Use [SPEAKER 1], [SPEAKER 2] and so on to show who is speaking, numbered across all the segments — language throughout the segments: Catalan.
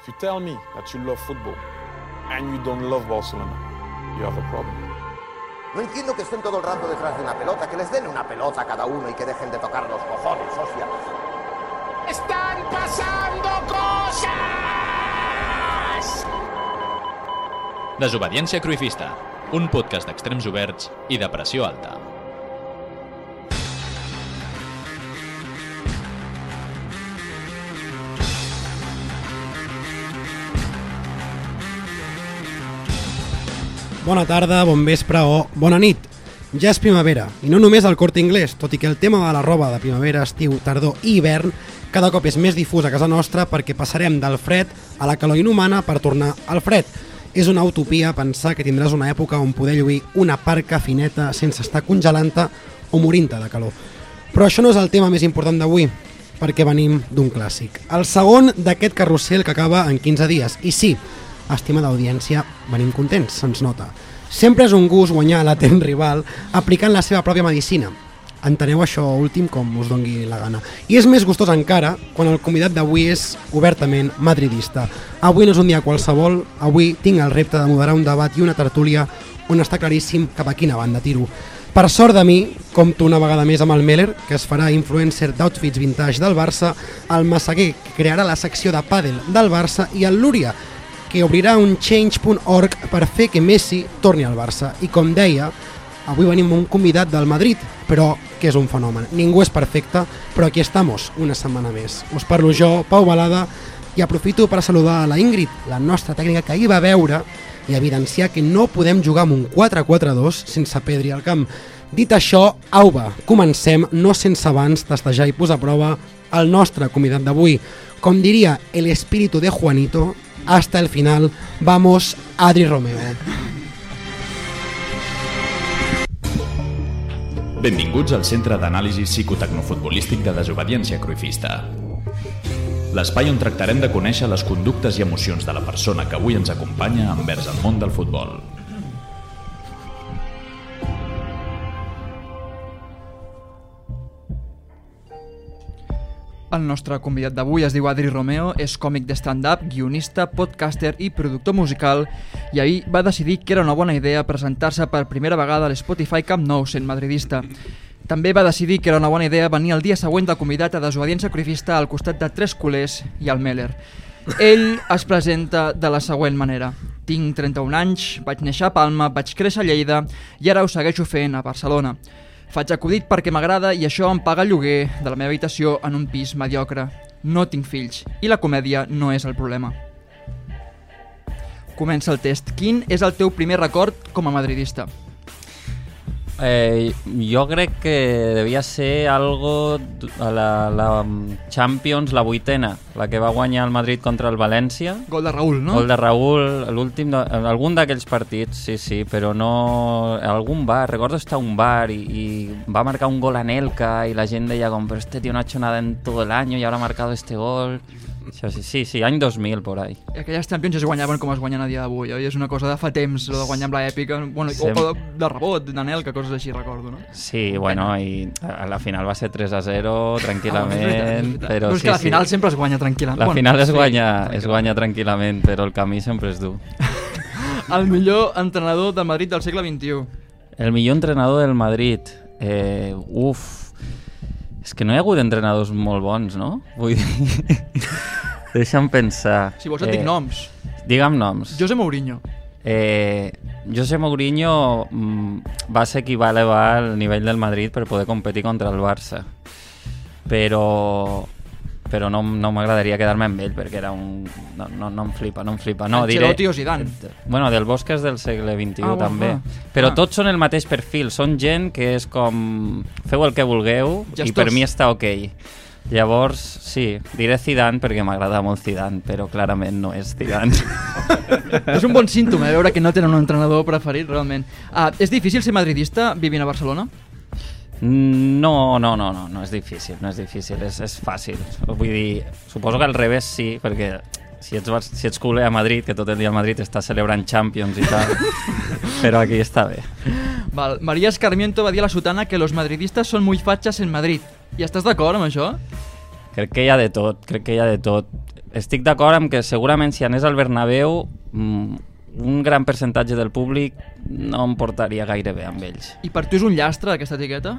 [SPEAKER 1] If you tell me that you love football and you don't love Barcelona, you have a problem.
[SPEAKER 2] No entiendo que estén todo el rato detrás de una pelota, que les den una pelota a cada uno y que dejen de tocar los cojones, hostia.
[SPEAKER 3] ¡Están pasando cosas!
[SPEAKER 4] Desobediència Cruifista, un podcast d'extrems oberts i de pressió alta.
[SPEAKER 5] Bona tarda, bon vespre o bona nit. Ja és primavera, i no només al Corte Inglés, tot i que el tema de la roba de primavera, estiu, tardor i hivern cada cop és més difús a casa nostra perquè passarem del fred a la calor inhumana per tornar al fred. És una utopia pensar que tindràs una època on poder lluir una parca fineta sense estar congelant-te o morint-te de calor. Però això no és el tema més important d'avui, perquè venim d'un clàssic. El segon d'aquest carrusel que acaba en 15 dies. I sí, estimada audiència, venim contents, se'ns nota. Sempre és un gust guanyar la l'atent rival aplicant la seva pròpia medicina. Enteneu això últim com us dongui la gana. I és més gustós encara quan el convidat d'avui és obertament madridista. Avui no és un dia qualsevol, avui tinc el repte de moderar un debat i una tertúlia on està claríssim cap a quina banda tiro. Per sort de mi, compto una vegada més amb el Meller, que es farà influencer d'outfits vintage del Barça, el Massaguer, que crearà la secció de pàdel del Barça, i el Lúria, que obrirà un change.org per fer que Messi torni al Barça. I com deia, avui venim amb un convidat del Madrid, però que és un fenomen. Ningú és perfecte, però aquí estamos una setmana més. Us parlo jo, Pau Balada, i aprofito per saludar a la Ingrid, la nostra tècnica que ahir va veure i evidenciar que no podem jugar amb un 4-4-2 sense Pedri al camp. Dit això, au va, comencem, no sense abans testejar i posar a prova el nostre convidat d'avui. Com diria el espíritu de Juanito, hasta el final, vamos Adri Romeo.
[SPEAKER 4] Benvinguts al Centre d'Anàlisi Psicotecnofutbolístic de Desobediència Cruifista. L'espai on tractarem de conèixer les conductes i emocions de la persona que avui ens acompanya envers el món del futbol.
[SPEAKER 6] El nostre convidat d'avui es diu Adri Romeo, és còmic de stand-up, guionista, podcaster i productor musical i ahir va decidir que era una bona idea presentar-se per primera vegada a l'Spotify Camp Nou sent madridista. També va decidir que era una bona idea venir el dia següent de convidat a Desobediència Crifista al costat de tres culers i el Meller. Ell es presenta de la següent manera. Tinc 31 anys, vaig néixer a Palma, vaig créixer a Lleida i ara ho segueixo fent a Barcelona. Faig acudit perquè m'agrada i això em paga el lloguer de la meva habitació en un pis mediocre. No tinc fills i la comèdia no és el problema. Comença el test. Quin és el teu primer record com a madridista?
[SPEAKER 7] Eh, jo crec que devia ser algo d- a la, la mm, Champions, la vuitena, la que va guanyar el Madrid contra el València.
[SPEAKER 6] Gol de Raül, no?
[SPEAKER 7] No? Gol de Raül, l'últim, de- algun d'aquells partits, sí, sí, però no... Algun bar, recordo estar a un bar i, i va marcar un gol a Nelka i la gent deia com, però este tío no ha hecho nada en todo el año y ahora ha marcado este gol. Això sí, sí, sí, any 2000, por ahí.
[SPEAKER 6] Aquelles Champions es guanyaven com es guanyen a dia d'avui, oi? És una cosa de fa temps, lo de guanyar amb l'èpica, bueno, o,
[SPEAKER 7] Sem-
[SPEAKER 6] o de, de rebot, d'anel, que coses així recordo, no?
[SPEAKER 7] Sí, bueno, i a la final va ser 3 a 0, tranquil·lament,
[SPEAKER 6] Ah,
[SPEAKER 7] però
[SPEAKER 6] no, Ah, és
[SPEAKER 7] sí,
[SPEAKER 6] que la
[SPEAKER 7] sí.
[SPEAKER 6] final sempre es guanya tranquil·lament.
[SPEAKER 7] La final es
[SPEAKER 6] Ah, sí,
[SPEAKER 7] guanya, es
[SPEAKER 6] tranquil·lament.
[SPEAKER 7] guanya tranquil·lament, però el camí sempre és dur.
[SPEAKER 6] El millor entrenador del Madrid del segle XXI.
[SPEAKER 7] El millor entrenador del Madrid. Eh, uf. És que no hi ha hagut entrenadors molt bons, no? Vull dir... Deixa'm pensar. Eh,
[SPEAKER 6] Si vols et dic noms.
[SPEAKER 7] Digue'm noms.
[SPEAKER 6] José Mourinho.
[SPEAKER 7] Eh, José Mourinho mm, va ser qui va elevar el nivell del Madrid per poder competir contra el Barça. Però però no, no m'agradaria quedar-me amb ell perquè era un... No, no, no em flipa, no em flipa. No, diré... Eh,
[SPEAKER 6] Ancelotti o Zidane?
[SPEAKER 7] Bueno, del Bosque és del segle XXI
[SPEAKER 6] Ah,
[SPEAKER 7] ah,
[SPEAKER 6] bueno,
[SPEAKER 7] també.
[SPEAKER 6] clar.
[SPEAKER 7] Però
[SPEAKER 6] Ah.
[SPEAKER 7] tots són el mateix perfil, són gent que és com... Feu el que vulgueu i
[SPEAKER 6] Gestors.
[SPEAKER 7] per mi està ok. Llavors, sí, diré Zidane perquè m'agrada molt Zidane, però clarament no és Zidane.
[SPEAKER 6] és un bon símptoma de veure que no tenen un entrenador preferit, realment. Ah, és difícil ser madridista vivint a Barcelona?
[SPEAKER 7] Mm, No, no, no, no, no és difícil, no és difícil, és, és fàcil. Vull dir, suposo que al revés sí, perquè si ets, bar- si ets culer a Madrid, que tot el dia al Madrid està celebrant Champions i tal, però aquí està bé.
[SPEAKER 6] Val. María Escarmiento va dir a la sotana que los madridistas son muy fachas en Madrid. I estàs d'acord amb això?
[SPEAKER 7] Crec que hi ha de tot, crec que hi ha de tot. estic d'acord amb que segurament si anés al Bernabéu mm, un gran percentatge del públic no em portaria gaire bé amb ells.
[SPEAKER 6] I per tu és un llastre, aquesta etiqueta?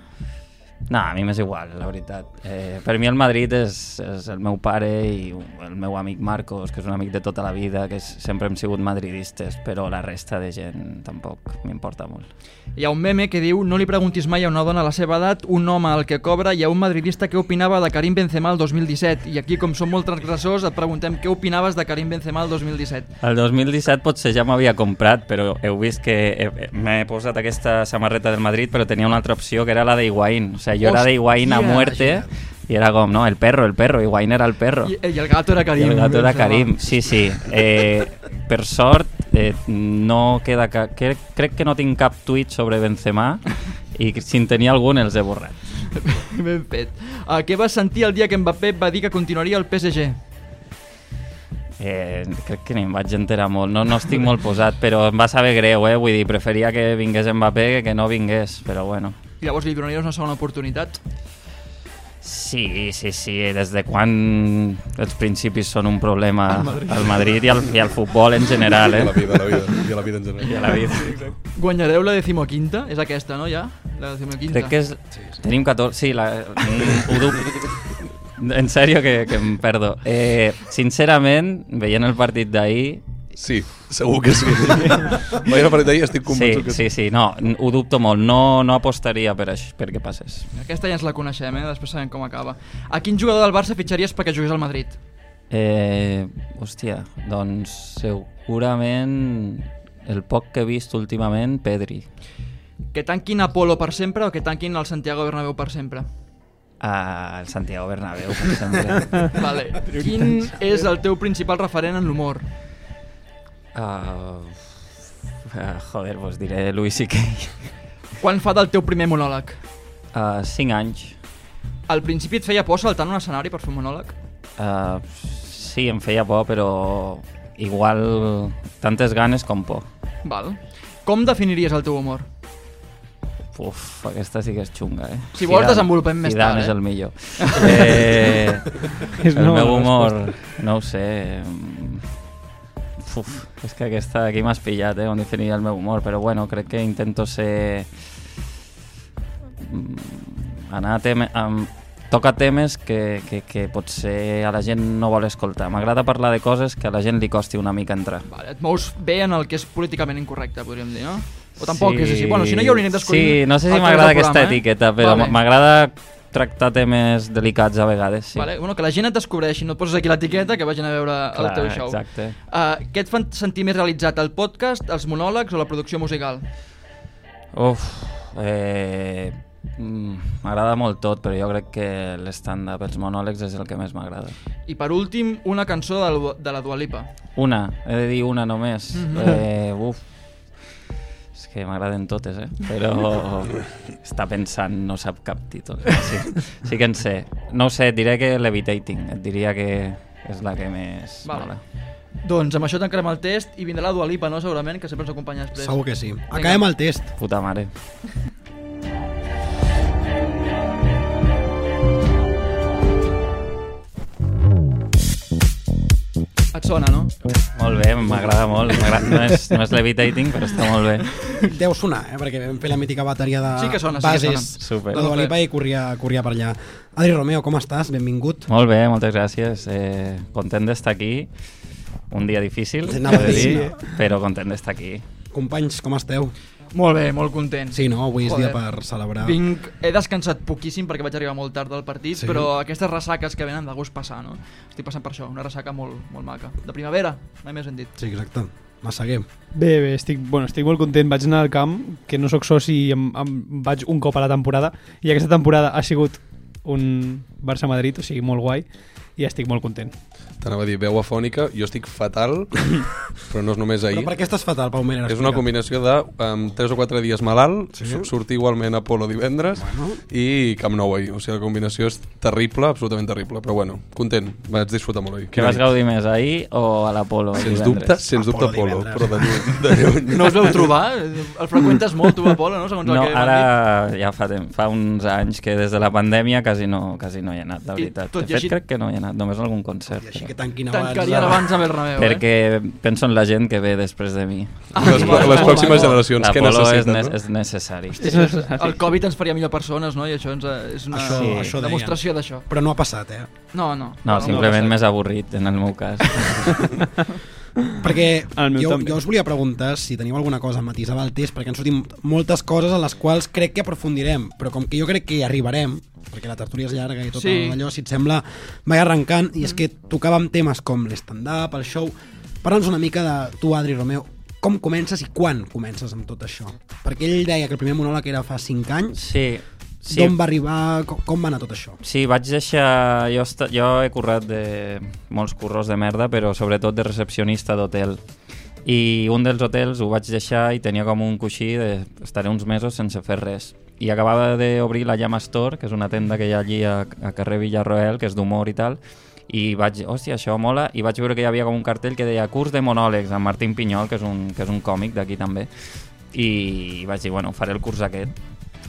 [SPEAKER 7] No, a mi m'és igual, la veritat. Eh, per mi el Madrid és, és el meu pare i el meu amic Marcos, que és un amic de tota la vida, que és, sempre hem sigut madridistes, però la resta de gent tampoc m'importa molt.
[SPEAKER 6] Hi ha un meme que diu no li preguntis mai a una dona la seva edat, un home al que cobra i a un madridista que opinava de Karim Benzema el 2017. I aquí, com som molt transgressors, et preguntem què opinaves de Karim Benzema el 2017.
[SPEAKER 7] El 2017 potser ja m'havia comprat, però heu vist que he- m'he posat aquesta samarreta del Madrid, però tenia una altra opció que era la de Higuaín. O sigui, jo era de Higuaín a
[SPEAKER 6] Hòstia,
[SPEAKER 7] muerte i era com, no, el perro, el perro, Higuaín era el perro.
[SPEAKER 6] I, I el gato era Karim.
[SPEAKER 7] I el gato era
[SPEAKER 6] Benzema.
[SPEAKER 7] Karim, sí, sí. Eh, per sort, eh, no queda ca... que, crec que no tinc cap tuit sobre Benzema i si en tenia algun els he borrat.
[SPEAKER 6] Ben fet. Uh, què vas sentir el dia que Mbappé va dir que continuaria al PSG?
[SPEAKER 7] Eh, crec que ni em vaig enterar molt, no, no estic molt posat, però em va saber greu, eh? vull dir, preferia que vingués Mbappé que no vingués, però bueno.
[SPEAKER 6] I llavors li donaries una segona oportunitat?
[SPEAKER 7] Sí, sí, sí, des de quan els principis són un problema al Madrid, al Madrid i, al, i al futbol en general,
[SPEAKER 8] I a la
[SPEAKER 7] eh?
[SPEAKER 8] vida, a la vida, i a la vida en general.
[SPEAKER 7] I a la vida.
[SPEAKER 6] Guanyareu la decimoquinta? És aquesta, no, ja? La decimoquinta.
[SPEAKER 7] Crec que és... Tenim 14... Sí, la... mm, ho dub... En sèrio que, que em perdo. Eh, sincerament, veient el partit d'ahir...
[SPEAKER 8] Sí, segur que sí. Vaig a partir d'ahir, estic
[SPEAKER 7] Sí,
[SPEAKER 8] convençut que
[SPEAKER 7] sí, sí, no, n- ho dubto molt. No, no apostaria per això, perquè passés.
[SPEAKER 6] Aquesta ja ens la coneixem, eh? Després sabem com acaba. A quin jugador del Barça fitxaries perquè jugués al Madrid?
[SPEAKER 7] Eh, hòstia, doncs segurament el poc que he vist últimament, Pedri.
[SPEAKER 6] Que tanquin Apolo per sempre o que tanquin el Santiago Bernabéu per sempre?
[SPEAKER 7] Ah, el Santiago Bernabéu, per exemple.
[SPEAKER 6] Vale. Quin és el teu principal referent en l'humor?
[SPEAKER 7] Ah, ah, joder, vos diré Louis C.K.
[SPEAKER 6] Quan fa del teu primer monòleg?
[SPEAKER 7] Ah, 5 anys.
[SPEAKER 6] Al principi et feia por saltar en un escenari per fer un monòleg?
[SPEAKER 7] Uh, sí, em feia por, però igual tantes ganes com por.
[SPEAKER 6] Val. Com definiries el teu humor?
[SPEAKER 7] Uf, aquesta sí que és xunga, eh?
[SPEAKER 6] Si vols, desenvolupem més tard, eh?
[SPEAKER 7] Zidane és el millor. eh,
[SPEAKER 9] És
[SPEAKER 7] el
[SPEAKER 9] nova
[SPEAKER 7] meu
[SPEAKER 9] la
[SPEAKER 7] humor, no ho sé... mm, Uf, és que aquesta aquí m'has pillat, eh? On definia el meu humor, però bueno, crec que intento ser... mm, Anar a temes... Amb... Toca temes que, que, que potser a la gent no vol escoltar. M'agrada parlar de coses que a la gent li costi una mica entrar.
[SPEAKER 6] Vale, et mous bé en el que és políticament incorrecte, podríem dir, no? O tampoc és així. Bueno, si no hi hauríem d'escollir...
[SPEAKER 7] Sí, no sé si
[SPEAKER 6] altres
[SPEAKER 7] m'agrada
[SPEAKER 6] del
[SPEAKER 7] aquesta
[SPEAKER 6] programa, eh?
[SPEAKER 7] etiqueta, però
[SPEAKER 6] Vale.
[SPEAKER 7] m'agrada tractar temes delicats a vegades, sí.
[SPEAKER 6] Vale? Bueno, que la gent et descobreixi, no et poses aquí l'etiqueta, que vagin a veure el
[SPEAKER 7] Clar,
[SPEAKER 6] teu show.
[SPEAKER 7] exacte.
[SPEAKER 6] Uh, què et fan sentir més realitzat, el podcast, els monòlegs o la producció musical?
[SPEAKER 7] Uf, eh... mm, M'agrada molt tot, però jo crec que l'estàndard, els monòlegs, és el que més m'agrada.
[SPEAKER 6] I per últim, una cançó de la, de la Dua Lipa.
[SPEAKER 7] Una, he de dir una només.
[SPEAKER 6] Mhm.
[SPEAKER 7] eh, uf. És que m'agraden totes, eh? Però està pensant, no sap cap títol. Sí, sí que en sé. No ho sé, et diré que Levitating, et diria que és la que més
[SPEAKER 6] Vale.
[SPEAKER 7] m'agrada.
[SPEAKER 6] Doncs amb això tancarem el test i vindrà la Dua Lipa, no? Segurament, que sempre ens acompanya després.
[SPEAKER 5] Segur que sí. Acabem el test.
[SPEAKER 7] Puta mare.
[SPEAKER 6] Et sona, no?
[SPEAKER 7] Molt bé, m'agrada molt. M'agrada- No és, no és levitating, però està molt bé.
[SPEAKER 5] Deu sonar, eh? perquè vam fer la mítica bateria de
[SPEAKER 6] Sí que sona, sí que
[SPEAKER 5] bases
[SPEAKER 6] sona.
[SPEAKER 7] Super.
[SPEAKER 5] de Dua Lipa i corria, corria per allà. Adri Romeo, com estàs? Benvingut.
[SPEAKER 7] Molt bé, moltes gràcies. Eh, content d'estar aquí. Un dia difícil,
[SPEAKER 5] Anava
[SPEAKER 7] he de
[SPEAKER 5] a dir,
[SPEAKER 7] dir,
[SPEAKER 5] no?
[SPEAKER 7] però content d'estar aquí.
[SPEAKER 5] Companys, com esteu?
[SPEAKER 6] Molt bé, molt content.
[SPEAKER 5] Sí, no? Avui és
[SPEAKER 6] Joder.
[SPEAKER 5] dia per celebrar.
[SPEAKER 6] Vinc, he descansat poquíssim perquè vaig arribar molt tard del partit, sí. però aquestes ressaques que venen de gust passar, no? Estic passant per això, una ressaca molt, molt maca. De primavera, mai més hem dit.
[SPEAKER 5] Sí, exacte. Massaguer.
[SPEAKER 9] Bé, bé, estic, bueno, estic molt content. Vaig anar al camp, que no sóc soci i em, em vaig un cop a la temporada. I aquesta temporada ha sigut un Barça-Madrid, o sigui, molt guai. I estic molt content.
[SPEAKER 8] sí. T'anava a dir veu afònica, jo estic fatal, però no és només ahir.
[SPEAKER 5] Però per què estàs fatal, Pau Mera?
[SPEAKER 8] És una combinació de um, 3 o 4 dies malalt, sí? sortir igualment a Polo divendres bueno. i Camp Nou ahir. O sigui, la combinació és terrible, absolutament terrible. Però bueno, content, vaig disfrutar molt ahir.
[SPEAKER 7] Què vas gaudir més, ahir o a l'Apolo?
[SPEAKER 8] Sens
[SPEAKER 7] divendres?
[SPEAKER 8] dubte, sens dubte Polo, però de lluny. De lluny.
[SPEAKER 6] No us veu trobar? El freqüentes molt, tu, Apolo, no? Segons el
[SPEAKER 7] No,
[SPEAKER 6] que m'han dit.
[SPEAKER 7] ara ja fa, temps, fa uns anys que des de la pandèmia que quasi no, quasi no hi he anat, la
[SPEAKER 6] I
[SPEAKER 7] veritat.
[SPEAKER 6] tot i
[SPEAKER 7] De fet,
[SPEAKER 6] així-
[SPEAKER 7] crec que no hi he anat, només a algun concert.
[SPEAKER 5] I així
[SPEAKER 7] Però...
[SPEAKER 5] que tanquin abans.
[SPEAKER 6] Tancarien
[SPEAKER 5] eh?
[SPEAKER 6] abans amb el Romeo, eh?
[SPEAKER 7] Perquè penso en la gent que ve després de mi.
[SPEAKER 8] Les, les pròximes generacions, què
[SPEAKER 7] L'Apolo és,
[SPEAKER 8] necessiten?
[SPEAKER 7] ne
[SPEAKER 8] no?
[SPEAKER 7] és necessari.
[SPEAKER 6] El Covid ens faria millor persones, no? I això ens, eh, és una
[SPEAKER 5] Això-
[SPEAKER 6] sí.
[SPEAKER 5] això deien.
[SPEAKER 6] demostració d'això.
[SPEAKER 5] Però no ha passat, eh?
[SPEAKER 6] No, no.
[SPEAKER 7] No, simplement més avorrit, en el meu cas.
[SPEAKER 5] Perquè
[SPEAKER 9] El meu
[SPEAKER 5] jo,
[SPEAKER 9] també.
[SPEAKER 5] jo us volia preguntar si teniu alguna cosa a matisar del text, perquè han sortit moltes coses en les quals crec que aprofundirem, però com que jo crec que hi arribarem, perquè la tertúlia és llarga i tot
[SPEAKER 6] Sí.
[SPEAKER 5] sí. allò, si et sembla, vaig arrencant, i és que tocàvem temes com l'estand-up, el show... Parla'ns una mica de tu, Adri Romeo, com comences i quan comences amb tot això? Perquè ell deia que el primer monòleg era fa 5 anys,
[SPEAKER 7] Sí,
[SPEAKER 5] sí. d'on va arribar, com, com va anar tot això?
[SPEAKER 7] Sí, vaig deixar... Jo, esta- jo he currat de molts curros de merda, però sobretot de recepcionista d'hotel. I un dels hotels ho vaig deixar i tenia com un coixí de estaré uns mesos sense fer res. I acabava d'obrir la Llama Store, que és una tenda que hi ha allí a, a carrer Villarroel, que és d'humor i tal, i vaig, hòstia, això mola, i vaig veure que hi havia com un cartell que deia curs de monòlegs amb Martín Pinyol, que és un, que és un còmic d'aquí també, i vaig dir, bueno, faré el curs aquest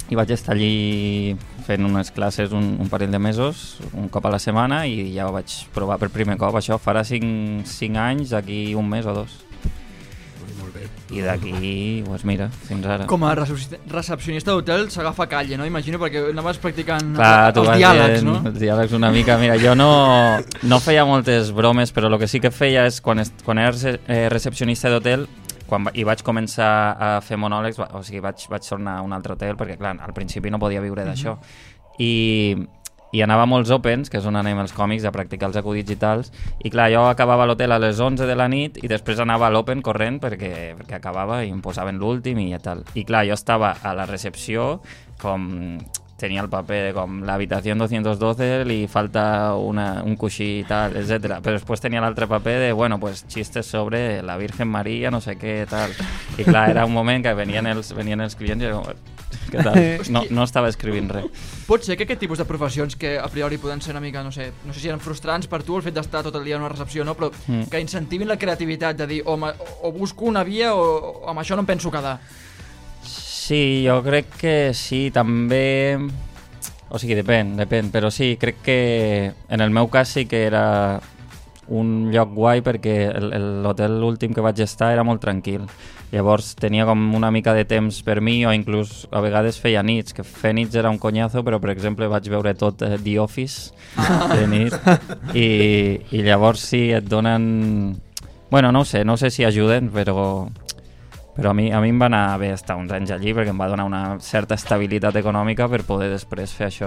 [SPEAKER 7] i vaig estar allí fent unes classes un, un parell de mesos, un cop a la setmana, i ja ho vaig provar per primer cop. Això farà 5, 5 anys, d'aquí un mes o dos. I d'aquí, doncs mira, fins ara.
[SPEAKER 6] Com a recepci- recepcionista d'hotel s'agafa calle, no? Imagino, perquè anaves practicant
[SPEAKER 7] Clar, tu
[SPEAKER 6] els
[SPEAKER 7] vas
[SPEAKER 6] diàlegs,
[SPEAKER 7] dient,
[SPEAKER 6] no?
[SPEAKER 7] Els diàlegs una mica. Mira, jo no, no feia moltes bromes, però el que sí que feia és quan, est, quan era rece- eh, recepcionista d'hotel, quan va, i vaig començar a fer monòlegs, va, o sigui, vaig, vaig tornar a un altre hotel, perquè clar, al principi no podia viure d'això.
[SPEAKER 6] Mhm.
[SPEAKER 7] I i anava a molts opens, que és on anem els còmics a practicar els acudits i tals, i clar, jo acabava a l'hotel a les 11 de la nit i després anava a l'open corrent perquè, perquè acabava i em posaven l'últim i tal. I clar, jo estava a la recepció com tenia el paper de com l'habitació 212 li falta una, un coixí i tal, etc. Però després tenia l'altre paper de, bueno, pues xistes sobre la Virgen Maria, no sé què, tal. I clar, era un moment que venien els, venien els clients i era com, què tal? No, no estava escrivint res.
[SPEAKER 6] Pot ser que aquest tipus de professions que a priori poden ser una mica, no sé, no sé si eren frustrants per tu el fet d'estar tot el dia en una recepció, no? Però mm. que incentivin la creativitat de dir o, ma- o busco una via o, o amb això no em penso quedar.
[SPEAKER 7] Sí, jo crec que sí, també... O sigui, depèn, depèn, però sí, crec que en el meu cas sí que era un lloc guai perquè el- el- l'hotel últim que vaig estar era molt tranquil. Llavors tenia com una mica de temps per mi o inclús a vegades feia nits, que fer nits era un conyazo, però per exemple vaig veure tot eh, The Office de nit i, i llavors sí, et donen... Bueno, no ho sé, no sé si ajuden, però però a mi, a mi em va anar bé estar uns anys allí perquè em va donar una certa estabilitat econòmica per poder després fer això.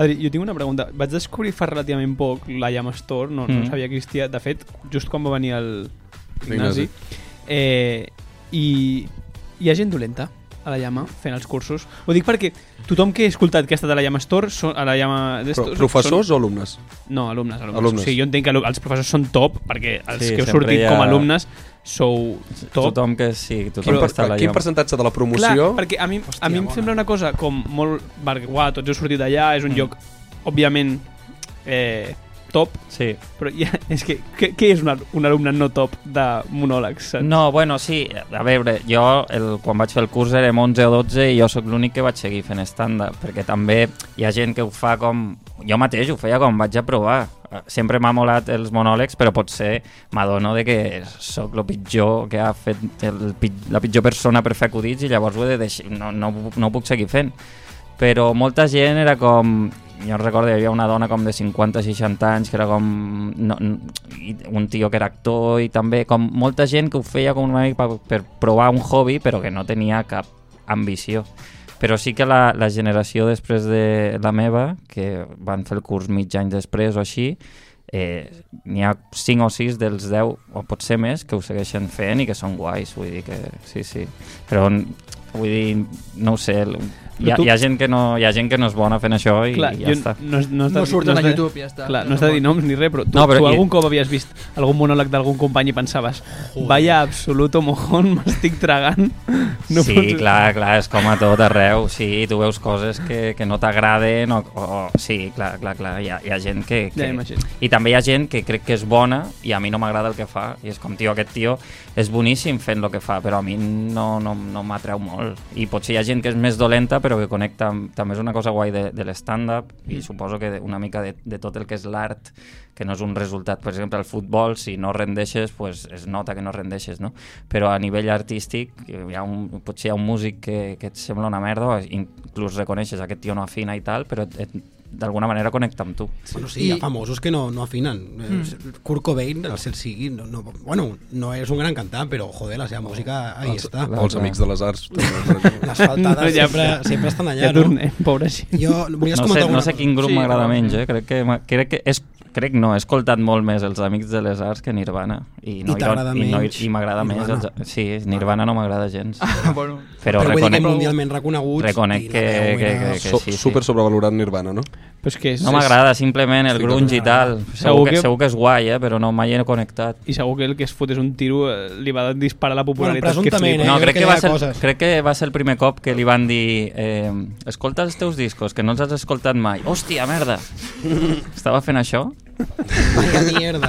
[SPEAKER 9] Adri, jo tinc una pregunta. Vaig descobrir fa relativament poc la Llama Store, no, mm.
[SPEAKER 7] Mm.
[SPEAKER 9] no sabia que existia. De fet, just quan va venir el
[SPEAKER 8] L'Ignasi.
[SPEAKER 9] Ignasi, eh, i hi ha gent dolenta a la Llama fent els cursos. Ho dic perquè tothom que he escoltat que ha estat a la Llama Store, són, a la Llama...
[SPEAKER 8] Però, professors o alumnes?
[SPEAKER 9] Són, no, alumnes. alumnes.
[SPEAKER 8] Alumnes.
[SPEAKER 9] alumnes. O sigui, jo entenc que alu- els professors són top, perquè els
[SPEAKER 7] Sí,
[SPEAKER 9] sí, que heu
[SPEAKER 7] sempre
[SPEAKER 9] sortit
[SPEAKER 7] hi
[SPEAKER 9] ha...
[SPEAKER 7] ha-
[SPEAKER 9] com a alumnes sou top.
[SPEAKER 7] Tothom que sí, tothom
[SPEAKER 8] Quin,
[SPEAKER 7] que
[SPEAKER 8] per,
[SPEAKER 7] està a la
[SPEAKER 8] quin
[SPEAKER 7] llama.
[SPEAKER 8] percentatge de la promoció...
[SPEAKER 9] Clar, perquè a mi, Hòstia, a
[SPEAKER 5] Hòstia,
[SPEAKER 9] mi em
[SPEAKER 5] bona.
[SPEAKER 9] sembla una cosa com molt... Perquè, uah, tots heu sortit d'allà, és un mm. lloc, òbviament, eh, top,
[SPEAKER 7] Sí.
[SPEAKER 9] però ja, és que, què, què és un, al- un alumne no top de monòlegs? saps?
[SPEAKER 7] No, bueno, sí, a veure, jo el, quan vaig fer el curs érem 11 o 12 i jo sóc l'únic que vaig seguir fent stand-up, perquè també hi ha gent que ho fa com... Jo mateix ho feia quan vaig a provar. Eh, Sempre m'ha molat els monòlegs, però potser m'adono de que sóc el pitjor que ha fet el, pit- la pitjor persona per fer acudits i llavors ho he de deixar, no, no, ho puc- no ho puc seguir fent. Però molta gent era com... Jo recordo hi havia una dona com de 50-60 anys que era com... No, no, i un tio que era actor i també com molta gent que ho feia com una mica per, per provar un hobby però que no tenia cap ambició. Però sí que la, la generació després de la meva, que van fer el curs mig any després o així, eh, n'hi ha 5 o 6 dels 10, o potser més, que ho segueixen fent i que són guais, vull dir que sí, sí. Però n- vull dir, no ho sé, el- hi ha,
[SPEAKER 9] Però tu-
[SPEAKER 7] hi ha, gent, que no, hi ha gent que no és bona fent això i,
[SPEAKER 9] Clar,
[SPEAKER 7] i ja
[SPEAKER 9] jo
[SPEAKER 7] està.
[SPEAKER 9] No, no,
[SPEAKER 6] No surten
[SPEAKER 9] has
[SPEAKER 6] a
[SPEAKER 9] de-
[SPEAKER 6] YouTube, ja està.
[SPEAKER 9] Clar,
[SPEAKER 6] Ja
[SPEAKER 9] no
[SPEAKER 6] no
[SPEAKER 9] està de dir
[SPEAKER 6] pot.
[SPEAKER 9] noms ni res, però tu,
[SPEAKER 7] No, però
[SPEAKER 9] tu
[SPEAKER 7] i-
[SPEAKER 9] algun cop havies vist algun monòleg d'algun company i pensaves vaya absoluto mojón, m'estic tragant.
[SPEAKER 7] No sí,
[SPEAKER 9] puc-
[SPEAKER 7] clar, clar, és com a tot arreu. Sí, tu veus coses que, que no t'agraden o, o, o... Sí, clar, clar, clar, hi ha, hi ha gent que... que...
[SPEAKER 9] Ja imagino.
[SPEAKER 7] I també hi ha gent que crec que és bona i a mi no m'agrada el que fa. I és com, tio, aquest tio és boníssim fent el que fa, però a mi no, no, no m'atreu molt. molt. I potser hi ha gent que és més dolenta, però que connecta... amb- També és una cosa guai de, de l'stand-up i suposo que de- una mica de, de tot el que és l'art, que no és un resultat. Per exemple, el futbol, si no rendeixes, pues es nota que no rendeixes, no? Però a nivell artístic, eh, hi ha un, potser hi ha un músic que, que et sembla una merda, o inclús reconeixes aquest tio no afina i tal, però et- et- d'alguna manera connecta amb tu.
[SPEAKER 5] Bueno, sí, I... hi ha
[SPEAKER 6] I-
[SPEAKER 5] famosos que no, no afinen. Mm. Kurt Cobain, el cel sigui, no, no, bueno, no és un gran cantant, però, joder, la seva música, ahí està.
[SPEAKER 8] O els amics de les arts. també, per exemple.
[SPEAKER 5] Les faltades
[SPEAKER 9] No, ja-
[SPEAKER 5] sempre, sempre estan allà,
[SPEAKER 9] Ja
[SPEAKER 5] no?
[SPEAKER 9] tornem, pobre sí.
[SPEAKER 5] Jo, volies
[SPEAKER 7] No sé,
[SPEAKER 5] comentar
[SPEAKER 7] no
[SPEAKER 5] alguna
[SPEAKER 7] sé quin grup
[SPEAKER 9] Sí,
[SPEAKER 7] sí, m'agrada
[SPEAKER 9] no,
[SPEAKER 7] menys,
[SPEAKER 9] sí.
[SPEAKER 7] eh? crec que, m'ha- crec que és, crec no, he escoltat molt més els Amics de les Arts que Nirvana i, no,
[SPEAKER 5] t'agrada
[SPEAKER 7] i, no,
[SPEAKER 5] menys
[SPEAKER 7] i m'agrada més els,
[SPEAKER 5] Nirvana. Ah,
[SPEAKER 7] sí, Nirvana no m'agrada gens
[SPEAKER 6] bueno,
[SPEAKER 5] però
[SPEAKER 7] però,
[SPEAKER 5] vull dir que
[SPEAKER 7] reconec,
[SPEAKER 5] mundialment reconeguts i
[SPEAKER 7] reconec
[SPEAKER 5] la
[SPEAKER 7] que,
[SPEAKER 5] veu
[SPEAKER 7] que,
[SPEAKER 5] era-
[SPEAKER 7] que, que
[SPEAKER 8] So,
[SPEAKER 7] sí, sí.
[SPEAKER 8] super sobrevalorat Nirvana, no?
[SPEAKER 9] Però és que és,
[SPEAKER 7] no m'agrada simplement el
[SPEAKER 8] Estic
[SPEAKER 7] grunge i tal segur
[SPEAKER 9] Segur
[SPEAKER 7] que,
[SPEAKER 9] que-
[SPEAKER 7] segur que és guai, eh? però no mai he connectat
[SPEAKER 9] és- I segur que el que es fot és un tiro eh, li va disparar la popularitat que
[SPEAKER 5] presumptament,
[SPEAKER 9] flipa.
[SPEAKER 5] eh?
[SPEAKER 7] no,
[SPEAKER 5] jo crec que
[SPEAKER 7] crec, que
[SPEAKER 5] hi
[SPEAKER 7] va
[SPEAKER 5] ha
[SPEAKER 7] ser,
[SPEAKER 5] coses.
[SPEAKER 7] crec que va ser el primer cop que li van dir eh, escolta els teus discos, que no els has escoltat mai hòstia, merda estava fent això?
[SPEAKER 5] Vaya mierda.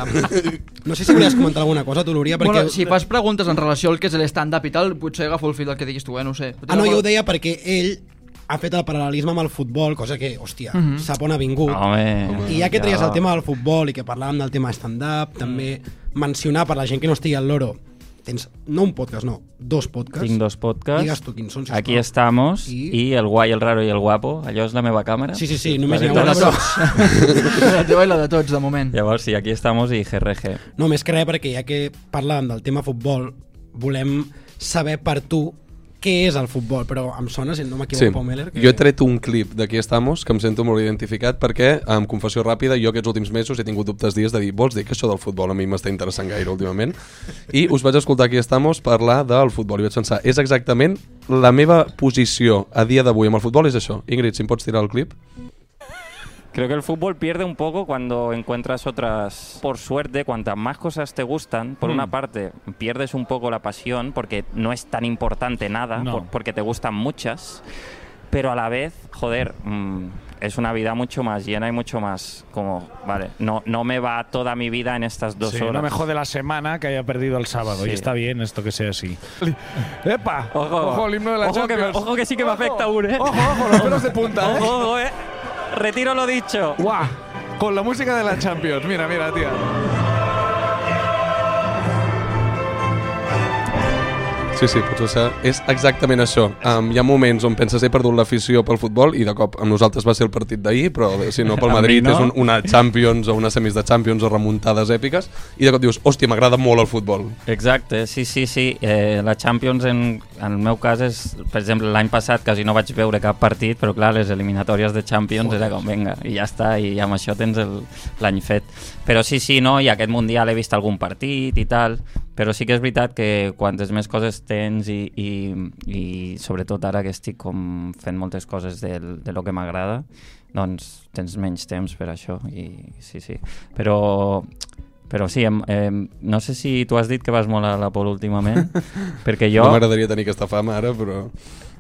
[SPEAKER 5] No sé si volies comentar alguna cosa, tu, Lúria, perquè...
[SPEAKER 6] bueno, si fas preguntes en relació al que és l'stand-up i tal, potser agafo el fil del que diguis tu, eh? No ho sé.
[SPEAKER 5] Ah, no, jo ho deia perquè ell ha fet el paral·lelisme amb el futbol, cosa que, hòstia,
[SPEAKER 9] Mhm.
[SPEAKER 5] mm -hmm. sap on ha vingut.
[SPEAKER 7] home,
[SPEAKER 5] Eh, I ja que tries
[SPEAKER 7] ja.
[SPEAKER 5] el tema del futbol i que parlàvem del tema stand-up, també mencionar per la gent que no estigui al loro, tens no un podcast, no, dos podcasts.
[SPEAKER 7] Tinc dos podcasts.
[SPEAKER 5] Digues tu quins són, sisplau.
[SPEAKER 7] Aquí estamos.
[SPEAKER 5] I-
[SPEAKER 7] I... I el guai, el raro i el guapo. Allò és la meva càmera.
[SPEAKER 5] Sí, sí, sí, només
[SPEAKER 7] La
[SPEAKER 5] n'hi ha
[SPEAKER 7] de
[SPEAKER 5] una,
[SPEAKER 7] tots.
[SPEAKER 5] però...
[SPEAKER 6] la teva i la de tots, de moment.
[SPEAKER 7] Llavors, sí, aquí estamos i GRG.
[SPEAKER 5] No, més que res, perquè ja que parlàvem del tema futbol, volem saber per tu què és el futbol, però em sona, si no m'equivoco,
[SPEAKER 8] Sí.
[SPEAKER 5] sí. Pau Meller, que...
[SPEAKER 8] Jo he tret un clip d'Aquí Estamos que em sento molt identificat perquè, amb confessió ràpida, jo aquests últims mesos he tingut dubtes dies de dir vols dir que això del futbol a mi m'està interessant gaire últimament? I us vaig escoltar Aquí Estamos parlar del futbol i vaig pensar és exactament la meva posició a dia d'avui amb el futbol és això. Ingrid, si em pots tirar el clip?
[SPEAKER 7] Creo que el fútbol pierde un poco cuando encuentras otras. Por suerte, cuantas más cosas te gustan, por una parte, pierdes un poco la pasión porque no es tan importante nada,
[SPEAKER 9] No.
[SPEAKER 7] por- porque te gustan muchas. Pero a la vez, joder, mm, es una vida mucho más llena y mucho más como, vale, no, no me va toda mi vida en estas dos
[SPEAKER 10] Sí,
[SPEAKER 7] horas.
[SPEAKER 10] no me jode la semana que haya perdido el sábado.
[SPEAKER 7] Sí.
[SPEAKER 10] Y está bien esto que sea así. ¡Epa!
[SPEAKER 7] Ojo,
[SPEAKER 10] el himno de la
[SPEAKER 7] ojo que, me-
[SPEAKER 10] Champions.
[SPEAKER 7] ojo que sí que me afecta uno, eh.
[SPEAKER 10] Ojo, ojo, los pelos de punta. ¿eh?
[SPEAKER 7] Ojo, ojo, eh. Retiro lo dicho.
[SPEAKER 10] ¡Guau! Con la música de la Champions. Mira, mira, tía.
[SPEAKER 8] Sí, sí, pots baixar. És exactament això. Um, hi ha moments on penses he perdut l'afició pel futbol i de cop amb nosaltres va ser el partit d'ahir, però si no pel
[SPEAKER 7] Amb mi
[SPEAKER 8] Madrid
[SPEAKER 7] no.
[SPEAKER 8] és un, una Champions o una semis de Champions o remuntades èpiques i de cop dius, hòstia, m'agrada molt el futbol.
[SPEAKER 7] Exacte, sí, sí, sí. Eh, la Champions, en, en el meu cas, és, per exemple, l'any passat quasi no vaig veure cap partit, però clar, les eliminatòries de Champions era com, vinga, i ja està, i amb això tens el- l'any fet. Però sí, sí, no, i aquest Mundial he vist algun partit i tal, però sí que és veritat que quantes més coses tens i, i, i sobretot ara que estic com fent moltes coses del, de lo que m'agrada, doncs tens menys temps per això, i sí, sí. Però però sí, em, em, no sé si tu has dit que vas molt a la Pol últimament, perquè jo,
[SPEAKER 8] No m'agradaria tenir aquesta fama ara, però...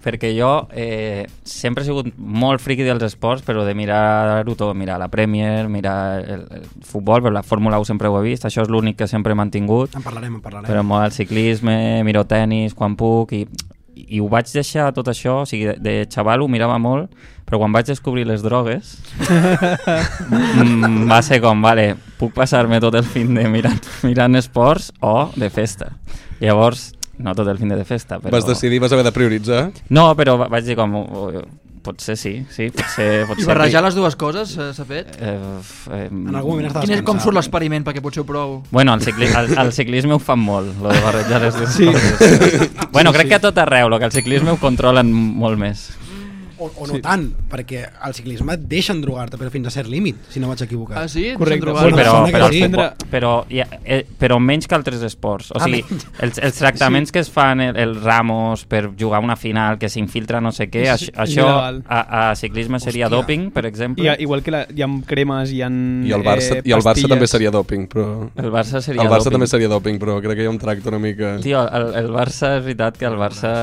[SPEAKER 7] perquè jo eh, sempre he sigut molt friqui dels esports, però de mirar-ho tot, mirar la Premier, mirar el, el futbol, però la Fórmula 1 sempre ho he vist, això és l'únic que sempre he mantingut,
[SPEAKER 5] En parlarem, en parlarem.
[SPEAKER 7] però molt al ciclisme, miro tennis quan puc i, i ho vaig deixar tot això, o sigui, de, de xaval ho mirava molt, però quan vaig descobrir les drogues mm, va ser com, vale, puc passar-me tot el fin de mirant, mirant esports o de festa. Llavors, no tot el fin de, de festa, però...
[SPEAKER 8] Però... Vas decidir, vas haver de prioritzar.
[SPEAKER 7] No, però va- vaig dir com, "Oh, oh, potser sí, sí, potser... potser
[SPEAKER 6] I barrejar
[SPEAKER 7] sí.
[SPEAKER 6] les dues coses eh, s'ha fet?
[SPEAKER 7] Eh, eh,
[SPEAKER 5] En algun moment estàs
[SPEAKER 6] Quin és, com
[SPEAKER 5] cansat.
[SPEAKER 6] surt l'experiment, perquè potser ho provo?
[SPEAKER 7] Bueno, el, cicli el, el ciclisme ho fan molt, lo de barrejar les dues sí. coses. Bueno, crec que a tot arreu, lo que el ciclisme ho controlen molt més.
[SPEAKER 5] O, o no sí. tant, perquè al ciclisme et deixen drogar-te, però fins a cert límit, si no vaig equivocar.
[SPEAKER 6] Ah, sí? Ens
[SPEAKER 9] Correcte.
[SPEAKER 6] hem trobat?
[SPEAKER 7] Sí,
[SPEAKER 9] Bueno,
[SPEAKER 7] però,
[SPEAKER 5] sembla que
[SPEAKER 7] però,
[SPEAKER 5] sí.
[SPEAKER 7] el futbol, però, hi ha, eh, però menys que altres esports. O
[SPEAKER 5] Ah,
[SPEAKER 7] sigui,
[SPEAKER 5] menys.
[SPEAKER 7] els, els tractaments que es fan el, el Ramos per jugar una final, que s'infiltra no sé què,
[SPEAKER 9] És
[SPEAKER 7] això, això
[SPEAKER 9] il·legal.
[SPEAKER 7] a, a ciclisme seria
[SPEAKER 5] Hòstia.
[SPEAKER 7] doping, per
[SPEAKER 5] eh?
[SPEAKER 9] Hi ha,
[SPEAKER 7] exemple.
[SPEAKER 9] igual que la, hi ha cremes, hi ha
[SPEAKER 8] I el Barça,
[SPEAKER 9] eh,
[SPEAKER 8] i el Barça
[SPEAKER 9] pastilles.
[SPEAKER 8] també seria doping, però...
[SPEAKER 7] El Barça seria
[SPEAKER 8] el Barça
[SPEAKER 7] doping.
[SPEAKER 8] també seria doping, però crec que hi ha un tracte una mica...
[SPEAKER 7] Tio, el, el Barça, és veritat que el Barça...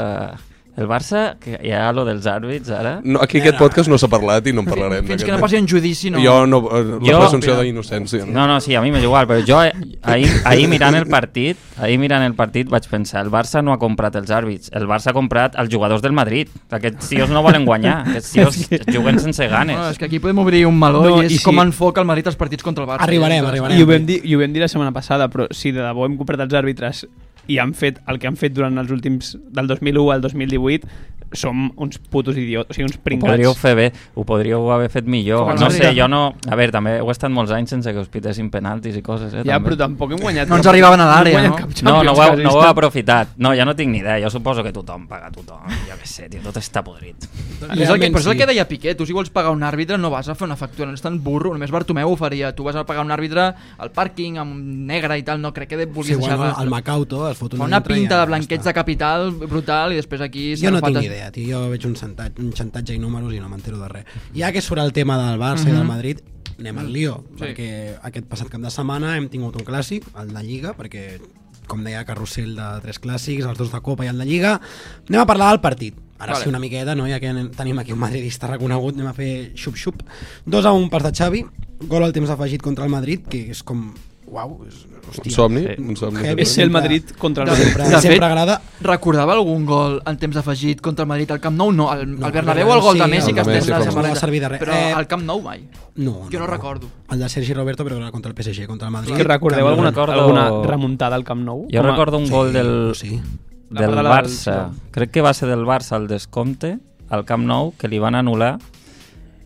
[SPEAKER 7] El Barça, que hi ha lo dels àrbits ara...
[SPEAKER 8] No, aquí aquest podcast no s'ha parlat i no en parlarem.
[SPEAKER 6] Fins
[SPEAKER 8] d'aquest
[SPEAKER 6] que no
[SPEAKER 8] tema.
[SPEAKER 6] passi en judici, no.
[SPEAKER 8] Jo no... eh, La
[SPEAKER 7] Jo-
[SPEAKER 8] presumpció d'innocència.
[SPEAKER 7] No, no, sí, a mi m'és igual, però jo eh, ahir, ahir mirant el partit ahir mirant el partit vaig pensar el Barça no ha comprat els àrbits, el Barça ha comprat els jugadors del Madrid, aquests tios no volen guanyar, aquests tios juguen sense ganes.
[SPEAKER 6] No, és que aquí podem obrir un meló
[SPEAKER 9] No,
[SPEAKER 6] no, i és
[SPEAKER 9] i
[SPEAKER 6] i
[SPEAKER 9] si-
[SPEAKER 6] com enfoca el Madrid els partits contra el Barça.
[SPEAKER 5] Arribarem,
[SPEAKER 6] I-
[SPEAKER 5] arribarem.
[SPEAKER 9] I ho, vam dir, I ho vam dir la setmana passada, però si de debò hem comprat els àrbitres i han fet el que han fet durant els últims... del 2001 al 2018, som uns putos idiots, o sigui, uns
[SPEAKER 7] Ho podríeu
[SPEAKER 9] pringats.
[SPEAKER 7] fer bé, ho podríeu haver fet millor.
[SPEAKER 6] Com
[SPEAKER 7] No
[SPEAKER 6] el
[SPEAKER 7] sé,
[SPEAKER 6] Madrid.
[SPEAKER 7] jo no... A veure, també heu estat molts anys sense que us pitessin penaltis i coses, eh?
[SPEAKER 9] Ja,
[SPEAKER 7] també.
[SPEAKER 9] però tampoc hem guanyat...
[SPEAKER 6] No ens arribaven a l'àrea,
[SPEAKER 9] guanyem
[SPEAKER 6] no?
[SPEAKER 9] cap
[SPEAKER 7] No, no ho, heu,
[SPEAKER 9] Champions, quasi,
[SPEAKER 7] no ho heu
[SPEAKER 9] està-
[SPEAKER 7] aprofitat. No, ja no tinc ni idea. Jo suposo que tothom paga tothom. Jo què sé, tio, tot està podrit.
[SPEAKER 6] És el que, però és el que deia Piqué, tu si vols pagar un àrbitre no vas a fer una factura, no és tan burro, només Bartomeu ho faria, tu vas a pagar un àrbitre al pàrquing amb un negre i tal, no crec que de-
[SPEAKER 5] Sí,
[SPEAKER 6] vulguis sí,
[SPEAKER 5] bueno, el
[SPEAKER 6] deixar
[SPEAKER 5] Macauto es fot
[SPEAKER 6] Fa
[SPEAKER 5] una,
[SPEAKER 6] una
[SPEAKER 5] altra i
[SPEAKER 6] pinta
[SPEAKER 5] ja
[SPEAKER 6] de blanqueig
[SPEAKER 5] està.
[SPEAKER 6] de capital brutal i després aquí...
[SPEAKER 5] Jo
[SPEAKER 6] s'han
[SPEAKER 5] no tinc
[SPEAKER 6] agafat-
[SPEAKER 5] ni idea, tio. Jo veig un xantatge, un xantatge i números i no m'entero de res. Ja que surt el tema del Barça i del Madrid, anem al lío,
[SPEAKER 6] Mhm. Sí.
[SPEAKER 5] perquè aquest passat cap de setmana hem tingut un clàssic, el de Lliga, perquè, com deia, carrusel de tres clàssics, els dos de Copa i el de Lliga. Anem a parlar del partit. Ara
[SPEAKER 6] Vale.
[SPEAKER 5] sí, una miqueta, no? ja que anem- tenim aquí un madridista reconegut, anem a fer xup-xup. 2 a 1 per de Xavi, gol al temps afegit contra el Madrid, que és com... Uau, és, hòstia.
[SPEAKER 8] Un somni,
[SPEAKER 7] Sí.
[SPEAKER 8] un somni.
[SPEAKER 5] Heavy.
[SPEAKER 9] És ser el Madrid contra el Madrid.
[SPEAKER 5] Sempre,
[SPEAKER 6] De fet-
[SPEAKER 5] sempre agrada
[SPEAKER 6] Recordava algun gol en temps afegit contra el Madrid al Camp Nou? No, al,
[SPEAKER 5] No,
[SPEAKER 6] al Bernabéu o el gol
[SPEAKER 5] sí,
[SPEAKER 6] de Messi
[SPEAKER 8] el
[SPEAKER 6] que
[SPEAKER 8] de
[SPEAKER 6] estem
[SPEAKER 8] Messi,
[SPEAKER 6] la
[SPEAKER 8] però
[SPEAKER 5] no
[SPEAKER 6] setmana
[SPEAKER 5] va servir de res.
[SPEAKER 6] Però
[SPEAKER 5] Eh,
[SPEAKER 6] al Camp Nou mai.
[SPEAKER 5] No,
[SPEAKER 6] Jo no recordo.
[SPEAKER 5] El de Sergi Roberto, però era contra el PSG, contra el Madrid.
[SPEAKER 9] Que recordeu
[SPEAKER 5] Canvi-
[SPEAKER 9] alguna,
[SPEAKER 7] recordo-
[SPEAKER 9] alguna remuntada al Camp Nou?
[SPEAKER 7] Jo
[SPEAKER 9] Com a-
[SPEAKER 7] recordo un
[SPEAKER 5] Sí,
[SPEAKER 7] gol del,
[SPEAKER 5] sí.
[SPEAKER 9] La
[SPEAKER 7] del
[SPEAKER 9] parada del-
[SPEAKER 7] Barça. Crec que va ser del Barça al descompte, al Camp Nou, que li van anul·lar,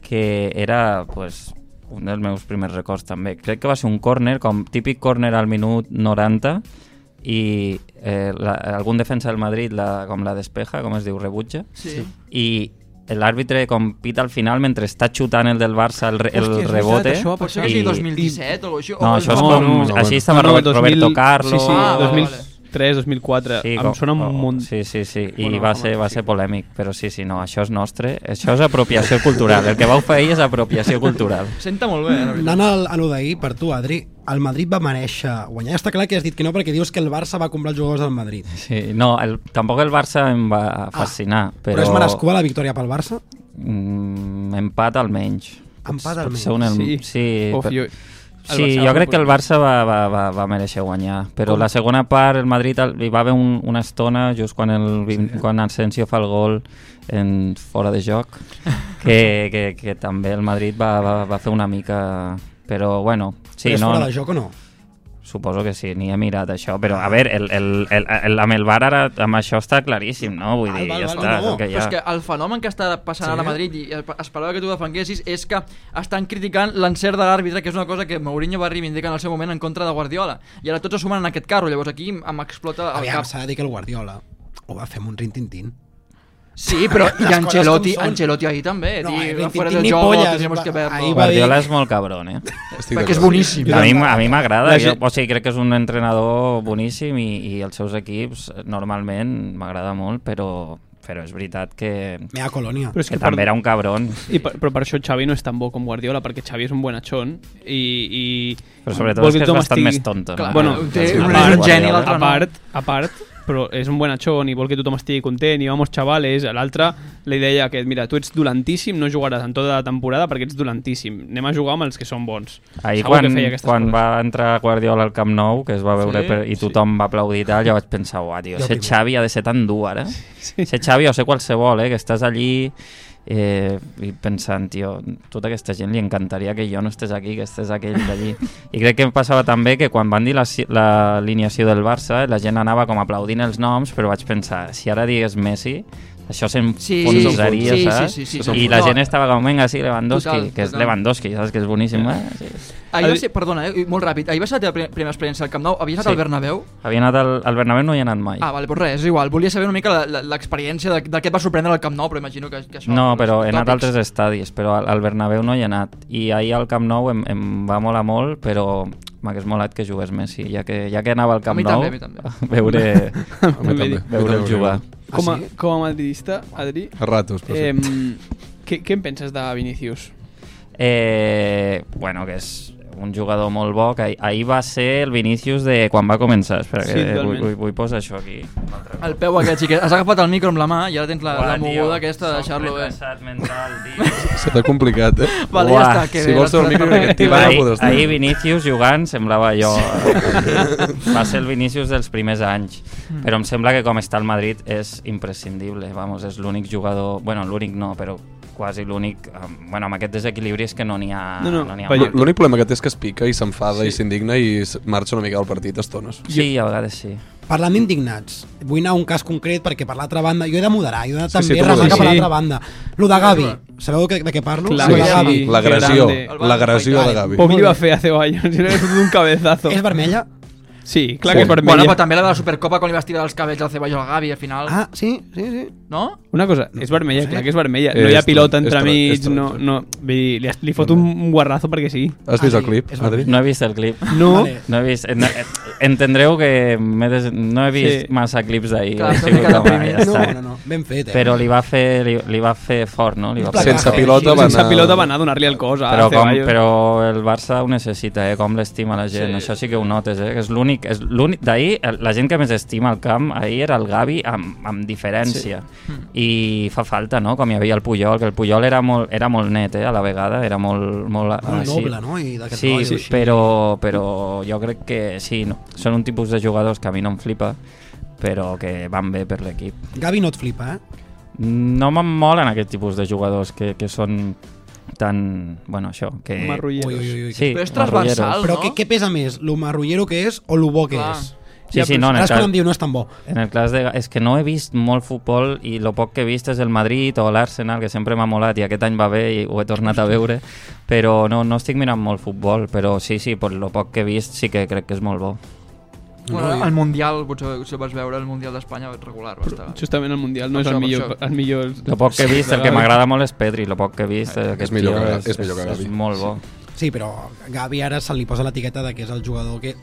[SPEAKER 7] que era pues, un dels meus primers records també. Crec que va ser un córner, com típic córner al minut 90, i eh, la, algun defensa del Madrid, la, com la despeja, com es diu, rebutja,
[SPEAKER 6] Sí.
[SPEAKER 7] i l'àrbitre com pita al final mentre està xutant el del Barça el, re, el
[SPEAKER 9] Hòstia, és
[SPEAKER 7] rebote.
[SPEAKER 9] veritat, això va
[SPEAKER 6] Pot ser que sigui 2017 o Oh, això.
[SPEAKER 7] No,
[SPEAKER 6] o
[SPEAKER 7] això és
[SPEAKER 6] no.
[SPEAKER 7] com...
[SPEAKER 8] no, no.
[SPEAKER 7] Així estava Robert, Roberto Carlo...
[SPEAKER 9] Sí, sí,
[SPEAKER 6] Ah, vale,
[SPEAKER 9] 2003, 2004. Sí, em
[SPEAKER 7] com-
[SPEAKER 9] sona
[SPEAKER 7] o-
[SPEAKER 9] un munt.
[SPEAKER 7] Sí, sí, sí, i
[SPEAKER 9] Bueno,
[SPEAKER 7] va,
[SPEAKER 9] home,
[SPEAKER 7] ser, va
[SPEAKER 9] sí.
[SPEAKER 7] ser polèmic, però sí, sí, no, això és nostre, això és apropiació cultural, el que vau fer ahir és apropiació cultural.
[SPEAKER 6] Senta molt bé, la veritat.
[SPEAKER 5] Anant al, a lo d'ahir, per tu, Adri, el Madrid va mereixer guanyar. Està clar que has dit que no perquè dius que el Barça va comprar els jugadors del Madrid.
[SPEAKER 7] Sí, no, el, tampoc el Barça em va fascinar,
[SPEAKER 5] Ah, Però,
[SPEAKER 7] però...
[SPEAKER 5] és merescuda la victòria pel Barça?
[SPEAKER 7] Mm, empat almenys.
[SPEAKER 5] Empat almenys.
[SPEAKER 7] Potser un el-
[SPEAKER 9] Sí.
[SPEAKER 7] sí,
[SPEAKER 9] Uf,
[SPEAKER 7] per-
[SPEAKER 9] jo- el
[SPEAKER 7] Sí,
[SPEAKER 9] Barça
[SPEAKER 7] jo
[SPEAKER 9] va
[SPEAKER 7] crec que el
[SPEAKER 9] proposar.
[SPEAKER 7] Barça va, va, va, va mereixer guanyar, però la segona part el Madrid el- hi va haver un, una estona just quan, el, vin- quan Asensio fa el gol en fora de joc que, que, que també el Madrid va, va, va fer una mica però bueno, sí,
[SPEAKER 5] és
[SPEAKER 7] no,
[SPEAKER 5] fora de joc o no?
[SPEAKER 7] suposo que sí, ni he mirat això, però a veure, el, el, el, el, amb el VAR ara amb això està claríssim, no? Vull
[SPEAKER 5] Val,
[SPEAKER 7] dir,
[SPEAKER 5] Ah, val,
[SPEAKER 7] ja
[SPEAKER 5] val,
[SPEAKER 7] està,
[SPEAKER 5] no, no.
[SPEAKER 7] és el que hi
[SPEAKER 6] Però és
[SPEAKER 7] ha.
[SPEAKER 6] que el fenomen que està passant sí. ara a Madrid i esperava que tu defenguessis és que estan criticant l'encert de l'àrbitre, que és una cosa que Mourinho va reivindicar en el seu moment en contra de Guardiola. I ara tots es sumen en aquest carro, llavors aquí em explota el
[SPEAKER 5] Aviam,
[SPEAKER 6] cap.
[SPEAKER 5] s'ha de dir que el Guardiola ho va fer amb un rintintín.
[SPEAKER 6] Sí, però i
[SPEAKER 5] Les coses
[SPEAKER 6] Ancelotti,
[SPEAKER 5] com són.
[SPEAKER 6] Ancelotti ahir també,
[SPEAKER 5] No,
[SPEAKER 6] no,
[SPEAKER 5] el
[SPEAKER 6] tio,
[SPEAKER 5] Rintintín
[SPEAKER 6] fora de
[SPEAKER 5] ni
[SPEAKER 6] joc,
[SPEAKER 5] polles,
[SPEAKER 6] tendríamos que
[SPEAKER 5] va- ahí
[SPEAKER 6] verlo.
[SPEAKER 5] va-
[SPEAKER 7] Guardiola és molt cabron, eh?
[SPEAKER 8] Estic
[SPEAKER 6] Perquè és
[SPEAKER 8] d'acord.
[SPEAKER 6] boníssim.
[SPEAKER 7] A mi, m- a mi m'agrada,
[SPEAKER 9] La
[SPEAKER 7] jo-
[SPEAKER 9] gent-
[SPEAKER 7] o sigui, crec que és un entrenador boníssim i, i els seus equips eh, normalment m'agrada molt, però, però és veritat que,
[SPEAKER 5] Mea colònia.
[SPEAKER 9] Però és
[SPEAKER 7] que
[SPEAKER 9] que, per,
[SPEAKER 7] també era un cabron.
[SPEAKER 9] I per, però per això Xavi no és tan bo com Guardiola, perquè Xavi és un buen achón i... i
[SPEAKER 7] Però sobretot
[SPEAKER 9] vol
[SPEAKER 7] és que és
[SPEAKER 9] tothom
[SPEAKER 7] bastant
[SPEAKER 9] estigui-
[SPEAKER 7] més tonto, no?
[SPEAKER 6] Clar,
[SPEAKER 9] bueno,
[SPEAKER 6] té-
[SPEAKER 9] a
[SPEAKER 6] un
[SPEAKER 9] part-
[SPEAKER 6] és un geni, l'altre
[SPEAKER 9] a
[SPEAKER 6] no.
[SPEAKER 9] part, a part, però és un buen achón i vol que tothom estigui content i vamos chavales, a l'altre li deia que mira, tu ets dolentíssim, no jugaràs en tota la temporada perquè ets dolentíssim, anem a jugar amb els que són bons.
[SPEAKER 7] Ahir
[SPEAKER 9] Segur
[SPEAKER 7] quan,
[SPEAKER 9] que feia aquestes
[SPEAKER 7] quan
[SPEAKER 9] coses.
[SPEAKER 7] va entrar Guardiola al Camp Nou, que es va veure
[SPEAKER 9] Sí,
[SPEAKER 7] per, i tothom va aplaudir i tal, jo vaig pensar, uah, tio,
[SPEAKER 5] Jo
[SPEAKER 7] ser
[SPEAKER 5] primer.
[SPEAKER 7] Xavi ha de ser tan dur ara. Ser Xavi o ser qualsevol, eh, que estàs allí eh, i pensant, tio, tota aquesta gent li encantaria que jo no estés aquí, que estés aquell d'allí. I crec que em passava també que quan van dir la si- la alineació del Barça, la gent anava com aplaudint els noms, però vaig pensar, si ara digués Messi, això s'enfonsaria,
[SPEAKER 6] sí, sí,
[SPEAKER 7] saps?
[SPEAKER 6] sí, sí, sí,
[SPEAKER 7] I
[SPEAKER 6] sí.
[SPEAKER 7] la
[SPEAKER 6] No.
[SPEAKER 7] gent estava com, vinga, sí, Lewandowski,
[SPEAKER 6] Total,
[SPEAKER 7] que és
[SPEAKER 6] total.
[SPEAKER 7] Lewandowski, saps que és boníssim, eh? Sí.
[SPEAKER 6] Ahir va
[SPEAKER 9] Adri-
[SPEAKER 6] ser, perdona, eh, molt ràpid, ahir va ser la teva pri- primera experiència al Camp Nou, havies anat
[SPEAKER 7] Sí.
[SPEAKER 6] al Bernabéu?
[SPEAKER 7] Havia anat al, al Bernabéu, no hi he anat mai.
[SPEAKER 6] Ah, vale, però res, és igual, volia saber una mica la- la- l'experiència de, de què et va sorprendre al Camp Nou, però imagino que, que això... doncs,
[SPEAKER 7] no, però he anat a
[SPEAKER 6] tòpics.
[SPEAKER 7] altres estadis, però al, al Bernabéu no hi he anat. I ahir al Camp Nou em, em va molar molt, però m'hagués molat que jugués Messi, ja que, ja que anava al Camp
[SPEAKER 6] mi
[SPEAKER 7] Nou,
[SPEAKER 6] també, a mi també.
[SPEAKER 7] veure,
[SPEAKER 8] A mi també.
[SPEAKER 7] veure'l
[SPEAKER 6] Ah,
[SPEAKER 7] jugar.
[SPEAKER 9] Com a, com a madridista, Adri,
[SPEAKER 8] A ratos, però sí.
[SPEAKER 9] eh, què, què en penses de Vinicius?
[SPEAKER 7] Eh, bueno, que és un jugador molt bo, que ah- ahir va ser el Vinícius de quan va començar. Espera,
[SPEAKER 9] Sí,
[SPEAKER 7] que vull,
[SPEAKER 9] totalment.
[SPEAKER 7] vull, vull posar això aquí.
[SPEAKER 6] El peu aquest, xiquet. Has agafat el micro amb la mà i ara tens la,
[SPEAKER 7] Uah,
[SPEAKER 6] la
[SPEAKER 7] tio,
[SPEAKER 6] moguda aquesta de
[SPEAKER 7] soc
[SPEAKER 6] deixar-lo bé.
[SPEAKER 7] retrasat mental, tio.
[SPEAKER 8] Se t'ha complicat, eh?
[SPEAKER 6] Vale,
[SPEAKER 7] Uah,
[SPEAKER 6] ja està, que
[SPEAKER 8] si
[SPEAKER 6] bé.
[SPEAKER 8] vols
[SPEAKER 6] l'has
[SPEAKER 8] dormir,
[SPEAKER 6] posat
[SPEAKER 8] perquè
[SPEAKER 6] perfecte.
[SPEAKER 8] t'hi va-
[SPEAKER 7] ahir,
[SPEAKER 8] podràs tenir.
[SPEAKER 7] ahir Vinícius jugant semblava jo eh, va ser el Vinícius dels primers anys
[SPEAKER 5] Mm.
[SPEAKER 7] però em sembla que com està el Madrid és imprescindible, vamos, és l'únic jugador bueno, l'únic no, però quasi l'únic amb- bueno, amb aquest desequilibri és que no n'hi ha
[SPEAKER 9] No, no,
[SPEAKER 7] n'hi ha
[SPEAKER 8] L-
[SPEAKER 7] molt.
[SPEAKER 8] L'únic problema que té és que es pica i s'enfada i s'indigna i s- marxa una mica del partit a estones.
[SPEAKER 7] sí, a vegades sí
[SPEAKER 5] Parlant d'indignats, vull anar a un cas concret perquè per l'altra banda, jo he de moderar, jo he de
[SPEAKER 8] Sí, sí,
[SPEAKER 5] també
[SPEAKER 8] tu
[SPEAKER 5] remar
[SPEAKER 8] moderes.
[SPEAKER 5] cap a
[SPEAKER 9] Sí.
[SPEAKER 5] l'altra banda. Lo de Gavi, sabeu de, de què parlo?
[SPEAKER 9] Clar,
[SPEAKER 5] Lo
[SPEAKER 9] sí.
[SPEAKER 5] de Gavi.
[SPEAKER 9] Sí.
[SPEAKER 8] L'agressió,
[SPEAKER 9] Grande.
[SPEAKER 6] El van
[SPEAKER 8] l'agressió de
[SPEAKER 6] desfaitar.
[SPEAKER 8] Gavi.
[SPEAKER 7] Pues
[SPEAKER 9] Poc li va fer a Ceballos, era un cabezazo.
[SPEAKER 5] És vermella?
[SPEAKER 9] Sí, clar que és vermella.
[SPEAKER 6] Bueno, però també la de la Supercopa quan li vas tirar els cabells al Ceballos al Gavi al final.
[SPEAKER 5] Ah, sí, sí, sí.
[SPEAKER 6] No?
[SPEAKER 9] Una cosa, és vermella,
[SPEAKER 5] Sí.
[SPEAKER 9] clar que és vermella.
[SPEAKER 7] Eh,
[SPEAKER 9] No hi ha
[SPEAKER 8] És
[SPEAKER 9] pilota
[SPEAKER 8] tra- és tra- és
[SPEAKER 9] entremig,
[SPEAKER 8] tra-
[SPEAKER 9] no... no vull dir, li, li fot un guarrazo perquè sí.
[SPEAKER 8] Has vist
[SPEAKER 5] Ah,
[SPEAKER 8] el
[SPEAKER 5] sí,
[SPEAKER 8] clip,
[SPEAKER 5] és
[SPEAKER 8] Adri?
[SPEAKER 7] no he vist el clip
[SPEAKER 9] No,
[SPEAKER 5] Vale.
[SPEAKER 7] no he vist, no, eh, entendreu que m'he des... no he vist
[SPEAKER 9] Sí.
[SPEAKER 7] sí. massa clips d'ahir
[SPEAKER 6] Clar,
[SPEAKER 7] he
[SPEAKER 6] s'ha
[SPEAKER 7] sigut
[SPEAKER 6] ficat el
[SPEAKER 7] home,
[SPEAKER 6] primer.
[SPEAKER 7] Ah, ja
[SPEAKER 5] no,
[SPEAKER 7] està.
[SPEAKER 5] no, no, ben fet, eh?
[SPEAKER 7] però li va fer, li, li va fer fort no? li va
[SPEAKER 5] Un
[SPEAKER 7] fer
[SPEAKER 8] Sense
[SPEAKER 5] placazo.
[SPEAKER 8] pilota va
[SPEAKER 9] sense
[SPEAKER 8] anar...
[SPEAKER 9] pilota va anar a donar-li el cos a
[SPEAKER 7] però, com,
[SPEAKER 9] Ceballos.
[SPEAKER 7] però el Barça ho necessita, eh? com l'estima la gent, sí. això sí que ho notes, eh? que és l'únic, és l'únic, d'ahir el- la gent que més estima el camp, ahir era el Gavi amb, amb diferència, sí. Mm. i fa falta, no?, com hi havia el Puyol, que el Puyol era molt, era molt net, eh? a la vegada, era molt... Molt,
[SPEAKER 5] Molt
[SPEAKER 7] així.
[SPEAKER 5] noble, no? I d'aquest
[SPEAKER 7] sí,
[SPEAKER 5] rotllo
[SPEAKER 7] sí,
[SPEAKER 5] així.
[SPEAKER 7] però, però jo crec que sí, no. són un tipus de jugadors que a mi no em flipa, però que van bé per l'equip
[SPEAKER 5] Gavi no et flipa, eh?
[SPEAKER 7] no me'n molen aquest tipus de jugadors que, que són tan... Bueno, això, que...
[SPEAKER 9] Marrullero.
[SPEAKER 5] Ui, ui, ui.
[SPEAKER 7] Sí,
[SPEAKER 6] Però és
[SPEAKER 7] marrulleros.
[SPEAKER 6] transversal.
[SPEAKER 5] Però
[SPEAKER 6] no?
[SPEAKER 5] què, què pesa més, lo marrullero que és o lo bo que
[SPEAKER 6] Clar.
[SPEAKER 5] és?
[SPEAKER 7] Sí, sí, no, en el,
[SPEAKER 5] Ara és quan em
[SPEAKER 7] cas,
[SPEAKER 5] diu no és tan bo.
[SPEAKER 7] en el cas de... És que no he vist molt futbol i lo poc que he vist és el Madrid o l'Arsenal, que sempre m'ha molat i aquest any va bé i ho he tornat a veure, però no, no estic mirant molt futbol, però sí, sí, per lo poc que he vist sí que crec que és molt bo.
[SPEAKER 6] Bueno, el Mundial, potser si el vas veure, el Mundial d'Espanya regular va estar.
[SPEAKER 9] Justament el Mundial no
[SPEAKER 6] Per
[SPEAKER 9] és el
[SPEAKER 6] això, per
[SPEAKER 9] millor,
[SPEAKER 6] això.
[SPEAKER 9] el millor...
[SPEAKER 7] Lo poc que he vist, el que m'agrada molt és Pedri, lo poc que he vist eh, aquest
[SPEAKER 8] millor
[SPEAKER 7] tio
[SPEAKER 8] que-
[SPEAKER 7] és,
[SPEAKER 8] és millor que
[SPEAKER 7] és,
[SPEAKER 8] Gavi.
[SPEAKER 7] és molt bo.
[SPEAKER 5] Sí, però Gavi ara se li posa l'etiqueta de que és el jugador que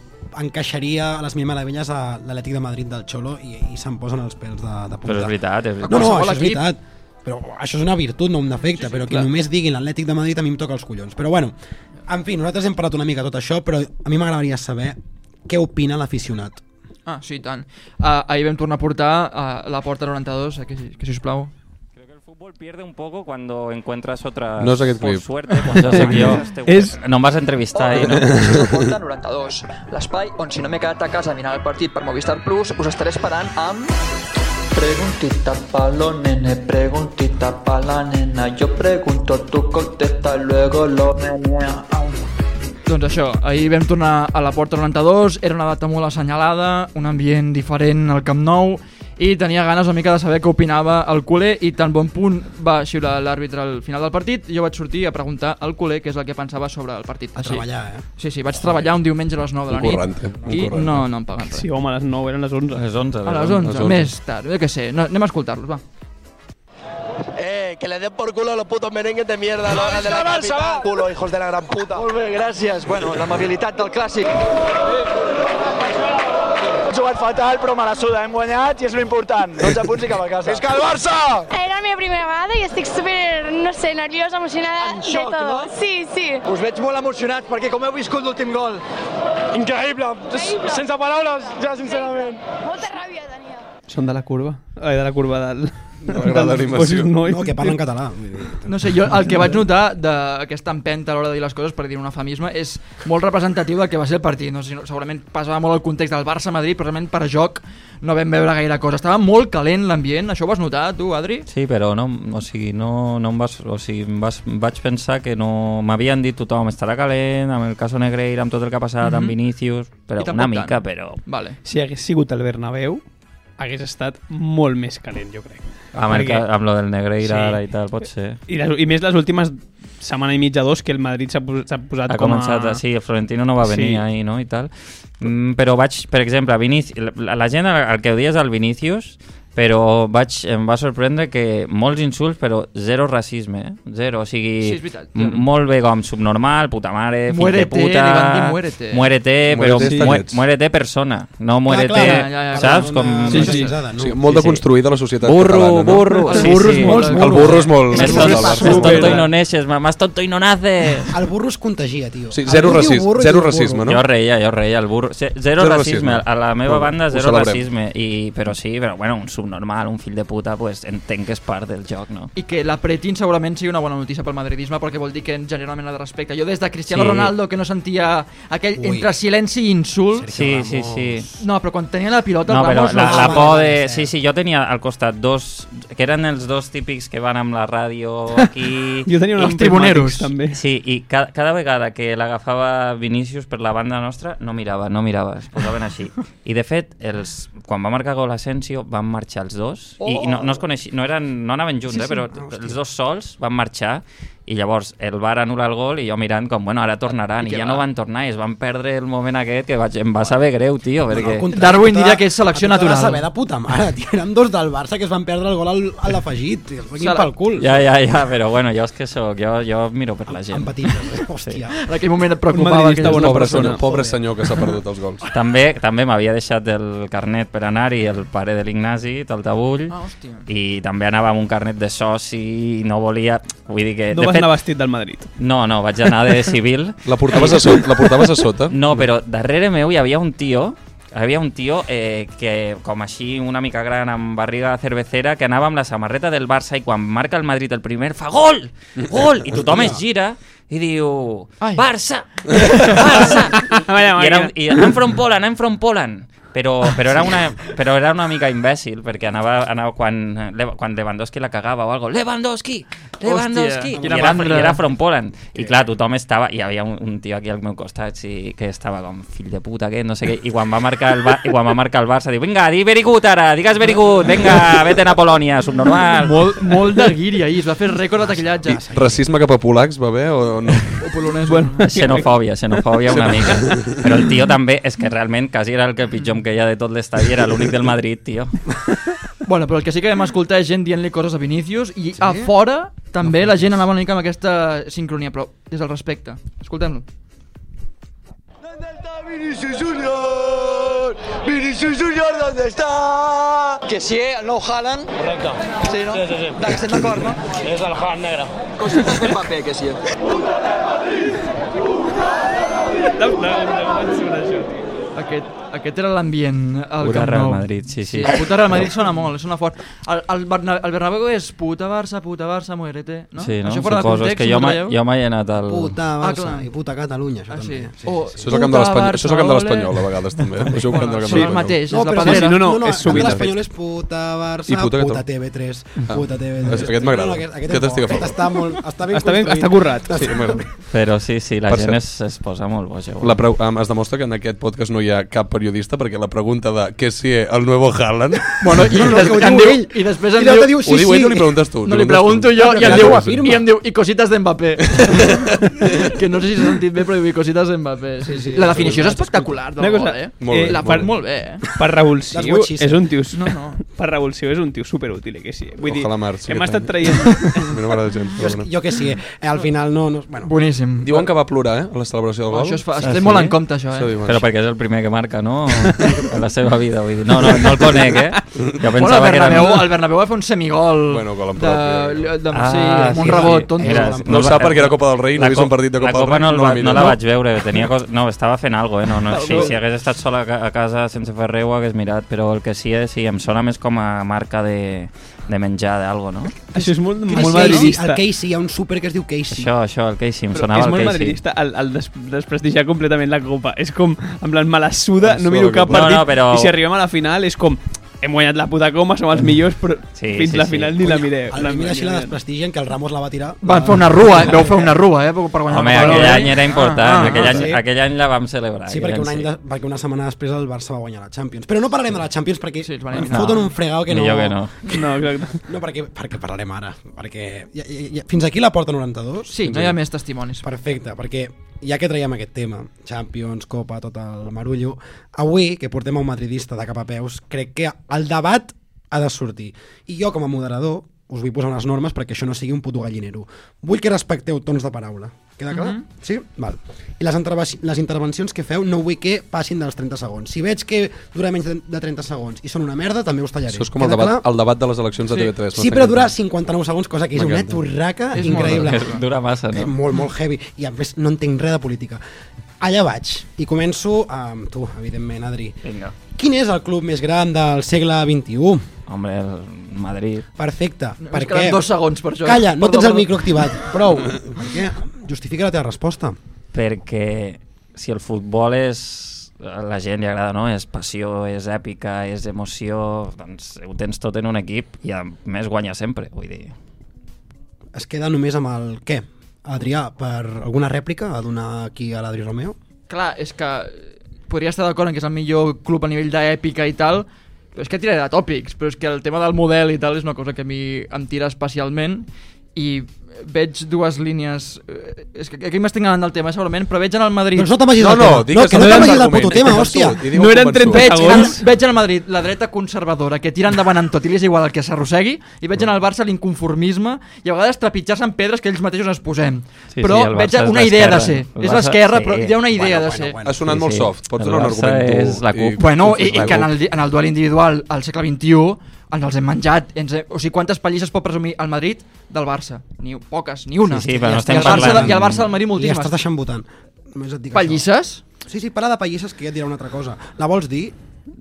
[SPEAKER 5] encaixaria a les mil meravelles a l'Atlètic de Madrid del Xolo i, i se'n posen els pèls de, de punta.
[SPEAKER 7] Però és veritat, és veritat.
[SPEAKER 5] No, no,
[SPEAKER 6] Qualsevol
[SPEAKER 5] això és
[SPEAKER 6] equip.
[SPEAKER 5] veritat. Però això és una virtut, no un defecte, sí, sí, però que clar. només diguin l'Atlètic de Madrid a mi em toca els collons. Però bueno, en fi, nosaltres hem parlat una mica de tot això, però a mi m'agradaria saber què opina l'aficionat.
[SPEAKER 6] Ah, sí, i tant. Uh, ahir vam tornar a portar uh, la porta 92, eh, que, si- que sisplau.
[SPEAKER 7] Creo que el fútbol pierde un poco cuando encuentras otra.
[SPEAKER 8] No sé qué clip.
[SPEAKER 7] suerte, cuando se vio.
[SPEAKER 9] Es-
[SPEAKER 7] No me vas a entrevistar ahí, ¿no?
[SPEAKER 11] La Porta 92, l'espai on si no m'he quedat a casa mirant el partit per Movistar Plus, us estaré esperant amb... Preguntita pa' los nenes, preguntita pa' la nena, yo pregunto, tú contesta, luego lo menea.
[SPEAKER 6] Doncs això, ahir vam tornar a la Porta 92, era una data molt assenyalada, un ambient diferent al Camp Nou, i tenia ganes una mica de saber què opinava el culer, i tan bon punt va xiular l'àrbitre al final del partit, jo vaig sortir a preguntar al culer què és el que pensava sobre el partit.
[SPEAKER 5] A treballar, eh?
[SPEAKER 6] Sí, sí, vaig treballar un diumenge a les 9 de la
[SPEAKER 8] Un
[SPEAKER 6] nit.
[SPEAKER 8] currante, un
[SPEAKER 6] I
[SPEAKER 8] currante.
[SPEAKER 6] no, no em paguen res.
[SPEAKER 9] Sí, home, a les 9 eren les 11.
[SPEAKER 7] Es 11.
[SPEAKER 6] A les 11,
[SPEAKER 8] onze.
[SPEAKER 6] més tard, jo què sé, no, anem a escoltar-los, va.
[SPEAKER 2] Eh, que le den por culo a los putos merengues de mierda, los de la capital, culo, hijos de la gran puta.
[SPEAKER 11] Molt bé, gràcies. Bueno, l'amabilitat del clàssic. Hem jugat fatal, però me la suda, hem guanyat i és l'important. 12 punts i cap a casa. Fiscal!
[SPEAKER 12] Era la meva primera vegada i estic super, no sé, nerviosa, emocionada
[SPEAKER 11] En xoc,
[SPEAKER 12] de tot.
[SPEAKER 11] no?
[SPEAKER 12] Sí, sí.
[SPEAKER 11] Us veig molt emocionats perquè com heu viscut l'últim gol?
[SPEAKER 12] Increïble. Sense paraules, ja, sincerament. Molta ràbia tenia.
[SPEAKER 9] Són de la curva. Ai, de la curva del...
[SPEAKER 8] No m'agrada l'animació.
[SPEAKER 9] No,
[SPEAKER 5] No, que parlen català. vull dir.
[SPEAKER 6] No sé, jo el que vaig notar d'aquesta empenta a l'hora de dir les coses, per dir un eufemisme, és molt representatiu del que va ser el partit. No sé, si no- segurament passava molt el context del Barça-Madrid, però realment per joc no vam veure gaire cosa. Estava molt calent l'ambient, això ho vas notar, tu, Adri?
[SPEAKER 7] Sí, però no, o sigui, no, no em vas, o sigui, em vas, vaig pensar que no... M'havien dit tothom, estarà calent, amb el caso Negreira, amb tot el que ha passat, amb Vinícius...
[SPEAKER 6] Mhm.
[SPEAKER 7] Però
[SPEAKER 6] I tampoc
[SPEAKER 7] una
[SPEAKER 6] tant.
[SPEAKER 7] mica, però...
[SPEAKER 6] Vale.
[SPEAKER 9] Si hagués sigut el Bernabéu, hagués estat molt més calent, jo crec.
[SPEAKER 7] Amb, el,
[SPEAKER 9] Perquè-
[SPEAKER 7] ca- amb lo del Negreira
[SPEAKER 9] Sí.
[SPEAKER 7] ara i tal, pot ser.
[SPEAKER 9] I, les, I més les últimes setmana i mitja, dos, que el Madrid s'ha pos- s'ha posat
[SPEAKER 7] ha
[SPEAKER 9] com a...
[SPEAKER 7] començat, a... sí, el Florentino no va venir
[SPEAKER 9] Sí.
[SPEAKER 7] sí. ahir, no, i tal. Mm, però vaig, per exemple, a Vinici... la, la gent, el, el que odia és el Vinícius, però vaig, em va sorprendre que molts insults, però zero racisme, eh? Zero, o sigui,
[SPEAKER 6] Sí, és veritat,
[SPEAKER 7] m-
[SPEAKER 6] zero.
[SPEAKER 7] molt bé com subnormal, puta mare, fill
[SPEAKER 6] Muérete,
[SPEAKER 7] de puta...
[SPEAKER 6] li van dir muérete.
[SPEAKER 7] Muérete, però
[SPEAKER 8] Muérete,
[SPEAKER 7] mu
[SPEAKER 8] estallets.
[SPEAKER 7] muérete persona, no muérete,
[SPEAKER 8] clar, ja, ja,
[SPEAKER 7] saps?
[SPEAKER 8] clar,
[SPEAKER 7] Com...
[SPEAKER 8] una- Sí, sí. O sigui, molt deconstruïda la societat
[SPEAKER 7] burro,
[SPEAKER 8] catalana, no?
[SPEAKER 7] Burro,
[SPEAKER 8] Els
[SPEAKER 7] sí,
[SPEAKER 8] burros
[SPEAKER 7] sí.
[SPEAKER 8] molts, El burros. burro és molt-
[SPEAKER 7] Més
[SPEAKER 8] és
[SPEAKER 7] tonto,
[SPEAKER 8] molt
[SPEAKER 7] més tonto i
[SPEAKER 8] basura.
[SPEAKER 7] no neixes, ma- más tonto i no naces.
[SPEAKER 5] Eh, El burro es contagia, tio.
[SPEAKER 8] Sí,
[SPEAKER 5] El
[SPEAKER 8] zero
[SPEAKER 5] burro diu
[SPEAKER 8] racisme,
[SPEAKER 5] burro i
[SPEAKER 8] zero
[SPEAKER 5] diu burro.
[SPEAKER 8] racisme, no?
[SPEAKER 7] Jo reia, jo reia, el burro. Ze- Zero,
[SPEAKER 8] Zero
[SPEAKER 7] racisme.
[SPEAKER 8] racisme.
[SPEAKER 7] a la
[SPEAKER 8] Molt
[SPEAKER 7] meva
[SPEAKER 8] bé,
[SPEAKER 7] banda
[SPEAKER 8] ho
[SPEAKER 7] zero
[SPEAKER 8] celebrem.
[SPEAKER 7] racisme, i, però sí, però bueno, un subnormal, un fill de puta, pues, entenc que és part del joc, no?
[SPEAKER 6] I que la Pretin segurament sigui una bona notícia pel madridisme perquè vol dir que en genera una mena de respecte. Jo des de Cristiano sí.
[SPEAKER 7] Sí.
[SPEAKER 6] Ronaldo que no sentia aquell
[SPEAKER 7] Ui.
[SPEAKER 6] Ui. entre silenci i insult.
[SPEAKER 7] Sí, sí, sí.
[SPEAKER 6] No, però quan tenia la pilota...
[SPEAKER 7] No, però
[SPEAKER 6] Ramos,
[SPEAKER 7] la,
[SPEAKER 6] no-
[SPEAKER 7] la por de... Sí, sí, jo tenia al costat dos... Que eren els dos típics que van amb la ràdio aquí...
[SPEAKER 9] Jo tenia un
[SPEAKER 7] I-
[SPEAKER 9] amb Primatex, també.
[SPEAKER 7] Sí, i cada, cada vegada que l'agafava Vinícius per la banda nostra, no mirava, no mirava, es posaven així. I de fet, els, quan va marcar gol Asensio, van marxar els dos, i i no, no es coneixi, no, eren, no anaven junts,
[SPEAKER 13] Sí, sí.
[SPEAKER 7] sí, eh, però
[SPEAKER 13] Ah, hòstia.
[SPEAKER 7] els dos sols van marxar, i llavors el VAR anul·la el gol i jo mirant com, bueno, ara tornaran,
[SPEAKER 6] I
[SPEAKER 7] i,
[SPEAKER 6] què
[SPEAKER 7] ja
[SPEAKER 6] va?
[SPEAKER 7] no van tornar, i es van perdre el moment aquest que vaig, em va saber greu, tio, perquè...
[SPEAKER 6] Darwin diria que és selecció
[SPEAKER 5] tota- A tu te vas saber
[SPEAKER 6] natural.
[SPEAKER 5] de puta mare, tio. Eren dos del Barça que es van perdre el gol al- a l'afegit. tio. Els
[SPEAKER 6] Sala.
[SPEAKER 5] venien pel cul.
[SPEAKER 7] Ja, ja, ja, però bueno, jo és que sóc, jo, jo miro per la gent. Empatitzes,
[SPEAKER 5] eh, hòstia.
[SPEAKER 6] En aquell moment et
[SPEAKER 8] Un
[SPEAKER 6] preocupava
[SPEAKER 8] madridista
[SPEAKER 6] que...
[SPEAKER 8] bona Pobre persona. senyor- pobre senyor que s'ha perdut els gols.
[SPEAKER 7] També també m'havia deixat el carnet per anar-hi, el pare de l'Ignasi, Taltabull,
[SPEAKER 6] Ah, hòstia.
[SPEAKER 7] i també anava amb un carnet de soci i no volia... Vull dir que...
[SPEAKER 9] No
[SPEAKER 7] Eh, de
[SPEAKER 9] vas
[SPEAKER 7] fet,
[SPEAKER 9] anar vestit del Madrid.
[SPEAKER 7] No, no, vaig anar de civil.
[SPEAKER 8] La portaves a sota- la portaves a sota?
[SPEAKER 7] No, però darrere meu hi havia un tio hi havia un tio eh, que, com així, una mica gran, amb barriga cervecera, que anava amb la samarreta del Barça i quan marca el Madrid el primer fa gol! Gol! I tothom es gira i diu... Ai. Barça! Barça!
[SPEAKER 6] Vaya
[SPEAKER 7] I, era, un-
[SPEAKER 6] màquina.
[SPEAKER 7] i I'm from Poland, I'm from Poland. Però, però, era una, però era una mica imbècil, perquè anava, anava quan, Lev- quan Lewandowski la cagava o algo. Lewandowski! Lewandowski!
[SPEAKER 6] Hòstia,
[SPEAKER 7] I
[SPEAKER 6] quina
[SPEAKER 7] era,
[SPEAKER 6] mandra.
[SPEAKER 7] I era from Poland. I clar, tothom estava... Hi havia un, un tio aquí al meu costat sí, que estava com, fill de puta, que no sé què. I quan va marcar el, Bar i quan va marcar el Barça, diu, vinga, di very good ara, digues very good, vinga, vete a Polònia, subnormal.
[SPEAKER 6] Molt, molt de guiri ahir, es va fer rècord de taquillatge.
[SPEAKER 8] Racisme cap a polacs va bé o no?
[SPEAKER 6] polonès. Bueno,
[SPEAKER 7] Xenofòbia, xenofòbia una mica. Però el tio també, és que realment quasi era el que pitjor em queia de tot l'estadi, era l'únic del Madrid, tio.
[SPEAKER 6] Bueno, però el que sí que vam escoltar és gent dient-li coses a Vinícius i sí? a fora també la gent anava una mica amb aquesta sincronia, però des del respecte. Escoltem-lo.
[SPEAKER 12] Vinicius Junior! Vinicius Junior, ¿dónde está?
[SPEAKER 11] Que sí, el nou Haaland. Correcte. Sí, no? Sí, sí, sí. Estem d'acord, no? És el Haaland negre. Cosites de paper, que eh. sí.
[SPEAKER 6] Aquest, aquest era l'ambient al
[SPEAKER 7] Pura
[SPEAKER 6] Camp
[SPEAKER 7] Real
[SPEAKER 6] Nou.
[SPEAKER 7] Madrid, sí, sí.
[SPEAKER 6] sí puta Real Madrid sona molt, sona fort. El, el, Bernabéu, el Bernabéu és puta Barça, puta Barça, muérete, no?
[SPEAKER 7] Sí, no?
[SPEAKER 6] Això fora de
[SPEAKER 7] Suposo, és
[SPEAKER 6] context,
[SPEAKER 7] que jo
[SPEAKER 6] m'ho
[SPEAKER 7] mai-
[SPEAKER 6] traieu?
[SPEAKER 7] jo mai he anat al-
[SPEAKER 5] Puta
[SPEAKER 6] Ah,
[SPEAKER 5] Barça
[SPEAKER 6] clar.
[SPEAKER 5] i puta Catalunya, això
[SPEAKER 6] Ah, sí.
[SPEAKER 5] també.
[SPEAKER 6] O
[SPEAKER 8] Això és el camp de
[SPEAKER 6] puta
[SPEAKER 8] l'Espanyol, això és el camp de
[SPEAKER 6] Barça,
[SPEAKER 8] l'Espanyol a
[SPEAKER 6] ole.
[SPEAKER 8] vegades també. Això és el camp
[SPEAKER 6] Bueno,
[SPEAKER 8] del camp
[SPEAKER 6] són
[SPEAKER 8] de
[SPEAKER 6] el mateix, és
[SPEAKER 8] l'Espanyol.
[SPEAKER 6] la pedrera.
[SPEAKER 5] no, no, no, és
[SPEAKER 8] sovint,
[SPEAKER 5] sovint.
[SPEAKER 8] de fet.
[SPEAKER 5] L'Espanyol és puta Barça,
[SPEAKER 8] I puta
[SPEAKER 5] puta,
[SPEAKER 8] Catalunya.
[SPEAKER 5] TV3,
[SPEAKER 8] Ah.
[SPEAKER 5] puta TV3.
[SPEAKER 8] Aquest m'agrada.
[SPEAKER 5] No, no, aquest, aquest,
[SPEAKER 8] Aquest
[SPEAKER 5] és bo,
[SPEAKER 8] estic a favor.
[SPEAKER 5] aquest està, molt, està ben
[SPEAKER 9] Està ben-
[SPEAKER 5] construït.
[SPEAKER 9] està currat.
[SPEAKER 5] Està-
[SPEAKER 8] Sí, m'agrada.
[SPEAKER 7] Però sí, sí, la
[SPEAKER 8] Per
[SPEAKER 7] gent
[SPEAKER 8] cert.
[SPEAKER 7] es, es posa molt boja.
[SPEAKER 8] La preu, um, es demostra que en aquest podcast no hi ha cap periodista perquè la pregunta de què si el nuevo Haaland...
[SPEAKER 6] Bueno, i,
[SPEAKER 8] No, no,
[SPEAKER 6] des,
[SPEAKER 8] que ho diu
[SPEAKER 6] em diu,
[SPEAKER 8] ell.
[SPEAKER 6] i després em
[SPEAKER 8] I l'altre
[SPEAKER 6] diu...
[SPEAKER 8] diu, sí, Ho diu ell sí. o li preguntes tu?
[SPEAKER 6] No,
[SPEAKER 8] Li
[SPEAKER 6] li pregunto
[SPEAKER 8] preguntes tu.
[SPEAKER 6] jo i em,
[SPEAKER 8] Ja,
[SPEAKER 6] diu,
[SPEAKER 8] ja ho afirma.
[SPEAKER 6] i em diu, i cosites d'Mbappé. que no sé si s'ha sentit bé, però diu, i cosites d'Mbappé. Sí, sí, la definició és espectacular del
[SPEAKER 9] Una
[SPEAKER 6] gol,
[SPEAKER 9] cosa,
[SPEAKER 6] eh?
[SPEAKER 9] Molt bé,
[SPEAKER 6] la
[SPEAKER 9] molt
[SPEAKER 6] fa
[SPEAKER 9] bé.
[SPEAKER 6] molt bé, eh?
[SPEAKER 9] Per Raül Siu
[SPEAKER 6] what she said.
[SPEAKER 9] és un tio...
[SPEAKER 6] No, no.
[SPEAKER 9] Per Raül Siu és un tio superútil, eh, que sí. Vull dir,
[SPEAKER 8] Ojalá Marc, sí
[SPEAKER 9] hem
[SPEAKER 8] que
[SPEAKER 9] estat
[SPEAKER 8] també.
[SPEAKER 9] traient...
[SPEAKER 8] A mi no m'agrada gens, però
[SPEAKER 5] Jo que sí, eh, al final no... no bueno.
[SPEAKER 6] Boníssim.
[SPEAKER 8] Diuen que va plorar, eh, a la celebració del
[SPEAKER 6] Oh,
[SPEAKER 8] gol.
[SPEAKER 6] això es fa- es té molt en compte, això, eh?
[SPEAKER 8] diuen.
[SPEAKER 7] Però perquè és el primer que marca, no? A la seva vida, vull dir. No, no, no el conec, eh? Jo
[SPEAKER 6] Bueno, el
[SPEAKER 7] pensava que era...
[SPEAKER 6] Bernabéu, el Bernabéu va fer un semigol
[SPEAKER 8] Bueno, gol en
[SPEAKER 6] de,
[SPEAKER 8] propi,
[SPEAKER 6] de, de, sí, amb un rebot, tonto.
[SPEAKER 8] No ho sap perquè era Copa del Rei, no he vist un partit de Copa
[SPEAKER 7] la
[SPEAKER 8] del
[SPEAKER 7] Copa
[SPEAKER 8] Rei, no
[SPEAKER 7] No, el
[SPEAKER 8] la
[SPEAKER 7] va-
[SPEAKER 8] miro.
[SPEAKER 7] no la
[SPEAKER 8] No?
[SPEAKER 7] vaig veure, tenia cos... no, estava fent alguna cosa, eh? No, no, si,
[SPEAKER 8] gol.
[SPEAKER 7] si hagués estat sola a ca- a casa sense fer res ho hagués mirat, però el que sí, eh, sí, em sona més com a marca de, de menjar d'algo, no?
[SPEAKER 9] Això és molt,
[SPEAKER 5] Casey,
[SPEAKER 9] molt
[SPEAKER 5] no?
[SPEAKER 9] madridista.
[SPEAKER 5] El Casey, hi ha un súper que es diu Casey.
[SPEAKER 7] Això, això, el Casey, em
[SPEAKER 9] Però
[SPEAKER 7] sonava
[SPEAKER 9] és molt
[SPEAKER 7] el Casey.
[SPEAKER 9] madridista el, el des, desprestigiar completament la Copa. És com, en plan, me la suda,
[SPEAKER 7] Em
[SPEAKER 9] no
[SPEAKER 7] suda
[SPEAKER 9] miro
[SPEAKER 7] la
[SPEAKER 9] cap
[SPEAKER 7] Copa.
[SPEAKER 9] partit,
[SPEAKER 7] No, no, però- Mm.
[SPEAKER 9] i si arribem a la final és com, hem guanyat la puta Copa, som els millors, però
[SPEAKER 7] Sí,
[SPEAKER 9] fins
[SPEAKER 7] sí,
[SPEAKER 9] la
[SPEAKER 7] sí.
[SPEAKER 9] final ni la mireu.
[SPEAKER 5] Al primer així la desprestigien, que el Ramos la va tirar.
[SPEAKER 6] Van fer una rua, eh? Vau fer una rua, eh? Per guanyar
[SPEAKER 7] Home,
[SPEAKER 6] la Copa del
[SPEAKER 7] aquell
[SPEAKER 6] Rei.
[SPEAKER 7] any era important,
[SPEAKER 6] Ah, ah,
[SPEAKER 7] aquell,
[SPEAKER 6] ah,
[SPEAKER 7] any,
[SPEAKER 6] sí.
[SPEAKER 7] aquell any la vam celebrar.
[SPEAKER 5] Sí,
[SPEAKER 7] aquell
[SPEAKER 5] perquè,
[SPEAKER 7] any
[SPEAKER 5] un any de, perquè una setmana després el Barça va guanyar la Champions. Però no parlarem de la Champions perquè sí,
[SPEAKER 7] van
[SPEAKER 5] ens
[SPEAKER 7] eliminar.
[SPEAKER 5] foten un fregau que no...
[SPEAKER 7] Millor que no.
[SPEAKER 9] No, exacte.
[SPEAKER 5] No, perquè, perquè parlarem ara. Perquè ja, ja, ja, fins aquí la porta 92?
[SPEAKER 6] Sí, no hi ha més testimonis.
[SPEAKER 5] Perfecte, perquè ja que traiem aquest tema, Champions, Copa, tot el marullo, avui, que portem a un madridista de cap a peus, crec que el debat ha de sortir. I jo, com a moderador, us vull posar unes normes perquè això no sigui un puto gallinero. Vull que respecteu tons de paraula. Queda clar?
[SPEAKER 13] Mhm.
[SPEAKER 5] Sí? Val. I les, interva- les intervencions que feu no vull que passin dels 30 segons. Si veig que dura menys de- de 30 segons i són una merda, també us tallaré.
[SPEAKER 8] Això és com el
[SPEAKER 5] Queda
[SPEAKER 8] debat,
[SPEAKER 5] clar?
[SPEAKER 8] el debat de les eleccions de TV3.
[SPEAKER 5] Sí, però dura 59 segons, cosa que és una
[SPEAKER 8] M'encanta.
[SPEAKER 5] turraca
[SPEAKER 8] És molt
[SPEAKER 5] increïble.
[SPEAKER 8] dura. Dura massa, no?
[SPEAKER 5] Eh, Molt, molt heavy. I a més no entenc res de política. Allà vaig i començo amb tu, evidentment, Adri.
[SPEAKER 7] Vinga.
[SPEAKER 5] Quin és el club més gran del segle XXI?
[SPEAKER 7] Hombre, el Madrid.
[SPEAKER 5] Perfecte.
[SPEAKER 7] Ens
[SPEAKER 5] Per
[SPEAKER 7] queden
[SPEAKER 5] què?
[SPEAKER 7] dos segons per
[SPEAKER 6] eh.
[SPEAKER 7] això.
[SPEAKER 5] Calla, no
[SPEAKER 7] Perdó,
[SPEAKER 5] tens el
[SPEAKER 7] perdó.
[SPEAKER 5] micro activat. Prou. Per què? Justifica la teva resposta.
[SPEAKER 7] Perquè si el futbol és a la gent li agrada, no? És passió, és èpica, és emoció, doncs ho tens tot en un equip i a més guanya sempre, vull dir.
[SPEAKER 5] Es queda només amb el què? Adrià, per alguna rèplica a donar aquí a l'Adri Romeo?
[SPEAKER 6] Clar, és que podria estar d'acord en que és el millor club a nivell d'èpica i tal, però és que tiraré de tòpics, però és que el tema del model i tal és una cosa que a mi em tira especialment i veig dues línies... eh, És que aquí m'estic anant del tema, segurament, però veig en el Madrid...
[SPEAKER 5] Doncs no t'amagis del No, no, tema. di No, que que no no t'amagis del t'argument, puto tema, que hòstia. convençut, i diu No eren convençut. 30
[SPEAKER 6] veig,
[SPEAKER 5] segons.
[SPEAKER 6] En, veig en el Madrid la dreta conservadora, que tira endavant en tot i li és igual el que s'arrossegui, i veig en el Barça l'inconformisme i a vegades trepitjar-se en pedres que ells mateixos es posem.
[SPEAKER 7] Sí,
[SPEAKER 6] però
[SPEAKER 7] sí, el
[SPEAKER 6] veig
[SPEAKER 7] Barça és
[SPEAKER 6] una idea de ser.
[SPEAKER 7] d'esquerra. El
[SPEAKER 6] És
[SPEAKER 7] Barça-
[SPEAKER 6] l'esquerra, però
[SPEAKER 7] sí.
[SPEAKER 6] hi ha una idea
[SPEAKER 7] Bueno,
[SPEAKER 6] de
[SPEAKER 7] bueno,
[SPEAKER 6] ser.
[SPEAKER 7] bueno. Ha sonat Sí, molt sí. soft. Pots El donar un Barça argument tu és la i- CUP.
[SPEAKER 6] Bueno, i,
[SPEAKER 7] És la
[SPEAKER 6] i que en el,
[SPEAKER 7] CUP.
[SPEAKER 6] en el duel individual al segle XXI ens els hem menjat. Ens, hem- o sigui, quantes pallisses pot presumir el Madrid del Barça? Ni, poques, ni una.
[SPEAKER 7] Sí, sí, però
[SPEAKER 6] I
[SPEAKER 7] no
[SPEAKER 6] el
[SPEAKER 7] estem
[SPEAKER 6] Barça de-
[SPEAKER 7] parlant-
[SPEAKER 6] I el Barça del
[SPEAKER 5] I
[SPEAKER 6] Madrid moltíssimes.
[SPEAKER 5] estàs deixant votant. Només et dic
[SPEAKER 6] Pallisses?
[SPEAKER 5] Això. Sí, sí, parla de pallisses que ja et diré una altra cosa. La vols dir?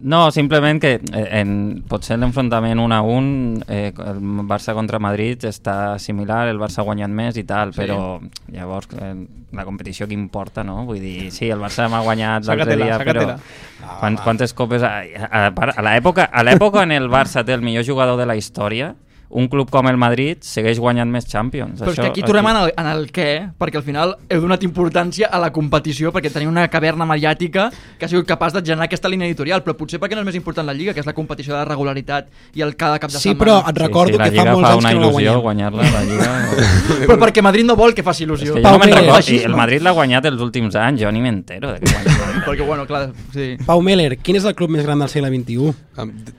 [SPEAKER 7] No, simplement que eh, en, potser l'enfrontament 1 a 1, eh, el Barça contra Madrid està similar, el Barça ha guanyat més i tal,
[SPEAKER 6] Sí.
[SPEAKER 7] sí. però llavors eh, la competició que importa, no? Vull dir, sí, el Barça m'ha guanyat l'altre
[SPEAKER 10] Sácatela,
[SPEAKER 7] dia, però
[SPEAKER 10] sácatela.
[SPEAKER 7] quan, quantes copes... A, a, a, part, a l'època a l'època en el Barça té el millor jugador de la història, un club com el Madrid segueix guanyant més Champions.
[SPEAKER 6] Però és que aquí tornem en el, en el què, perquè al final heu donat importància a la competició, perquè teniu una caverna mediàtica que ha sigut capaç de generar aquesta línia editorial, però potser perquè no és més important la Lliga, que és la competició de la regularitat i el cada cap de
[SPEAKER 5] Sí,
[SPEAKER 6] setmana.
[SPEAKER 5] però et recordo
[SPEAKER 7] la
[SPEAKER 5] que fa
[SPEAKER 7] Lliga
[SPEAKER 5] molts
[SPEAKER 7] fa
[SPEAKER 5] anys
[SPEAKER 7] una
[SPEAKER 5] que no la
[SPEAKER 7] il·lusió
[SPEAKER 5] guanyem.
[SPEAKER 7] guanyar-la, la Lliga...
[SPEAKER 6] Però perquè Madrid no vol que faci il·lusió.
[SPEAKER 7] És que jo no me'n recordo. I El Madrid l'ha guanyat els últims anys, jo ni m'entero. de que guanyi.
[SPEAKER 6] Perquè, bueno, clar, sí.
[SPEAKER 5] Pau Meller, quin és el club més gran del segle XXI?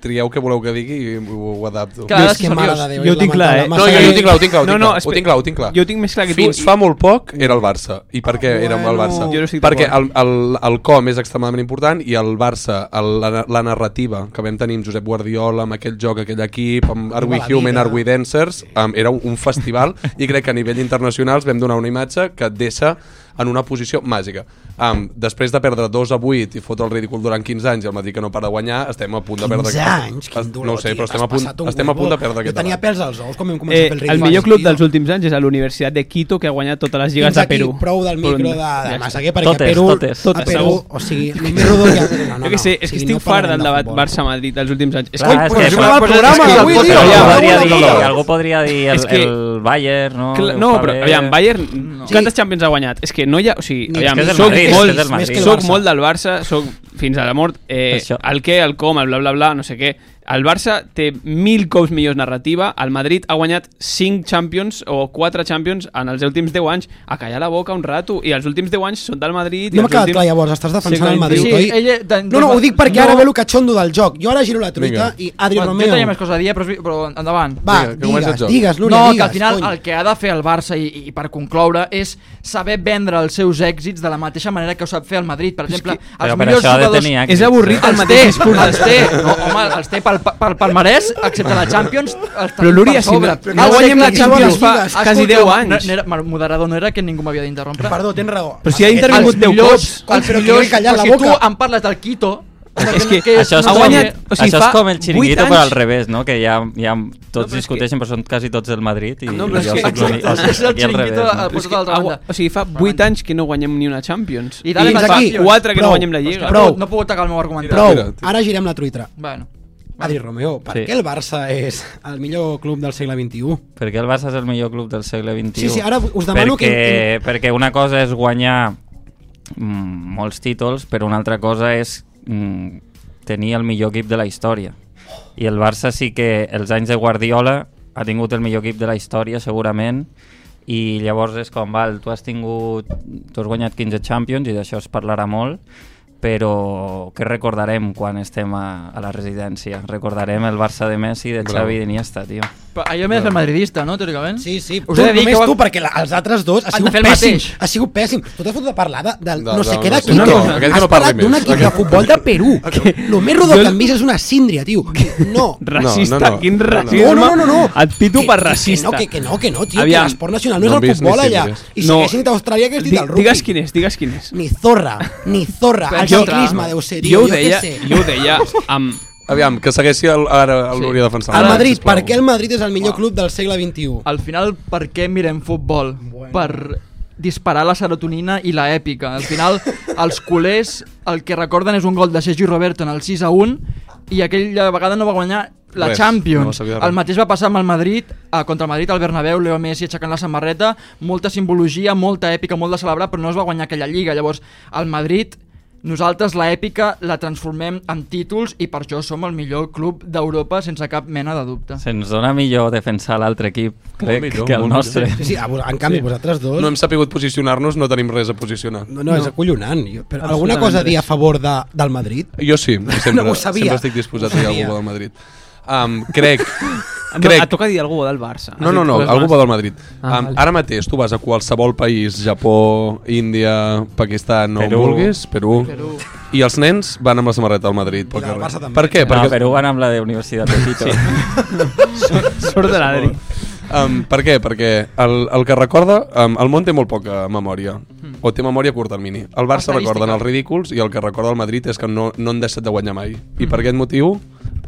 [SPEAKER 8] Trieu què voleu que digui i ho, ho adapto.
[SPEAKER 5] Clar, Dius que seriós. mare de Déu,
[SPEAKER 9] Jo ho tinc clar, eh?
[SPEAKER 8] No, jo, jo ho tinc clar, ho tinc clar, ho tinc clar.
[SPEAKER 9] No, no,
[SPEAKER 8] ho
[SPEAKER 9] espera.
[SPEAKER 8] tinc clar, ho tinc clar.
[SPEAKER 9] Jo ho tinc més clar que tu.
[SPEAKER 8] Fins
[SPEAKER 9] I- Ah,
[SPEAKER 8] fa molt poc era el Barça. I per què era el Barça?
[SPEAKER 9] Jo no estic
[SPEAKER 8] Perquè el,
[SPEAKER 9] d'acord.
[SPEAKER 8] el, el com és extremadament important i el Barça, el, la, la narrativa que vam tenir amb Josep Guardiola, amb aquell joc, aquell equip, amb Are We
[SPEAKER 10] la
[SPEAKER 8] Human,
[SPEAKER 10] vida.
[SPEAKER 8] Are We Dancers, um, era un- un festival i crec que a nivell internacional els vam donar una imatge que et deixa en una posició màgica. Um, després de perdre 2 a 8 i fotre el ridícul durant 15 anys i el Madrid que no para de guanyar, estem a punt de perdre...
[SPEAKER 5] 15 anys? Quin dolor,
[SPEAKER 8] no ho sé,
[SPEAKER 5] tio,
[SPEAKER 8] però estem
[SPEAKER 5] has
[SPEAKER 8] a punt,
[SPEAKER 5] passat un
[SPEAKER 8] estem a punt de
[SPEAKER 5] huevo.
[SPEAKER 8] perdre
[SPEAKER 5] Jo
[SPEAKER 8] aquest
[SPEAKER 5] tenia
[SPEAKER 8] debat.
[SPEAKER 5] pels als ous, com hem començat a
[SPEAKER 9] Eh,
[SPEAKER 5] fer el
[SPEAKER 9] el
[SPEAKER 5] ridícul.
[SPEAKER 9] millor club dels últims anys és a la Universitat de Quito, que ha guanyat totes les lligues
[SPEAKER 5] Fins
[SPEAKER 9] de
[SPEAKER 5] aquí,
[SPEAKER 9] Perú.
[SPEAKER 5] prou del micro de- de
[SPEAKER 9] Ja està.
[SPEAKER 5] Massaguer, perquè Totes, Perú- totes. a Perú, o sigui, el més rodó que- no, no, no,
[SPEAKER 9] jo què sé,
[SPEAKER 5] o
[SPEAKER 9] és
[SPEAKER 5] sigui,
[SPEAKER 9] que
[SPEAKER 5] no
[SPEAKER 9] estic fart
[SPEAKER 5] parlarem
[SPEAKER 9] del
[SPEAKER 5] de
[SPEAKER 9] debat
[SPEAKER 5] futbol.
[SPEAKER 9] Barça-Madrid dels últims anys.
[SPEAKER 7] Clar, és que-
[SPEAKER 9] una
[SPEAKER 7] però-
[SPEAKER 9] cosa-
[SPEAKER 7] però-
[SPEAKER 9] és que-
[SPEAKER 7] però- però-
[SPEAKER 9] però- ja,
[SPEAKER 7] algú podria
[SPEAKER 9] ja,
[SPEAKER 7] dir-
[SPEAKER 9] ja, ja.
[SPEAKER 7] algú podria dir el-
[SPEAKER 9] És que-
[SPEAKER 7] el Bayern, no?
[SPEAKER 9] Clar,
[SPEAKER 7] Ho
[SPEAKER 9] no,
[SPEAKER 7] fa
[SPEAKER 9] però
[SPEAKER 7] bé.
[SPEAKER 9] aviam, Bayern,
[SPEAKER 7] Sí.
[SPEAKER 9] quantes Champions ha guanyat? És que no hi ha, o sigui,
[SPEAKER 7] Ni-
[SPEAKER 9] aviam,
[SPEAKER 7] És que és el
[SPEAKER 9] soc,
[SPEAKER 7] Madrid, és que és el
[SPEAKER 9] molt,
[SPEAKER 7] Madrid.
[SPEAKER 9] soc
[SPEAKER 7] Barça.
[SPEAKER 9] molt del Barça, soc fins a la mort, eh, el què, el com, el bla bla bla, no sé què. El Barça té mil cops millors narrativa, el Madrid ha guanyat 5 Champions o 4 Champions en els últims 10 anys, a callar la boca un rato, i els últims 10 anys són del Madrid... i
[SPEAKER 5] No m'ha
[SPEAKER 9] els
[SPEAKER 5] quedat
[SPEAKER 9] últims-
[SPEAKER 5] clar llavors, estàs defensant
[SPEAKER 9] Sí,
[SPEAKER 5] el Madrid,
[SPEAKER 9] sí,
[SPEAKER 5] oi?
[SPEAKER 9] ella- de-
[SPEAKER 5] No, no, ho dic perquè ara
[SPEAKER 9] No.
[SPEAKER 5] ve el catxondo del joc. Jo ara giro la truita
[SPEAKER 6] Vinga.
[SPEAKER 5] i Adri
[SPEAKER 6] Bueno,
[SPEAKER 5] Romeo.
[SPEAKER 6] Jo tenia més coses a dir, eh, però, però endavant.
[SPEAKER 5] Va, Vinga, que digues, comença el joc. digues, Núria,
[SPEAKER 6] No, que
[SPEAKER 5] digues,
[SPEAKER 6] al final
[SPEAKER 5] cony.
[SPEAKER 6] el que ha de fer el Barça, i, i per concloure, és saber vendre els seus èxits de la mateixa manera que ho sap fer el Madrid. Per exemple, els
[SPEAKER 7] Però per
[SPEAKER 6] millors
[SPEAKER 7] això ha de
[SPEAKER 6] jugadors...
[SPEAKER 7] tenir èxits,
[SPEAKER 9] És avorrit eh? el
[SPEAKER 6] Els
[SPEAKER 9] mateix
[SPEAKER 6] té,
[SPEAKER 9] discurs.
[SPEAKER 6] Els té, no, home, els té pel, pel palmarès, excepte la Champions, els
[SPEAKER 9] Però, Núria, si no- no guanyem la Champions fa quasi 10
[SPEAKER 6] No,
[SPEAKER 9] anys.
[SPEAKER 6] no era, moderador no era que ningú m'havia d'interrompre.
[SPEAKER 5] Perdó, tens raó.
[SPEAKER 9] Però si ha intervingut
[SPEAKER 6] Els
[SPEAKER 9] 10
[SPEAKER 6] millors-
[SPEAKER 9] cops. Coi,
[SPEAKER 6] Els
[SPEAKER 9] però que
[SPEAKER 6] millors,
[SPEAKER 9] m'he callat la
[SPEAKER 6] però si tu
[SPEAKER 9] boca.
[SPEAKER 6] em parles del Quito,
[SPEAKER 7] És que,
[SPEAKER 6] que
[SPEAKER 7] això és,
[SPEAKER 6] no
[SPEAKER 7] com,
[SPEAKER 6] ha guanyat-
[SPEAKER 7] o
[SPEAKER 6] o sigui,
[SPEAKER 7] sigui, Eh, això és
[SPEAKER 6] fa
[SPEAKER 7] com el
[SPEAKER 6] vuit
[SPEAKER 7] xiringuito,
[SPEAKER 6] anys-
[SPEAKER 7] però al revés, no? Que ja, ja tots discuteixen, però són quasi tots del Madrid. I,
[SPEAKER 9] No, però és
[SPEAKER 7] i jo
[SPEAKER 9] que...
[SPEAKER 7] sóc l'únic. O sigui, aquí al revés, no?
[SPEAKER 9] Però és que ha gu- O sigui, fa 8 anys que no guanyem ni una Champions.
[SPEAKER 6] I dale
[SPEAKER 9] fa 4 que no guanyem la Lliga.
[SPEAKER 6] Prou. No puc atacar el meu argument.
[SPEAKER 5] Prou, ara girem la truita.
[SPEAKER 6] Bueno.
[SPEAKER 5] Adri Romeo, per
[SPEAKER 7] Sí.
[SPEAKER 5] què el Barça és el millor club del segle XXI?
[SPEAKER 7] Perquè el Barça és el millor club del segle XXI.
[SPEAKER 5] Sí, sí, ara us demano
[SPEAKER 7] perquè,
[SPEAKER 5] que-
[SPEAKER 7] Perquè una cosa és guanyar mm, molts títols, però una altra cosa és mm, tenir el millor equip de la història. I el Barça sí que els anys de Guardiola ha tingut el millor equip de la història, segurament, i llavors és com, val, tu has tingut... Tu has guanyat 15 Champions, i d'això es parlarà molt, però que recordarem quan estem a, a la residència? Recordarem el Barça de Messi, de
[SPEAKER 6] Bravo.
[SPEAKER 7] Xavi i d'Iniesta, tio.
[SPEAKER 6] Però allò més el madridista, no, teòricament?
[SPEAKER 5] Sí, sí.
[SPEAKER 6] Us he de dir
[SPEAKER 5] només
[SPEAKER 6] que ho-
[SPEAKER 5] tu, perquè la, els altres dos ha
[SPEAKER 6] Han de
[SPEAKER 5] sigut
[SPEAKER 6] fer el
[SPEAKER 5] pèssim.
[SPEAKER 6] mateix.
[SPEAKER 5] Ha sigut pèssim. Tu t'has fotut a parlar de, del
[SPEAKER 6] No,
[SPEAKER 5] no, sé
[SPEAKER 6] no,
[SPEAKER 5] què
[SPEAKER 6] no,
[SPEAKER 5] d'equip.
[SPEAKER 6] no, no,
[SPEAKER 5] que-
[SPEAKER 6] aquell que
[SPEAKER 5] has
[SPEAKER 6] no parli
[SPEAKER 5] parlat d'un
[SPEAKER 6] més.
[SPEAKER 5] equip de
[SPEAKER 6] Aquell-
[SPEAKER 5] futbol de Perú. Lo més rodó que hem vist és una síndria, tio. No.
[SPEAKER 9] Racista,
[SPEAKER 5] No, no, no.
[SPEAKER 9] quin
[SPEAKER 5] No, no.
[SPEAKER 9] racisme.
[SPEAKER 5] No, no, no, no.
[SPEAKER 9] Actitud per
[SPEAKER 5] Que
[SPEAKER 9] racista.
[SPEAKER 5] no, que, que no, que no, tio.
[SPEAKER 9] Aviam.
[SPEAKER 5] Que l'esport nacional no,
[SPEAKER 9] No
[SPEAKER 5] és
[SPEAKER 9] hem
[SPEAKER 5] el
[SPEAKER 9] vist ni
[SPEAKER 5] futbol allà.
[SPEAKER 9] síndries.
[SPEAKER 5] I si
[SPEAKER 9] No.
[SPEAKER 5] no. haguessin d'Austràlia, que és dit
[SPEAKER 9] Di-
[SPEAKER 5] el rugby.
[SPEAKER 9] Digues quin és, digues quin és.
[SPEAKER 5] Ni zorra, ni zorra. El
[SPEAKER 9] Jo-
[SPEAKER 5] ciclisme deu ser,
[SPEAKER 9] Jo
[SPEAKER 5] tio.
[SPEAKER 9] ho deia,
[SPEAKER 5] què sé.
[SPEAKER 9] jo ho deia amb...
[SPEAKER 8] Aviam, que segueixi el, ara el Núria defensant.
[SPEAKER 5] El Madrid, per què el Madrid és el millor club del segle XXI?
[SPEAKER 6] Al final, per què mirem futbol? Bueno. Per disparar la serotonina i la èpica. Al final, els culers el que recorden és un gol de Sergi Roberto en el 6 a 1 i aquella vegada no va guanyar la
[SPEAKER 7] Res, no
[SPEAKER 6] Champions.
[SPEAKER 7] sabia res.
[SPEAKER 6] el mateix va passar amb el Madrid, a, contra el Madrid, al Bernabéu, Leo Messi aixecant la samarreta, molta simbologia, molta èpica, molt de celebrar, però no es va guanyar aquella lliga. Llavors, el Madrid, nosaltres la èpica la transformem en títols i per això som el millor club d'Europa sense cap mena de dubte.
[SPEAKER 7] Se'ns dona millor defensar l'altre equip, crec,
[SPEAKER 8] millor,
[SPEAKER 7] que el
[SPEAKER 8] molt
[SPEAKER 7] nostre.
[SPEAKER 8] millor. Sí, sí, a vos-
[SPEAKER 5] En canvi, vosaltres dos...
[SPEAKER 8] No hem sabut posicionar-nos, no tenim res a posicionar.
[SPEAKER 5] No, no, és acollonant. Jo- Però alguna
[SPEAKER 8] Absolutament
[SPEAKER 5] cosa a dir a
[SPEAKER 8] res.
[SPEAKER 5] favor de, del Madrid?
[SPEAKER 8] Jo sí, sempre,
[SPEAKER 5] No ho sabia.
[SPEAKER 8] sempre estic disposat
[SPEAKER 5] Ho
[SPEAKER 8] a dir algú
[SPEAKER 5] sabia.
[SPEAKER 8] bo del Madrid. Um, crec,
[SPEAKER 9] No,
[SPEAKER 8] crec...
[SPEAKER 9] et toca dir algú bo del Barça.
[SPEAKER 8] No,
[SPEAKER 9] Has
[SPEAKER 8] no,
[SPEAKER 9] dit
[SPEAKER 8] no,
[SPEAKER 9] coses
[SPEAKER 8] algú
[SPEAKER 9] bones.
[SPEAKER 8] bo del Madrid.
[SPEAKER 9] Ah,
[SPEAKER 8] um,
[SPEAKER 9] vale.
[SPEAKER 8] ara mateix tu vas a qualsevol país, Japó, Índia, Pakistan, on
[SPEAKER 7] Perú.
[SPEAKER 8] vulguis, Perú,
[SPEAKER 7] Perú.
[SPEAKER 8] i els nens van amb la samarreta al Madrid. Pel carrer. Per què?
[SPEAKER 7] No, Perú van amb la de Universitat de Quito.
[SPEAKER 9] Sort de l'Adri.
[SPEAKER 8] Um, per què? Perquè el, el que recorda... Um, el món té molt poca memòria. O té memòria a curt termini. El Barça
[SPEAKER 9] Hmm. Estadística.
[SPEAKER 8] recorden els ridículs i el que recorda el Madrid és que no, no han deixat de guanyar mai. I
[SPEAKER 9] Hmm.
[SPEAKER 8] per aquest motiu,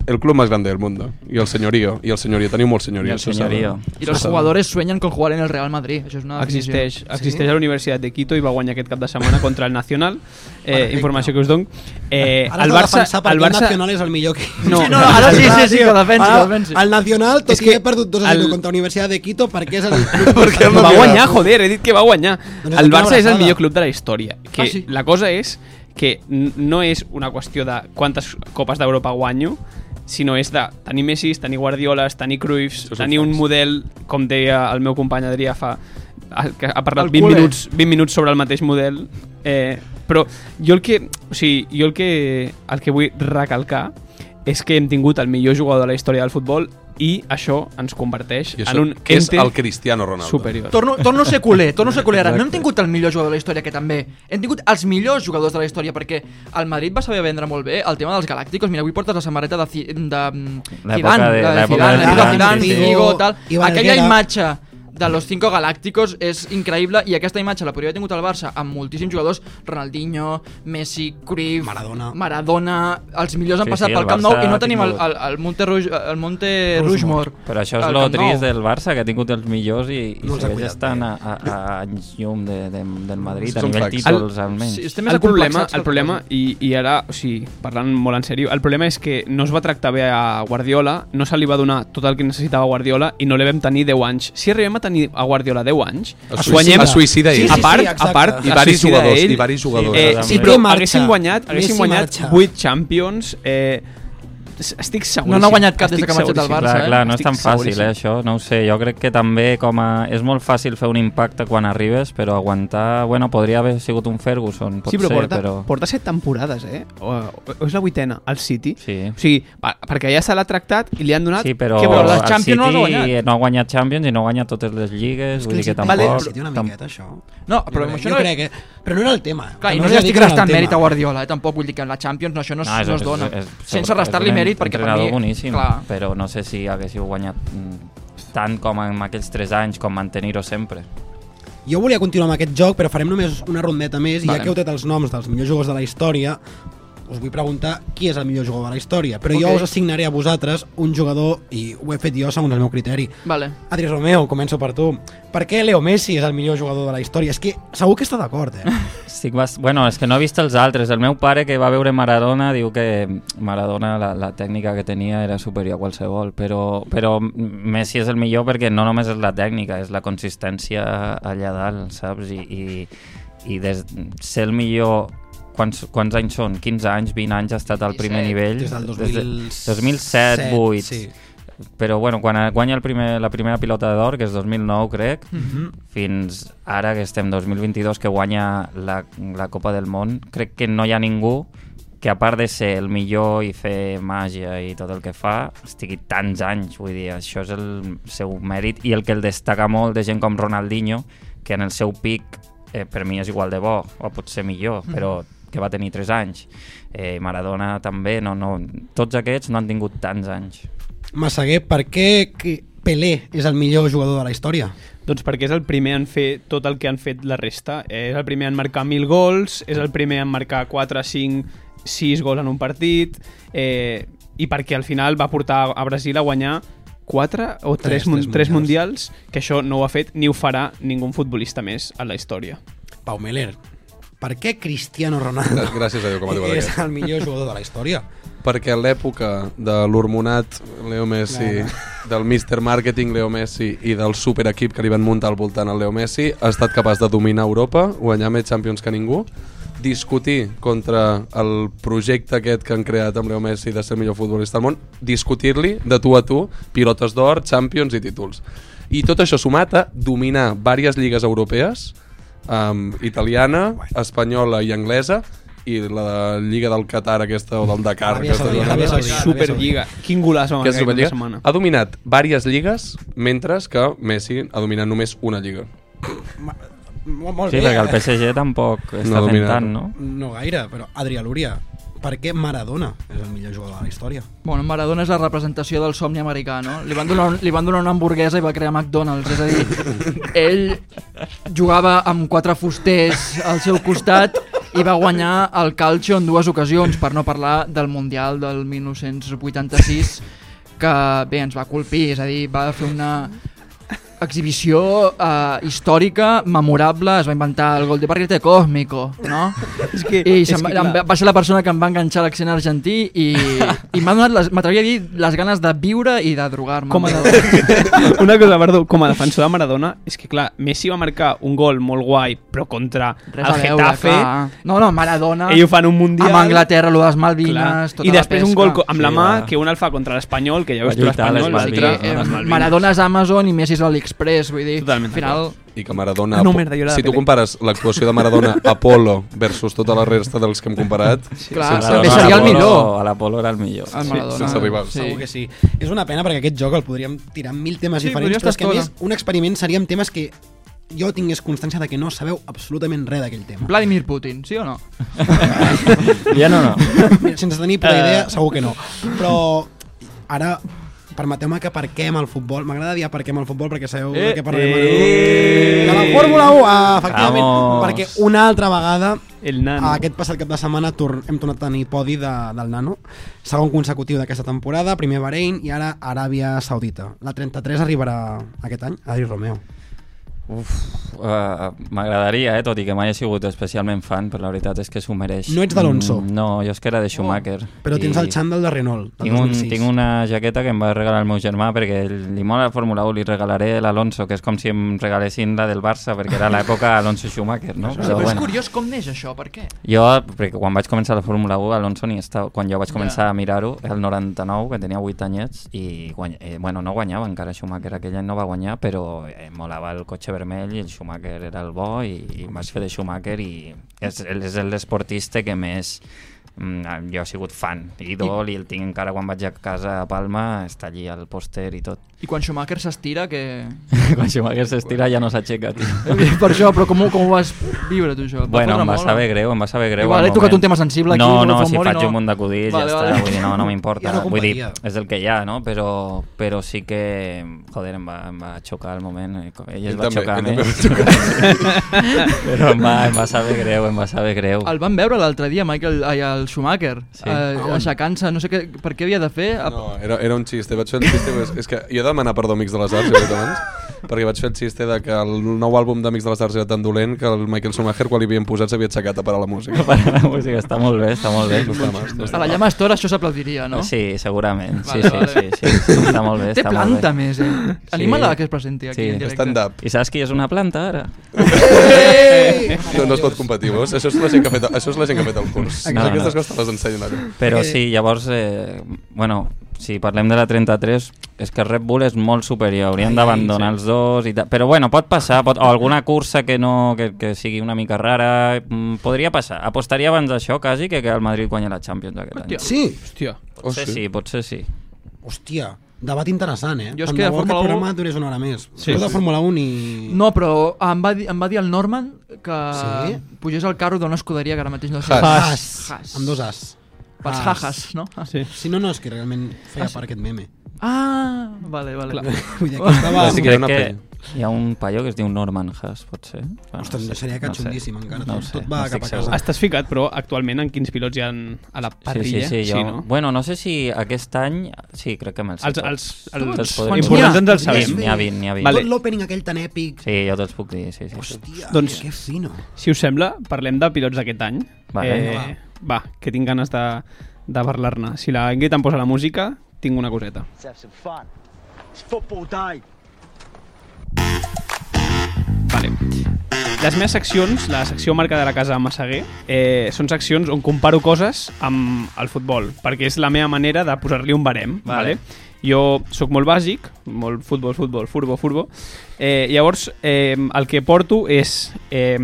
[SPEAKER 8] el club més gran del món. I el senyorio. I el senyorio. Teniu molt senyorio.
[SPEAKER 7] I el
[SPEAKER 8] això s'ha de-
[SPEAKER 7] senyorio.
[SPEAKER 6] Y los
[SPEAKER 8] s'ha de-
[SPEAKER 6] jugadores sueñan con jugar en el Real Madrid. Això és una definició.
[SPEAKER 9] Existeix, existeix a la Universitat de Quito i va guanyar aquest cap de setmana contra el Nacional. Eh, informació que us dono. Eh,
[SPEAKER 5] Ara
[SPEAKER 9] el Barça, el Barça,
[SPEAKER 5] Nacional és el millor que...
[SPEAKER 9] No. Sí, no, ara sí, sí, sí, que defensi,
[SPEAKER 5] Ara,
[SPEAKER 9] que defensi.
[SPEAKER 5] El Nacional, tot i que he perdut 2 a 0
[SPEAKER 9] el-
[SPEAKER 5] contra la Universitat de Quito, perquè és el...
[SPEAKER 9] perquè va guanyar, joder, he dit que va guanyar.
[SPEAKER 5] Doncs
[SPEAKER 9] El
[SPEAKER 5] una
[SPEAKER 9] Barça és el
[SPEAKER 5] abraçada.
[SPEAKER 9] millor club de la història. Que
[SPEAKER 5] Ah, sí?
[SPEAKER 9] La cosa és que n- no és una qüestió de quantes copes d'Europa guanyo, sinó és de tenir Messi, tenir Guardioles, tenir Cruyffs, tenir un model, com deia el meu company Adrià fa... el que ha parlat
[SPEAKER 6] El
[SPEAKER 9] 20
[SPEAKER 6] culer.
[SPEAKER 9] minuts, 20 minuts sobre el mateix model. Eh, però jo el que, o sigui, jo el que, el que vull recalcar és que hem tingut el millor jugador de la història del futbol i això ens converteix
[SPEAKER 8] I això,
[SPEAKER 9] en un
[SPEAKER 8] que és
[SPEAKER 9] ente
[SPEAKER 8] el Cristiano Ronaldo.
[SPEAKER 9] superior.
[SPEAKER 6] Torno, torno a ser culer, torno a ser culer. Ara, no hem
[SPEAKER 9] Exacte.
[SPEAKER 6] tingut el millor jugador de la història, que també. Hem tingut els millors jugadors de la història, perquè el Madrid va saber vendre molt bé el tema dels Galàcticos. Mira, avui portes la samarreta de, Ci- de,
[SPEAKER 7] L'època
[SPEAKER 6] de Zidane,
[SPEAKER 7] de-
[SPEAKER 6] de, de
[SPEAKER 7] l'època
[SPEAKER 6] Zidane,
[SPEAKER 7] de
[SPEAKER 6] la vida de
[SPEAKER 7] Zidane,
[SPEAKER 6] Zidane,
[SPEAKER 7] sí, sí.
[SPEAKER 6] Figo, tal.
[SPEAKER 7] I Valguera.
[SPEAKER 6] Aquella imatge de los cinco galàcticos és increïble i aquesta imatge la podria haver tingut el Barça amb moltíssims jugadors Ronaldinho, Messi, Cruyff Maradona, Maradona els millors han
[SPEAKER 7] Sí,
[SPEAKER 6] passat
[SPEAKER 7] sí, el
[SPEAKER 6] pel Camp
[SPEAKER 7] Barça
[SPEAKER 6] Nou i
[SPEAKER 7] ha
[SPEAKER 6] no tenim el,
[SPEAKER 7] tingut-
[SPEAKER 6] el, el Monte, Rush, el Monte Rushmore
[SPEAKER 7] Però això és
[SPEAKER 6] al
[SPEAKER 7] lo
[SPEAKER 6] Camp Nou.
[SPEAKER 7] trist del Barça, que ha tingut els millors i, i
[SPEAKER 6] No els ha
[SPEAKER 7] segueix
[SPEAKER 6] cuidat eh.
[SPEAKER 7] estant a, a, a anys llum de, de, del Madrid, a
[SPEAKER 8] Són
[SPEAKER 7] nivell
[SPEAKER 8] facts.
[SPEAKER 7] títols, almenys.
[SPEAKER 9] el problema, el problema i, i ara, o sigui, parlant molt en sèrio, el problema és que no es va tractar bé a Guardiola, no se li va donar tot el que necessitava Guardiola i no li vam tenir 10 anys. Si arribem a tenir a Guardiola 10 anys,
[SPEAKER 8] Es suïcida. Es suïcida ell. Sí, sí,
[SPEAKER 9] a
[SPEAKER 8] sí,
[SPEAKER 9] part,
[SPEAKER 8] exacte.
[SPEAKER 9] a part,
[SPEAKER 8] I
[SPEAKER 9] es
[SPEAKER 8] varis
[SPEAKER 9] suïcida
[SPEAKER 8] jugadors,
[SPEAKER 9] ell.
[SPEAKER 8] i varis jugadors.
[SPEAKER 9] Eh,
[SPEAKER 8] Sí,
[SPEAKER 9] sí,
[SPEAKER 8] Piqué
[SPEAKER 9] però
[SPEAKER 8] marxa.
[SPEAKER 9] haguéssim guanyat, haguéssim
[SPEAKER 8] Messi
[SPEAKER 9] guanyat
[SPEAKER 8] marxa.
[SPEAKER 9] 8 Champions, eh, es- estic segur.
[SPEAKER 6] No n'ha guanyat cap des que ha marxat del Barça,
[SPEAKER 7] clar,
[SPEAKER 6] eh?
[SPEAKER 7] clar, no és
[SPEAKER 6] Estic
[SPEAKER 7] tan fàcil,
[SPEAKER 6] seguríssim.
[SPEAKER 7] eh, això, no ho sé. Jo crec que també com a... És molt fàcil fer un impacte quan arribes, però aguantar... Bueno, podria haver sigut un Ferguson, pot
[SPEAKER 9] sí, però
[SPEAKER 7] ser,
[SPEAKER 9] porta,
[SPEAKER 7] però...
[SPEAKER 9] porta set temporades, eh? O, o, o és la vuitena, al City. Sí. O sigui, va, perquè ja se l'ha tractat i li han donat...
[SPEAKER 7] Sí, però,
[SPEAKER 9] que,
[SPEAKER 7] el City no ha guanyat Champions i no ha guanyat totes les lligues, vull dir que tampoc...
[SPEAKER 5] Vale, sí, té una
[SPEAKER 7] tam-
[SPEAKER 5] miqueta, això.
[SPEAKER 6] No, però
[SPEAKER 5] jo
[SPEAKER 6] això
[SPEAKER 5] crec,
[SPEAKER 6] no
[SPEAKER 5] jo
[SPEAKER 6] és-
[SPEAKER 5] crec, eh? Però no era el tema.
[SPEAKER 6] Clar, i
[SPEAKER 5] Que
[SPEAKER 6] no,
[SPEAKER 5] li
[SPEAKER 6] li estic
[SPEAKER 5] dediquen al
[SPEAKER 6] restant
[SPEAKER 5] tema.
[SPEAKER 6] mèrit a Guardiola, eh? tampoc vull dir que en la Champions no, això no, es- no, es dona. sense restar-li
[SPEAKER 7] un
[SPEAKER 6] mèrit, perquè per mi...
[SPEAKER 7] entrenador boníssim,
[SPEAKER 6] Clar,
[SPEAKER 7] però no sé si haguéssiu guanyat mm, tant com en aquells 3 anys, com mantenir-ho sempre.
[SPEAKER 5] Jo volia continuar amb aquest joc, però farem només una rondeta més, i
[SPEAKER 7] Vale.
[SPEAKER 5] ja que heu tret els noms dels millors jugadors de la història, us vull preguntar qui és el millor jugador de la història. Però jo
[SPEAKER 6] Ok.
[SPEAKER 5] us assignaré a vosaltres un jugador, i ho he fet jo segons el meu criteri.
[SPEAKER 6] vale.
[SPEAKER 5] Adri Romeo, començo per tu. Per què Leo Messi és el millor jugador de la història? És que segur que està d'acord, eh?
[SPEAKER 7] Estic bas... Bueno, és que no he vist els altres. El meu pare, que va veure Maradona, diu que Maradona, la, la tècnica que tenia era superior a qualsevol, però, però Messi és el millor perquè no només és la tècnica, és la consistència allà dalt, saps? I, i, i des... ser el millor... Quants, quants anys són? 15 anys, 20 anys ha estat al primer nivell?
[SPEAKER 5] Des del
[SPEAKER 7] de-
[SPEAKER 5] 2007,
[SPEAKER 7] 2007,
[SPEAKER 5] sí.
[SPEAKER 7] 8... Sí. però bueno, quan guanya el primer, la primera pilota d'or, que és 2009 crec,
[SPEAKER 13] Mhm.
[SPEAKER 7] fins ara que estem 2022 que guanya la, la Copa del Món, crec que no hi ha ningú que a part de ser el millor i fer màgia i tot el que fa, estigui tants anys, vull dir, això és el seu mèrit i el que el destaca molt de gent com Ronaldinho, que en el seu pic eh, per mi és igual de bo, o potser millor,
[SPEAKER 6] Mhm.
[SPEAKER 7] però que va tenir 3 anys. Eh, Maradona també, no, no, tots aquests no han tingut tants anys.
[SPEAKER 5] Massaguer, per què que Pelé és el millor jugador de la història?
[SPEAKER 9] Doncs perquè és el primer en fer tot el que han fet la resta. Eh, És el primer en marcar 1.000 gols, és el primer en marcar 4, 5, 6 gols en un partit, eh, i perquè al final va portar a Brasil a guanyar 4 o 3, 3,
[SPEAKER 5] Tres, tres
[SPEAKER 9] mundials. 3 mundials, que això no ho ha fet ni ho farà ningú futbolista més a la història.
[SPEAKER 5] Pau Meller, per què Cristiano Ronaldo
[SPEAKER 8] Gràcies a Déu que m'ha digut
[SPEAKER 5] és
[SPEAKER 8] aquest.
[SPEAKER 5] el millor jugador de la història?
[SPEAKER 8] perquè a l'època de l'hormonat Leo Messi,
[SPEAKER 5] No,
[SPEAKER 8] del Mr. Marketing Leo Messi i del superequip que li van muntar al voltant al Leo Messi, ha estat capaç de dominar Europa, guanyar més Champions que ningú, discutir contra el projecte aquest que han creat amb Leo Messi de ser el millor futbolista del món, discutir-li de tu a tu, pilotes d'or, Champions i títols. I tot això sumat a dominar diverses lligues europees, um, italiana, espanyola i anglesa, i la lliga del Qatar aquesta o del Dakar
[SPEAKER 9] Aràbia
[SPEAKER 8] aquesta
[SPEAKER 9] Saudita, Aràbia Saudita, Aràbia Superliga. Saudita. Quin golaç va
[SPEAKER 8] Aquesta
[SPEAKER 9] marcar
[SPEAKER 8] Superliga.
[SPEAKER 9] aquesta setmana.
[SPEAKER 8] Ha dominat diverses lligues mentre que Messi ha dominat només una lliga
[SPEAKER 5] Molt, molt
[SPEAKER 7] Sí,
[SPEAKER 5] bé. eh?
[SPEAKER 7] perquè el PSG tampoc
[SPEAKER 8] No
[SPEAKER 7] està fent
[SPEAKER 8] domina.
[SPEAKER 7] tant, no?
[SPEAKER 5] No gaire, però Adrià Lúria, per què Maradona és el millor jugador de la història?
[SPEAKER 6] Bueno, Maradona és la representació del somni americà, no? Li van, donar, un- li van donar una hamburguesa i va crear McDonald's, és a dir, ell jugava amb quatre fusters al seu costat i va guanyar el Calcio en dues ocasions, per no parlar del Mundial del 1986, que bé, ens va colpir, és a dir, va fer una exhibició eh, històrica, memorable, es va inventar el gol de barrilete cósmico, no?
[SPEAKER 9] És que,
[SPEAKER 6] I
[SPEAKER 9] és
[SPEAKER 6] se'm,
[SPEAKER 9] que,
[SPEAKER 6] em va-
[SPEAKER 9] clar.
[SPEAKER 6] va ser la persona que em va enganxar a l'accent argentí i, i m'ha donat, les- m'atreviria a dir, les ganes de viure i de drogar-me.
[SPEAKER 9] Com a de... Una cosa, perdó, com a defensor de Maradona, és que clar, Messi va marcar un gol molt guai, però contra
[SPEAKER 6] Res
[SPEAKER 9] el
[SPEAKER 6] a veure,
[SPEAKER 9] Getafe,
[SPEAKER 6] clar. No, no, Maradona.
[SPEAKER 9] Ells ho fan un mundial.
[SPEAKER 6] Amb Anglaterra, lo de les Malvines,
[SPEAKER 9] Clar.
[SPEAKER 6] tota
[SPEAKER 9] I després
[SPEAKER 6] la
[SPEAKER 9] un
[SPEAKER 6] pesca.
[SPEAKER 9] gol co- amb la
[SPEAKER 6] Sí,
[SPEAKER 9] mà,
[SPEAKER 6] va.
[SPEAKER 9] que un el fa contra l'Espanyol, que ja
[SPEAKER 7] Va
[SPEAKER 9] veus tu
[SPEAKER 7] lluitar a les
[SPEAKER 9] l'Espanyol. eh,
[SPEAKER 7] Malvines.
[SPEAKER 9] l'altre a les Malvines.
[SPEAKER 6] Maradona és Amazon i Messi és l'Aliexpress, vull dir, Totalment al final...
[SPEAKER 8] i que Maradona...
[SPEAKER 6] No, merda, jo era de
[SPEAKER 8] si tu
[SPEAKER 6] Pelé.
[SPEAKER 8] compares l'actuació de Maradona Apolo versus tota la resta dels que hem comparat...
[SPEAKER 6] Clar,
[SPEAKER 7] Ah,
[SPEAKER 8] sense-
[SPEAKER 6] també seria el millor. Ah,
[SPEAKER 7] A l'Apolo era el millor.
[SPEAKER 6] El Maradona.
[SPEAKER 8] sense rivals.
[SPEAKER 6] Sí.
[SPEAKER 5] Segur que sí. És una pena perquè aquest joc el podríem tirar amb mil temes
[SPEAKER 6] Sí, podria
[SPEAKER 5] diferents, però és que a
[SPEAKER 6] estar tota.
[SPEAKER 5] més un experiment seria amb temes que jo tingués constància de que no sabeu absolutament res d'aquell tema.
[SPEAKER 6] Vladimir Putin, sí o no?
[SPEAKER 7] Ja no, no.
[SPEAKER 5] Mira, sense tenir puta
[SPEAKER 6] Eh.
[SPEAKER 5] idea, segur que no. Però ara permeteu-me que parquem el futbol. M'agrada dir parquem el futbol perquè sabeu eh, de què parlem. Eh, de la Fórmula 1, ah, efectivament.
[SPEAKER 6] Vamos.
[SPEAKER 5] Perquè una altra vegada
[SPEAKER 9] el nano.
[SPEAKER 5] Ah, aquest passat cap de setmana tor hem tornat a tenir podi de, del nano. Segon consecutiu d'aquesta temporada, primer Bahrein i ara Aràbia Saudita. La 33 arribarà aquest any, Adri Romeo.
[SPEAKER 7] Uf, uh, m'agradaria, eh, tot i que mai he sigut especialment fan, però la veritat és que s'ho mereix.
[SPEAKER 5] No ets d'Alonso.
[SPEAKER 7] Mm, no, jo és que era de Schumacher. Oh,
[SPEAKER 5] Però tens el xandall de Renault, del
[SPEAKER 7] Tinc, un,
[SPEAKER 5] 2006.
[SPEAKER 7] tinc una jaqueta que em va regalar el meu germà perquè ell- li mola la Fórmula 1, li regalaré l'Alonso, que és com si em regalessin la del Barça, perquè era l'època Alonso-Schumacher, no?
[SPEAKER 6] Sí, però és curiós com neix això, per què?
[SPEAKER 7] Jo, perquè quan vaig començar la Fórmula 1, Alonso ni estava... Quan jo vaig començar a mirar-ho, el 99, que tenia 8 anyets, i guany... eh, bueno, no guanyava encara Schumacher, aquell any no va guanyar, però eh, molava el cotxe vermell i el Schumacher era el bo i, i em vaig fer de Schumacher i és, és l'esportista que més mm, jo he sigut fan, ídol, i el tinc encara quan vaig a casa a Palma, està allí al pòster i tot.
[SPEAKER 6] I quan Schumacher s'estira, que...
[SPEAKER 7] Quan Schumacher s'estira ja no s'aixeca, tio.
[SPEAKER 6] per això, però com, ho- com ho vas viure, tu, això? Et va fotre
[SPEAKER 7] Bueno, em va
[SPEAKER 6] molt, eh?
[SPEAKER 7] saber
[SPEAKER 6] no?
[SPEAKER 7] greu, em va saber greu.
[SPEAKER 6] Igual he
[SPEAKER 7] al
[SPEAKER 6] tocat
[SPEAKER 7] moment.
[SPEAKER 6] un tema sensible aquí,
[SPEAKER 7] No,
[SPEAKER 6] no
[SPEAKER 7] no,
[SPEAKER 6] fa
[SPEAKER 7] si
[SPEAKER 6] molt i
[SPEAKER 7] faig
[SPEAKER 6] no-
[SPEAKER 7] un munt d'acudits,
[SPEAKER 6] Vale,
[SPEAKER 7] ja
[SPEAKER 6] vale.
[SPEAKER 7] està, vull dir, no, no m'importa.
[SPEAKER 6] Ja no
[SPEAKER 7] vull dir,
[SPEAKER 6] compatia.
[SPEAKER 7] és el que hi ha, no? Però, però sí que, joder, em va, em va xocar al moment. eh, com- Ell es
[SPEAKER 8] Ell
[SPEAKER 7] va
[SPEAKER 8] també,
[SPEAKER 7] xocar
[SPEAKER 8] ell
[SPEAKER 7] més.
[SPEAKER 8] també va
[SPEAKER 6] xocar.
[SPEAKER 7] però em va, em va saber greu, em va saber greu.
[SPEAKER 6] El van veure l'altre dia, Michael, ai, el Schumacher, sí. eh,
[SPEAKER 7] Ah, on?
[SPEAKER 6] aixecant-se, no sé què, per què havia de fer. No,
[SPEAKER 8] Era, era un xiste, vaig fer el xiste... és, és que jo he de demanar perdó a Amics de les Arts, he dit abans, perquè vaig fer el xiste de que el nou àlbum d'Amics de les Arts era tan dolent que el Michael Schumacher, quan li havien posat, s'havia aixecat a parar la música.
[SPEAKER 7] A parar la música, està molt bé, està molt bé.
[SPEAKER 8] No està mal, no
[SPEAKER 6] A
[SPEAKER 8] està
[SPEAKER 6] la
[SPEAKER 8] mal.
[SPEAKER 6] llama Estora això s'aplaudiria, no?
[SPEAKER 7] Sí, segurament. Sí,
[SPEAKER 6] Vale,
[SPEAKER 7] sí,
[SPEAKER 6] vale.
[SPEAKER 7] sí, sí, sí, Està molt bé.
[SPEAKER 6] Té
[SPEAKER 7] està molt
[SPEAKER 6] planta,
[SPEAKER 7] bé.
[SPEAKER 6] més, eh? Anima-la que es presenti aquí en directe. Stand-up.
[SPEAKER 7] I saps qui és una planta, ara?
[SPEAKER 8] No, no es pot competir, veus? Això és la gent que ha fet, això és la gent que ha fet el curs.
[SPEAKER 7] No, no.
[SPEAKER 8] Aquestes coses te les ensenyen allà.
[SPEAKER 7] Però sí, llavors, eh, bueno, si parlem de la 33, és que el Red Bull és molt superior, haurien d'abandonar els dos i tal. Però bueno, pot passar, pot... o alguna cursa que no que, que sigui una mica rara, mm, podria passar. Apostaria abans d'això quasi que que el Madrid guanya la Champions aquest any.
[SPEAKER 5] Sí?
[SPEAKER 9] Hòstia.
[SPEAKER 7] Potser sí, potser sí.
[SPEAKER 5] Hòstia, debat interessant, eh?
[SPEAKER 6] Jo és
[SPEAKER 5] Tant
[SPEAKER 6] que
[SPEAKER 5] de
[SPEAKER 6] de
[SPEAKER 5] bo
[SPEAKER 6] Fórmula
[SPEAKER 5] aquest
[SPEAKER 6] 1
[SPEAKER 5] programa durés una hora més.
[SPEAKER 6] Sí,
[SPEAKER 5] Sí, jo de
[SPEAKER 6] sí.
[SPEAKER 5] Fórmula 1 i...
[SPEAKER 6] No, però em va dir, em va dir el Norman que
[SPEAKER 5] Sí?
[SPEAKER 6] pugés al carro d'una escuderia que ara mateix no sé.
[SPEAKER 5] Has. Amb dos As.
[SPEAKER 6] Pels
[SPEAKER 5] Has.
[SPEAKER 6] jajas, no? Ah, sí.
[SPEAKER 5] Si no, no, és que realment feia
[SPEAKER 6] Ah, sí.
[SPEAKER 5] per aquest meme.
[SPEAKER 6] Ah, vale, vale.
[SPEAKER 5] Vull dir, que estava- Sí que hi ha una pell.
[SPEAKER 7] hi ha un paio que es diu Norman Haas, potser. Bueno,
[SPEAKER 5] Ostres,
[SPEAKER 7] no sé,
[SPEAKER 5] seria
[SPEAKER 7] no sé.
[SPEAKER 5] catxondíssim encara,
[SPEAKER 7] No
[SPEAKER 5] tot-
[SPEAKER 7] ho sé,
[SPEAKER 5] tot va
[SPEAKER 7] no estic
[SPEAKER 5] cap a
[SPEAKER 7] segur.
[SPEAKER 9] Estàs ficat, però, actualment en quins pilots hi ha a la
[SPEAKER 7] Sí,
[SPEAKER 9] parrilla?
[SPEAKER 7] sí, sí, jo...
[SPEAKER 9] no?
[SPEAKER 7] Bueno, no sé si aquest any... Sí, crec que me'ls sé
[SPEAKER 9] Els-
[SPEAKER 7] tots.
[SPEAKER 9] els- els
[SPEAKER 7] Te'ls podré dir.
[SPEAKER 9] importants ens els sabem.
[SPEAKER 7] N'hi ha 20, n'hi ha 20.
[SPEAKER 9] Vale.
[SPEAKER 5] Tot l'opening aquell tan èpic.
[SPEAKER 7] Sí, jo te'ls puc dir, sí, sí. Hòstia,
[SPEAKER 9] Doncs,
[SPEAKER 5] que fino.
[SPEAKER 9] si us sembla, parlem de pilots d'aquest any. Eh,
[SPEAKER 7] Vale.
[SPEAKER 9] va, que tinc ganes de, de parlar-ne. Si la Ingrid em posa la música, tinc una coseta.
[SPEAKER 12] Let's have some fun. It's football day.
[SPEAKER 9] Vale. Les meves seccions, la secció marca de la casa Massaguer, eh, són seccions on comparo coses amb el futbol, perquè és la meva manera de posar-li un barem. Vale.
[SPEAKER 7] Vale.
[SPEAKER 9] Vale? Jo sóc molt bàsic, molt futbol, futbol, furbo, furbo. Eh, llavors, eh, el que porto és... Eh,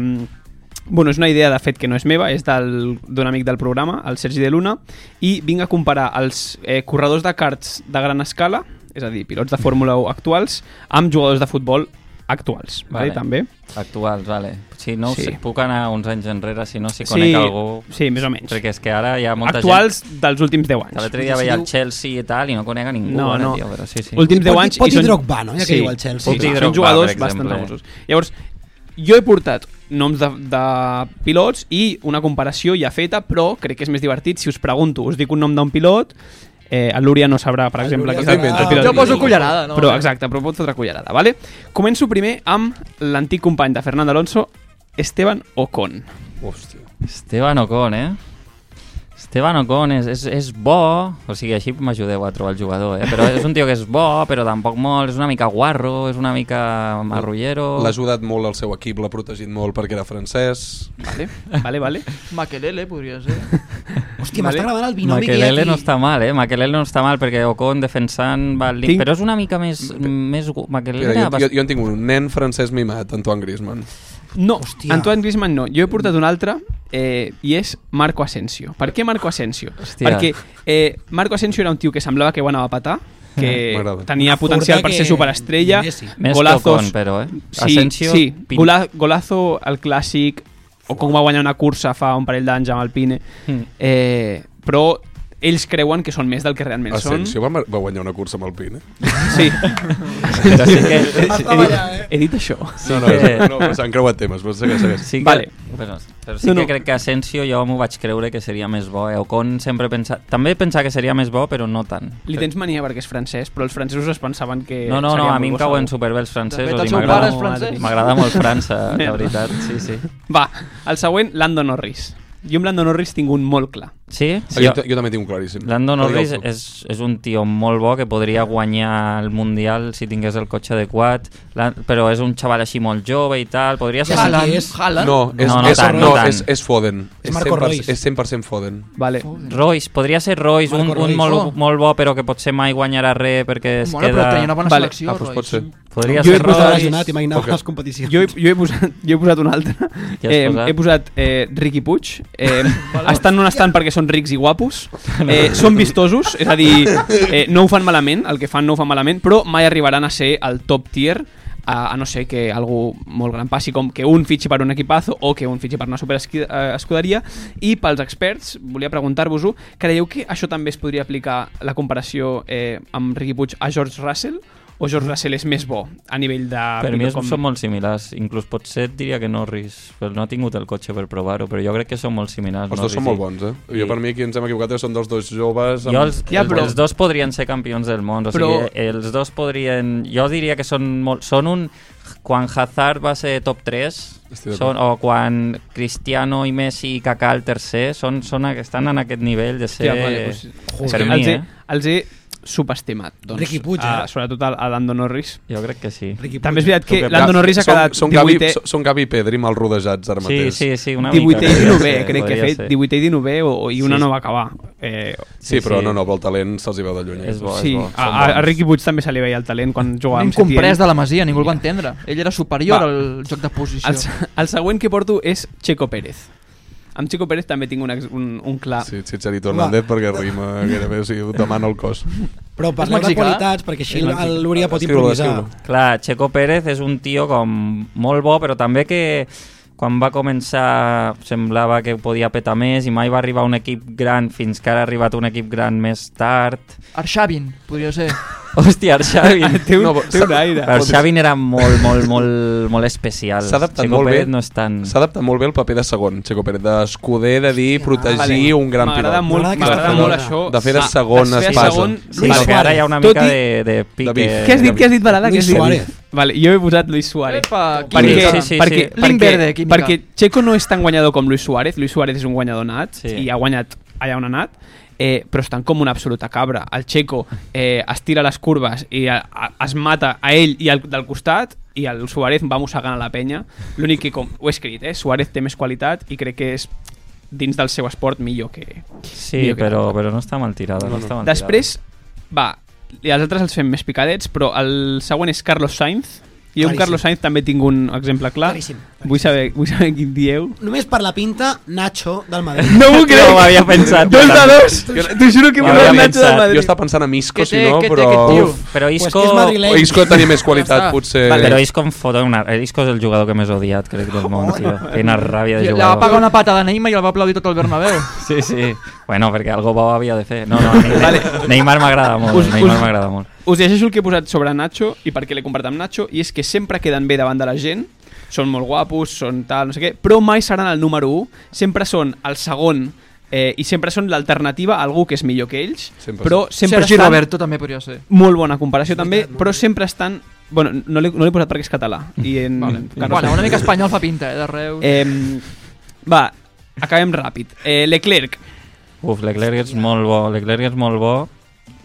[SPEAKER 9] bueno, és una idea, de fet, que no és meva, és del- d'un amic del programa, el Sergi de Luna, i vinc a comparar els eh, corredors de karts de gran escala, és a dir, pilots de Fórmula 1 actuals, amb jugadors de futbol actuals, vale. també.
[SPEAKER 7] Actuals, vale. Si no,
[SPEAKER 9] Sí.
[SPEAKER 7] sí. puc anar uns anys enrere, si no, si conec algú...
[SPEAKER 9] Sí, més o menys.
[SPEAKER 7] Perquè és que ara hi ha molta
[SPEAKER 9] Actuals
[SPEAKER 7] gent...
[SPEAKER 9] dels últims 10 anys.
[SPEAKER 7] Que l'altre dia veia el Chelsea i tal, i no conec a ningú.
[SPEAKER 9] No,
[SPEAKER 7] ara,
[SPEAKER 9] no.
[SPEAKER 7] Tio, però sí, sí.
[SPEAKER 9] Últims 10 anys... i són-
[SPEAKER 7] Sí.
[SPEAKER 9] Sí,
[SPEAKER 7] Pot dir
[SPEAKER 9] són
[SPEAKER 7] Drogba,
[SPEAKER 9] jugadors
[SPEAKER 7] per
[SPEAKER 9] bastant
[SPEAKER 7] exemple.
[SPEAKER 9] famosos. Llavors, jo he portat noms de, de pilots i una comparació ja feta, però crec que és més divertit si us pregunto, us dic un nom d'un pilot, eh, el Lúria no sabrà, per exemple,
[SPEAKER 6] Lúria
[SPEAKER 9] qui és el,
[SPEAKER 6] sabrà.
[SPEAKER 9] el pilot.
[SPEAKER 6] Jo poso cullerada, no?
[SPEAKER 9] Però, exacte, però pot fotre cullerada, vale? Començo primer amb l'antic company de Fernando Alonso, Esteban Ocon.
[SPEAKER 8] Hòstia.
[SPEAKER 7] Esteban Ocon, eh? Esteban Ocon és, és, és bo, o sigui, així m'ajudeu a trobar el jugador, eh? Però és un tio que és bo, però tampoc molt, és una mica guarro, és una mica marrullero...
[SPEAKER 8] L'ha ajudat molt el seu equip, l'ha protegit molt perquè era francès.
[SPEAKER 9] Vale, vale, vale.
[SPEAKER 6] Maquelele, podria ser.
[SPEAKER 5] Hòstia, m'està agradant el binomi que hi ha
[SPEAKER 7] Maquelele
[SPEAKER 5] aquí.
[SPEAKER 7] no està mal, eh? Maquelele no està mal, perquè Ocon defensant... Va, al límit,
[SPEAKER 8] Tinc-
[SPEAKER 7] Però és una mica més... més gu- Maquelele...
[SPEAKER 8] Mira, jo,
[SPEAKER 7] era
[SPEAKER 8] jo, jo en tinc un, un nen francès mimat, Antoine Griezmann.
[SPEAKER 9] No, Hòstia. Antoine Griezmann no. Jo he portat un altre eh, i és Marco Asensio. Per què Marco Asensio?
[SPEAKER 7] Hòstia.
[SPEAKER 9] Perquè eh, Marco Asensio era un tio que semblava que ho anava a patar, que
[SPEAKER 7] M'agrada.
[SPEAKER 9] tenia
[SPEAKER 7] Una
[SPEAKER 9] potencial
[SPEAKER 7] furga
[SPEAKER 9] per ser
[SPEAKER 7] que-
[SPEAKER 9] superestrella,
[SPEAKER 7] Messi. Més que Ocon, però, eh?
[SPEAKER 9] Sí,
[SPEAKER 7] Asensio,
[SPEAKER 9] sí.
[SPEAKER 7] pin-
[SPEAKER 9] Gola, golazo al clàssic, o com va guanyar una cursa fa un parell d'anys amb el Pine,
[SPEAKER 7] Mm.
[SPEAKER 9] eh, però ells creuen que són més del que realment són.
[SPEAKER 8] Asensio Ah, va, mar- va guanyar una cursa amb el Pin, eh?
[SPEAKER 9] Sí.
[SPEAKER 8] Però sí que-
[SPEAKER 9] He dit-
[SPEAKER 8] Estava allà, eh?
[SPEAKER 9] He dit això.
[SPEAKER 8] No, no, no, no, però s'han creuat temes, però segueix, segueix.
[SPEAKER 7] Sí que,
[SPEAKER 9] Vale.
[SPEAKER 7] però, però sí
[SPEAKER 9] No,
[SPEAKER 7] no,
[SPEAKER 9] no.
[SPEAKER 7] que crec que Asensio jo m'ho vaig creure que seria més bo. Eh? Ocon sempre pensa... També pensava que seria més bo, però no tant.
[SPEAKER 9] Li tens mania perquè és francès, però els francesos es pensaven que...
[SPEAKER 7] No, no, no,
[SPEAKER 9] Eh, seria
[SPEAKER 7] a mi em
[SPEAKER 9] molt
[SPEAKER 7] cauen
[SPEAKER 9] segur.
[SPEAKER 7] superbé els francesos
[SPEAKER 9] De fet, el
[SPEAKER 7] i
[SPEAKER 9] seu
[SPEAKER 7] m'agrada-
[SPEAKER 9] pare és francès.
[SPEAKER 7] m'agrada molt França, la
[SPEAKER 9] Merda.
[SPEAKER 7] veritat, sí, sí.
[SPEAKER 9] Va, el següent, Lando Norris. Jo amb Lando Norris tinc un molt clar.
[SPEAKER 7] Sí?
[SPEAKER 8] Ah, jo, jo també tinc un claríssim.
[SPEAKER 7] Lando
[SPEAKER 8] Digue'l
[SPEAKER 7] Norris
[SPEAKER 8] tu.
[SPEAKER 7] és, és un tio molt bo que podria guanyar el Mundial si tingués el cotxe adequat, la, però és un xaval així molt jove i tal, podria ser...
[SPEAKER 8] No, és,
[SPEAKER 7] no, no,
[SPEAKER 8] és,
[SPEAKER 7] tant,
[SPEAKER 8] no,
[SPEAKER 7] no tant.
[SPEAKER 8] és, és Foden. És
[SPEAKER 7] Marco
[SPEAKER 8] 100%,
[SPEAKER 7] Reus.
[SPEAKER 8] és 100% Foden.
[SPEAKER 9] Vale.
[SPEAKER 7] Royce, podria ser Royce, un,
[SPEAKER 9] Marco
[SPEAKER 7] un
[SPEAKER 9] Reus.
[SPEAKER 7] molt,
[SPEAKER 9] Oh.
[SPEAKER 7] molt bo però que potser mai guanyarà res perquè es
[SPEAKER 9] Bueno, però
[SPEAKER 7] queda...
[SPEAKER 9] tenia una bona Vale. selecció, Ah, doncs Royce. pot ser.
[SPEAKER 7] Podria
[SPEAKER 9] Jo he
[SPEAKER 7] ser
[SPEAKER 9] posat
[SPEAKER 7] Royce.
[SPEAKER 5] lesionat, imaginava les competicions.
[SPEAKER 9] Jo he, jo he, posat, jo he posat un altre.
[SPEAKER 7] Ja has
[SPEAKER 9] eh,
[SPEAKER 7] posat?
[SPEAKER 9] He posat eh, Ricky Puig. Eh, estan on estan perquè són rics i guapos. Eh, són vistosos, és a dir, eh, no ho fan malament, el que fan no ho fan malament, però mai arribaran a ser al top tier a, a no ser que algú molt gran passi com que un fitxi per un equipazo o que un fitxi per una superescuderia i pels experts, volia preguntar-vos-ho creieu que això també es podria aplicar la comparació eh, amb Ricky Puig a George Russell o George Russell és més bo a nivell de...
[SPEAKER 7] Per mi
[SPEAKER 9] pilot
[SPEAKER 7] és, com... són molt similars, inclús potser et diria que Norris, però no ha tingut el cotxe per provar-ho, però jo crec que són molt similars.
[SPEAKER 8] Els dos són molt bons, eh? Jo per mi aquí ens hem equivocat, eh? són dels dos joves...
[SPEAKER 7] Jo els, ja, però... els dos podrien ser campions del món, o
[SPEAKER 8] Però-
[SPEAKER 7] sigui, els dos podrien... Jo diria que són molt... Són un... Quan Hazard va ser top 3,
[SPEAKER 8] Estic
[SPEAKER 7] són, o quan Cristiano i Messi i Kaká el tercer, són, són, estan en aquest nivell de ser...
[SPEAKER 9] Hòstia, vale, doncs, és
[SPEAKER 7] per
[SPEAKER 9] que
[SPEAKER 7] mi,
[SPEAKER 9] els, he,
[SPEAKER 7] eh?
[SPEAKER 9] els he subestimat. Doncs,
[SPEAKER 5] Ricky Puig,
[SPEAKER 9] a-
[SPEAKER 5] eh?
[SPEAKER 9] sobretot a, a Lando Norris.
[SPEAKER 7] Jo crec que sí.
[SPEAKER 5] Ricky
[SPEAKER 9] També és veritat que
[SPEAKER 8] Són-
[SPEAKER 9] Lando Norris ha
[SPEAKER 8] són-
[SPEAKER 9] quedat eh?
[SPEAKER 8] Són,
[SPEAKER 9] 18è.
[SPEAKER 8] Gavi, són- són Gavi i Pedri mal rodejats ara
[SPEAKER 7] Sí,
[SPEAKER 8] mateix.
[SPEAKER 7] sí, sí, una
[SPEAKER 9] 18 i
[SPEAKER 7] podria
[SPEAKER 9] 19,
[SPEAKER 7] ser,
[SPEAKER 9] crec que ha
[SPEAKER 7] podria
[SPEAKER 9] fet.
[SPEAKER 7] ser.
[SPEAKER 9] 18 i 19 o, i una
[SPEAKER 7] Sí.
[SPEAKER 9] no va acabar. Eh,
[SPEAKER 8] Sí, però no, no, però el talent se'ls hi veu de lluny.
[SPEAKER 9] sí. a, a, a Ricky Puig també se li veia el talent quan jugava
[SPEAKER 6] Un
[SPEAKER 9] amb Setién.
[SPEAKER 6] comprès de la Masia, ningú el va entendre. Ell era superior
[SPEAKER 9] Va.
[SPEAKER 6] al joc de posició.
[SPEAKER 9] El, se- el següent que porto és Checo Pérez. Amb Checo Pérez també tinc un, ex- un, un clar...
[SPEAKER 8] Sí, Chicharito Hernández, perquè rima gairebé, o sigui, ho demano el cos.
[SPEAKER 5] Però
[SPEAKER 6] parlem de qualitats,
[SPEAKER 9] ¿eh?
[SPEAKER 5] perquè
[SPEAKER 6] així el-
[SPEAKER 5] l'Úria pot
[SPEAKER 8] Escriu-lo, improvisar. escriu-lo.
[SPEAKER 7] Clar, Checo Pérez és un tio com molt bo, però també que quan va començar semblava que podia petar més i mai va arribar un equip gran fins que ara ha arribat un equip gran més tard.
[SPEAKER 6] Arshavin, podria ser.
[SPEAKER 7] Hòstia, Arshavin.
[SPEAKER 6] Té un- té un aire.
[SPEAKER 7] Arshavin era molt, molt, molt, molt especial.
[SPEAKER 8] S'ha adaptat
[SPEAKER 7] Checo
[SPEAKER 8] molt bé.
[SPEAKER 7] Pérez no és tan...
[SPEAKER 8] S'ha adaptat molt bé el paper de segon, Checo Pérez, d'escuder, de dir, protegir
[SPEAKER 9] Vale.
[SPEAKER 8] un gran pilot.
[SPEAKER 9] M'agrada molt- M'agrada aquesta m'agrada molt persona. això.
[SPEAKER 8] De fer de
[SPEAKER 9] Ah,
[SPEAKER 8] segon
[SPEAKER 9] de fer
[SPEAKER 8] espasa.
[SPEAKER 9] segon,
[SPEAKER 7] Sí, Luis perquè ara hi ha una
[SPEAKER 9] Tot
[SPEAKER 7] mica
[SPEAKER 9] i-
[SPEAKER 7] de, de pique.
[SPEAKER 9] Què has dit, què has dit, Balada? Què has dit? Vale, jo he posat Luis Suárez.
[SPEAKER 6] Epa,
[SPEAKER 9] perquè,
[SPEAKER 6] química. Sí, sí, sí,
[SPEAKER 9] perquè,
[SPEAKER 6] sí. Link verde,
[SPEAKER 9] perquè,
[SPEAKER 6] química.
[SPEAKER 9] perquè Checo no és tan guanyador com Luis Suárez. Luis Suárez és un guanyador nat sí. i ha guanyat allà on ha anat. Eh, però estan com una absoluta cabra. El Checo eh, es tira a les curves i a, a, es mata a ell i al del costat i el Suárez va mossegant a la penya. L'únic que, com ho he escrit, eh, Suárez té més qualitat i crec que és dins del seu esport millor que...
[SPEAKER 7] Sí,
[SPEAKER 9] millor que
[SPEAKER 7] però, però no està mal tirada. No, no. Està mal
[SPEAKER 9] Després, va, i els altres els fem més picadets, però el següent és Carlos Sainz. I un
[SPEAKER 5] Claríssim.
[SPEAKER 9] Carlos Sainz també tinc un exemple clar.
[SPEAKER 5] Claríssim,
[SPEAKER 9] Vull saber, vull saber quin dieu.
[SPEAKER 5] Només per la pinta, Nacho del Madrid.
[SPEAKER 9] No m'ho crec.
[SPEAKER 7] No ho havia pensat.
[SPEAKER 9] Dos de dos.
[SPEAKER 8] Jo-
[SPEAKER 9] T'ho juro
[SPEAKER 8] Jo
[SPEAKER 9] que m'ho
[SPEAKER 8] havia
[SPEAKER 9] havia pensat.
[SPEAKER 8] pensat. Jo estava pensant en Isco,
[SPEAKER 9] Que
[SPEAKER 8] si
[SPEAKER 9] té-
[SPEAKER 8] no,
[SPEAKER 9] que té
[SPEAKER 8] però...
[SPEAKER 9] aquest tio.
[SPEAKER 8] Uf,
[SPEAKER 7] Però
[SPEAKER 9] Pues
[SPEAKER 7] Isco...
[SPEAKER 9] que és madrileny.
[SPEAKER 8] Isco tenia més
[SPEAKER 7] Ja
[SPEAKER 8] qualitat,
[SPEAKER 7] està.
[SPEAKER 8] potser...
[SPEAKER 7] Vale. Però Isco em fot una... Isco és el jugador que més odiat, crec, del món, tio. Té una ràbia de
[SPEAKER 6] Li-
[SPEAKER 7] jugador.
[SPEAKER 6] La va pagar una pata de Neymar i el va aplaudir tot el Bernabéu.
[SPEAKER 7] Sí, sí. Bueno, perquè algo bo havia de fer. No, no, Neymar, vale. Neymar m'agrada molt.
[SPEAKER 9] Us-
[SPEAKER 7] Neymar
[SPEAKER 9] us-
[SPEAKER 7] m'agrada molt.
[SPEAKER 9] Us llegeixo el que he posat sobre Nacho i per què l'he comparat amb Nacho, i és que sempre queden bé davant de la gent, són molt guapos, són tal, no sé què, però mai seran el número 1, sempre són el segon, eh, i sempre són l'alternativa a algú que és millor que ells,
[SPEAKER 6] Sempre
[SPEAKER 9] però
[SPEAKER 6] sí.
[SPEAKER 9] sempre
[SPEAKER 6] Sergi
[SPEAKER 9] estan...
[SPEAKER 6] Roberto també podria ser.
[SPEAKER 9] Molt bona comparació també, però sempre estan... Bueno, no l'he no l'he posat perquè és català. I en... Vale.
[SPEAKER 6] Bueno, una mica espanyol fa pinta, eh, de Reus.
[SPEAKER 9] Eh, va, acabem ràpid. Eh, Leclerc.
[SPEAKER 7] Uf, Leclerc és molt bo. Leclerc és molt bo.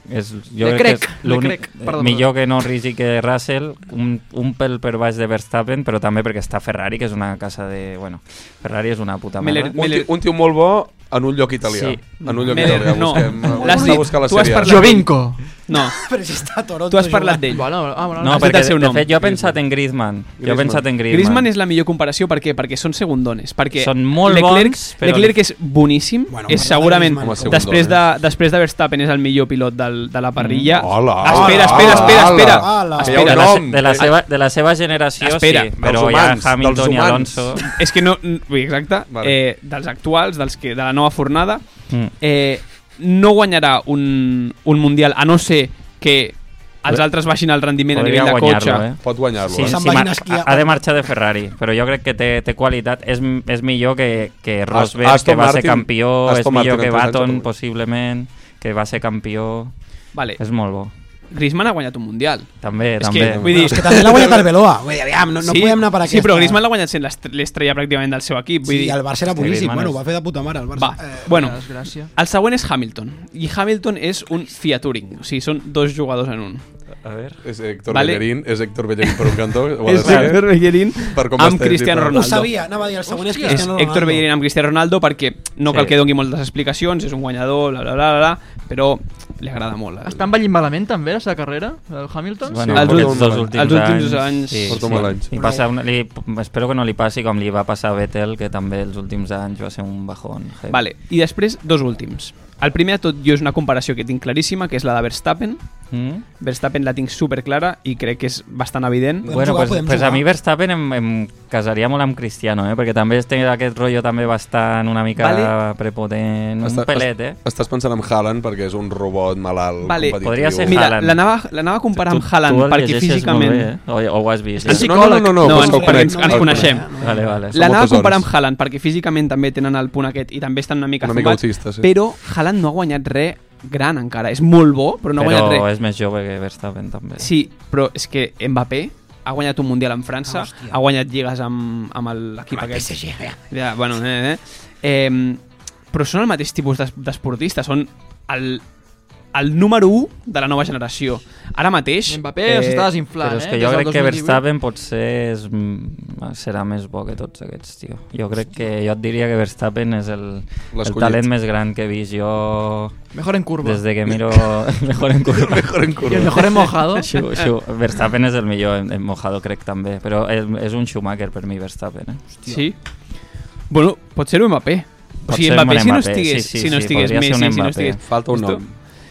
[SPEAKER 7] És, jo
[SPEAKER 9] Le
[SPEAKER 7] crec
[SPEAKER 9] crec,
[SPEAKER 7] que és
[SPEAKER 9] le
[SPEAKER 7] l'únic...
[SPEAKER 9] crec, perdó,
[SPEAKER 7] Millor que Norris i que Russell, un, un pel per baix de Verstappen, però també perquè està Ferrari, que és una casa de... Bueno, Ferrari és una puta merda.
[SPEAKER 8] Un, tio, un tio molt bo en un lloc italià.
[SPEAKER 7] Sí.
[SPEAKER 8] En un lloc
[SPEAKER 7] Meller,
[SPEAKER 8] italià.
[SPEAKER 7] no.
[SPEAKER 8] Busquem,
[SPEAKER 7] L'has
[SPEAKER 8] anem a
[SPEAKER 7] dit,
[SPEAKER 8] buscar la
[SPEAKER 7] tu has
[SPEAKER 8] sèrie.
[SPEAKER 7] parlat- Jovinko.
[SPEAKER 9] No.
[SPEAKER 5] Però si està a Toronto
[SPEAKER 9] Tu has
[SPEAKER 5] jugant.
[SPEAKER 9] parlat d'ell.
[SPEAKER 6] Bueno, ah, bueno,
[SPEAKER 7] No, perquè, de fet, jo he pensat en Griezmann. Jo he pensat en Griezmann.
[SPEAKER 9] Griezmann és la millor comparació, per què? Perquè són segundones. Perquè
[SPEAKER 7] Són molt
[SPEAKER 9] Leclerc,
[SPEAKER 7] bons, però-
[SPEAKER 9] Leclerc és boníssim, bueno, és
[SPEAKER 7] m'agrada
[SPEAKER 9] segurament,
[SPEAKER 7] Griezmann com a
[SPEAKER 9] després de,
[SPEAKER 7] segundones.
[SPEAKER 9] després de Verstappen, és el millor pilot del, de la parrilla.
[SPEAKER 7] Mm. Hola,
[SPEAKER 9] espera,
[SPEAKER 7] hola,
[SPEAKER 9] espera, espera,
[SPEAKER 7] hola. Hola.
[SPEAKER 9] espera. espera.
[SPEAKER 7] De la se- de
[SPEAKER 8] Eh,
[SPEAKER 7] la seva- de la seva generació,
[SPEAKER 9] espera,
[SPEAKER 7] sí, però
[SPEAKER 9] dels
[SPEAKER 7] ja
[SPEAKER 9] humans,
[SPEAKER 7] Hamilton
[SPEAKER 9] dels
[SPEAKER 7] i
[SPEAKER 9] humans.
[SPEAKER 7] Alonso.
[SPEAKER 9] És que no... vull dir, Exacte. Vale. Eh, dels actuals, dels que, de la nova fornada,
[SPEAKER 7] Mm.
[SPEAKER 9] eh, no guanyarà un, un Mundial, a no ser que els altres baixin el rendiment
[SPEAKER 7] Podria
[SPEAKER 9] a nivell de
[SPEAKER 7] guanyar-lo,
[SPEAKER 9] cotxe.
[SPEAKER 7] eh? Sí,
[SPEAKER 9] Se'n
[SPEAKER 7] sí,
[SPEAKER 9] vagin
[SPEAKER 7] mar-
[SPEAKER 9] a esquiar.
[SPEAKER 7] ha, ha de marxar de Ferrari, però jo crec que té, té qualitat. És, m- és millor que, que Rosberg,
[SPEAKER 8] Aston
[SPEAKER 7] que va ser
[SPEAKER 8] Martin-
[SPEAKER 7] campió,
[SPEAKER 8] Aston
[SPEAKER 7] és millor
[SPEAKER 8] Martin
[SPEAKER 7] que
[SPEAKER 8] en tres anys,
[SPEAKER 7] Baton,
[SPEAKER 8] suposo.
[SPEAKER 7] possiblement, que va ser campió.
[SPEAKER 9] Vale.
[SPEAKER 7] És molt bo.
[SPEAKER 9] Griezmann ha guanyat un Mundial.
[SPEAKER 7] També,
[SPEAKER 9] és
[SPEAKER 7] també.
[SPEAKER 9] Que, vull dir,
[SPEAKER 7] És que també l'ha guanyat el Veloa.
[SPEAKER 5] Vull dir, aviam, no- no podem anar per
[SPEAKER 9] Sí, però
[SPEAKER 5] aquesta.
[SPEAKER 9] Griezmann l'ha guanyat sent l'estre- l'estrella pràcticament del seu equip. Vull
[SPEAKER 5] Sí,
[SPEAKER 9] dir,
[SPEAKER 5] el Barça era boníssim. Bueno, ho va fer de puta mare, el Barça. Eh,
[SPEAKER 9] Va, bueno,
[SPEAKER 6] desgràcia.
[SPEAKER 9] el següent és Hamilton. I Hamilton és un Fiaturing. O sigui, són dos jugadors en un.
[SPEAKER 7] A veure.
[SPEAKER 8] És Héctor vale. Bellerín, és Héctor Bellerín per un cantó. ho ha de
[SPEAKER 9] És
[SPEAKER 8] ser. eh?
[SPEAKER 9] Héctor Bellerín
[SPEAKER 8] Per com
[SPEAKER 9] amb
[SPEAKER 8] està
[SPEAKER 9] Cristiano
[SPEAKER 8] dit,
[SPEAKER 9] Ronaldo.
[SPEAKER 5] Ho sabia, anava a dir, el següent és Cristiano
[SPEAKER 9] és
[SPEAKER 5] Ronaldo.
[SPEAKER 9] Héctor Bellerín amb Cristiano Ronaldo perquè no
[SPEAKER 6] Sí.
[SPEAKER 9] cal que doni moltes explicacions, és un guanyador, bla, bla, bla, bla, bla però li agrada molt. El,
[SPEAKER 6] Està envellint malament, també, la seva carrera, el Hamilton?
[SPEAKER 7] Bueno,
[SPEAKER 9] els
[SPEAKER 7] els,
[SPEAKER 9] últims-
[SPEAKER 7] els, dos últims
[SPEAKER 9] els últims anys-
[SPEAKER 7] anys...
[SPEAKER 9] Porto mal anys.
[SPEAKER 7] Li passa una, li, espero que no li passi com li va passar a Vettel, que també els últims anys va ser un bajón. heavy.
[SPEAKER 9] Vale, i després dos últims. El primer de tot jo és una comparació que tinc claríssima, que és la de Verstappen.
[SPEAKER 7] Mm.
[SPEAKER 9] Verstappen la tinc super clara i crec que és bastant evident.
[SPEAKER 7] Bueno, pues, pues a mi Verstappen em, em casaria molt amb Cristiano, eh? perquè també té aquest rotllo també bastant una mica
[SPEAKER 9] Vale.
[SPEAKER 7] prepotent, un pelet, eh?
[SPEAKER 8] Estàs pensant en Haaland perquè és un robot malalt,
[SPEAKER 9] Vale.
[SPEAKER 8] competitiu.
[SPEAKER 7] Podria ser
[SPEAKER 9] Mira,
[SPEAKER 7] Haaland.
[SPEAKER 9] l'anava- l'anava a comparar amb Haaland
[SPEAKER 7] el
[SPEAKER 9] perquè
[SPEAKER 7] llegeixes
[SPEAKER 9] físicament-
[SPEAKER 7] Molt bé, eh? o, o ho has vist.
[SPEAKER 9] És
[SPEAKER 7] ja.
[SPEAKER 9] psicòleg. No, no,
[SPEAKER 5] pues
[SPEAKER 9] no, No, però ens- és que ho perquè conec, ens- ens
[SPEAKER 7] ens
[SPEAKER 9] el
[SPEAKER 5] eh,
[SPEAKER 9] coneixem.
[SPEAKER 7] coneixem. Vale, vale.
[SPEAKER 9] L'anava a comparar amb Haaland perquè físicament també tenen el punt aquest i també estan una mica
[SPEAKER 8] Una mica
[SPEAKER 9] zumbats,
[SPEAKER 8] autistes, sí.
[SPEAKER 9] però Haaland no ha guanyat res gran encara. És molt bo, però no ha
[SPEAKER 7] però
[SPEAKER 9] guanyat res.
[SPEAKER 7] és més jove que Verstappen, també.
[SPEAKER 9] Sí, però és que Mbappé ha guanyat un Mundial en França,
[SPEAKER 7] Hòstia.
[SPEAKER 9] ha guanyat lligues amb, amb el- l'equip
[SPEAKER 7] Amb el
[SPEAKER 9] aquest.
[SPEAKER 7] PSG, ja.
[SPEAKER 9] Ja, bueno, eh, eh. Eh, però són el mateix tipus d'es- d'esportistes, són el, el número 1 de la nova generació. Ara mateix... eh, Mbappé
[SPEAKER 6] s'està desinflant, eh,
[SPEAKER 7] eh, però és que jo crec que Verstappen potser és, mm, serà més bo que tots aquests, tio. Jo crec que jo et diria que Verstappen és el, el
[SPEAKER 6] L'escollit.
[SPEAKER 7] talent més gran que he vist jo...
[SPEAKER 6] Mejor en curva.
[SPEAKER 7] Des de que miro... mejor en curva.
[SPEAKER 6] Mejor en curva. I el mejor en mojado.
[SPEAKER 7] Xu, xu. Verstappen és el millor en, en mojado, crec, també. Però és, és un Schumacher per mi, Verstappen. Eh?
[SPEAKER 9] Sí. Bueno, pot ser un Mbappé. O
[SPEAKER 7] Pot
[SPEAKER 9] sigui,
[SPEAKER 7] ser un
[SPEAKER 9] Mbappé, si no
[SPEAKER 7] Mbappé,
[SPEAKER 9] estigués,
[SPEAKER 7] sí, sí,
[SPEAKER 9] si no
[SPEAKER 7] sí,
[SPEAKER 9] estigués
[SPEAKER 7] podria ser
[SPEAKER 9] Messi,
[SPEAKER 7] un
[SPEAKER 9] si no
[SPEAKER 7] Mbappé.
[SPEAKER 9] estigués...
[SPEAKER 8] Falta un
[SPEAKER 9] Esto-
[SPEAKER 8] nom.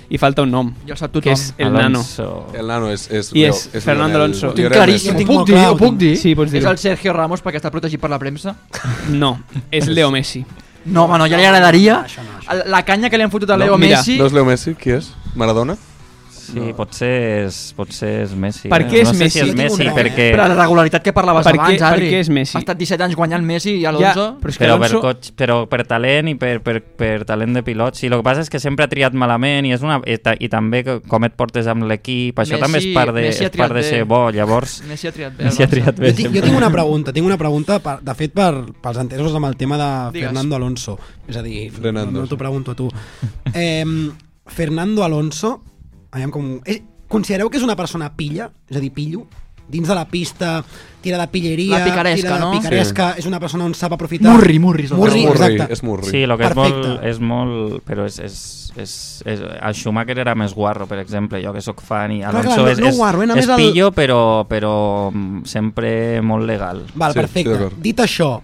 [SPEAKER 9] I falta un nom.
[SPEAKER 6] Ja el sap tothom.
[SPEAKER 9] Que és el
[SPEAKER 7] Alonso.
[SPEAKER 9] nano.
[SPEAKER 8] El nano és- és
[SPEAKER 9] I
[SPEAKER 8] Leo-
[SPEAKER 9] és,
[SPEAKER 8] és
[SPEAKER 9] Fernando
[SPEAKER 8] Lionel-
[SPEAKER 9] Alonso.
[SPEAKER 8] Ho tinc Lionel claríssim, Messi.
[SPEAKER 6] Ho puc dir, ho puc dir?
[SPEAKER 9] Sí, pots dir
[SPEAKER 6] És el Sergio Ramos perquè està protegit per la premsa?
[SPEAKER 9] No, és Leo Messi.
[SPEAKER 6] No, home, no, ja li agradaria. La canya que li han fotut a Leo
[SPEAKER 9] mira,
[SPEAKER 6] Messi...
[SPEAKER 8] No és Leo Messi, qui és? Maradona?
[SPEAKER 7] Sí, no. potser, és, potser és Messi.
[SPEAKER 9] Per
[SPEAKER 7] eh?
[SPEAKER 9] què és
[SPEAKER 7] no sé
[SPEAKER 9] Messi?
[SPEAKER 7] Si és Messi perquè...
[SPEAKER 6] Per la regularitat que parlaves
[SPEAKER 9] Per què-
[SPEAKER 6] abans, Adri.
[SPEAKER 9] per què és Messi?
[SPEAKER 6] Ha estat 17 anys guanyant Messi i Alonso...
[SPEAKER 9] Ja, però és que
[SPEAKER 7] però,
[SPEAKER 9] Alonso-
[SPEAKER 7] per coig, però per talent i per, per, per talent de pilot. Sí, el que passa és que sempre ha triat malament i, és una, i, ta, i també co- com et portes amb l'equip, això
[SPEAKER 6] Messi-
[SPEAKER 7] també és part de,
[SPEAKER 6] Messi ha
[SPEAKER 7] és part de
[SPEAKER 6] triat
[SPEAKER 7] ser
[SPEAKER 6] bé.
[SPEAKER 7] bo, llavors...
[SPEAKER 6] Messi ha triat bé,
[SPEAKER 7] Messi ha
[SPEAKER 6] Alonso.
[SPEAKER 7] triat bé
[SPEAKER 5] Jo, tinc, jo tinc una pregunta, tinc una pregunta, per, de fet, per, pels entesos amb el tema de
[SPEAKER 6] Digues.
[SPEAKER 5] Fernando Alonso. És a dir,
[SPEAKER 8] Fernando.
[SPEAKER 5] no, no t'ho pregunto a tu. Eh, Fernando Alonso, aviam com... Eh, considereu que és una persona pilla? És a dir, pillo? Dins de la pista, tira de pilleria...
[SPEAKER 6] La picaresca,
[SPEAKER 5] tira de
[SPEAKER 6] no?
[SPEAKER 5] picaresca, sí. és una persona on sap aprofitar...
[SPEAKER 6] Murri, murri, és el
[SPEAKER 5] murri,
[SPEAKER 8] És murri,
[SPEAKER 5] exacte.
[SPEAKER 8] és murri.
[SPEAKER 7] Sí, el que és
[SPEAKER 5] Perfecte.
[SPEAKER 7] molt, és molt... Però és, és, és, és, el Schumacher era més guarro, per exemple, jo que sóc fan i Alonso
[SPEAKER 5] clar, no-
[SPEAKER 7] és,
[SPEAKER 5] no
[SPEAKER 7] és,
[SPEAKER 5] guarro, eh, només
[SPEAKER 7] és
[SPEAKER 5] el-
[SPEAKER 7] pillo, però, però mm, sempre molt legal.
[SPEAKER 5] Val, sí, perfecte. Dit això,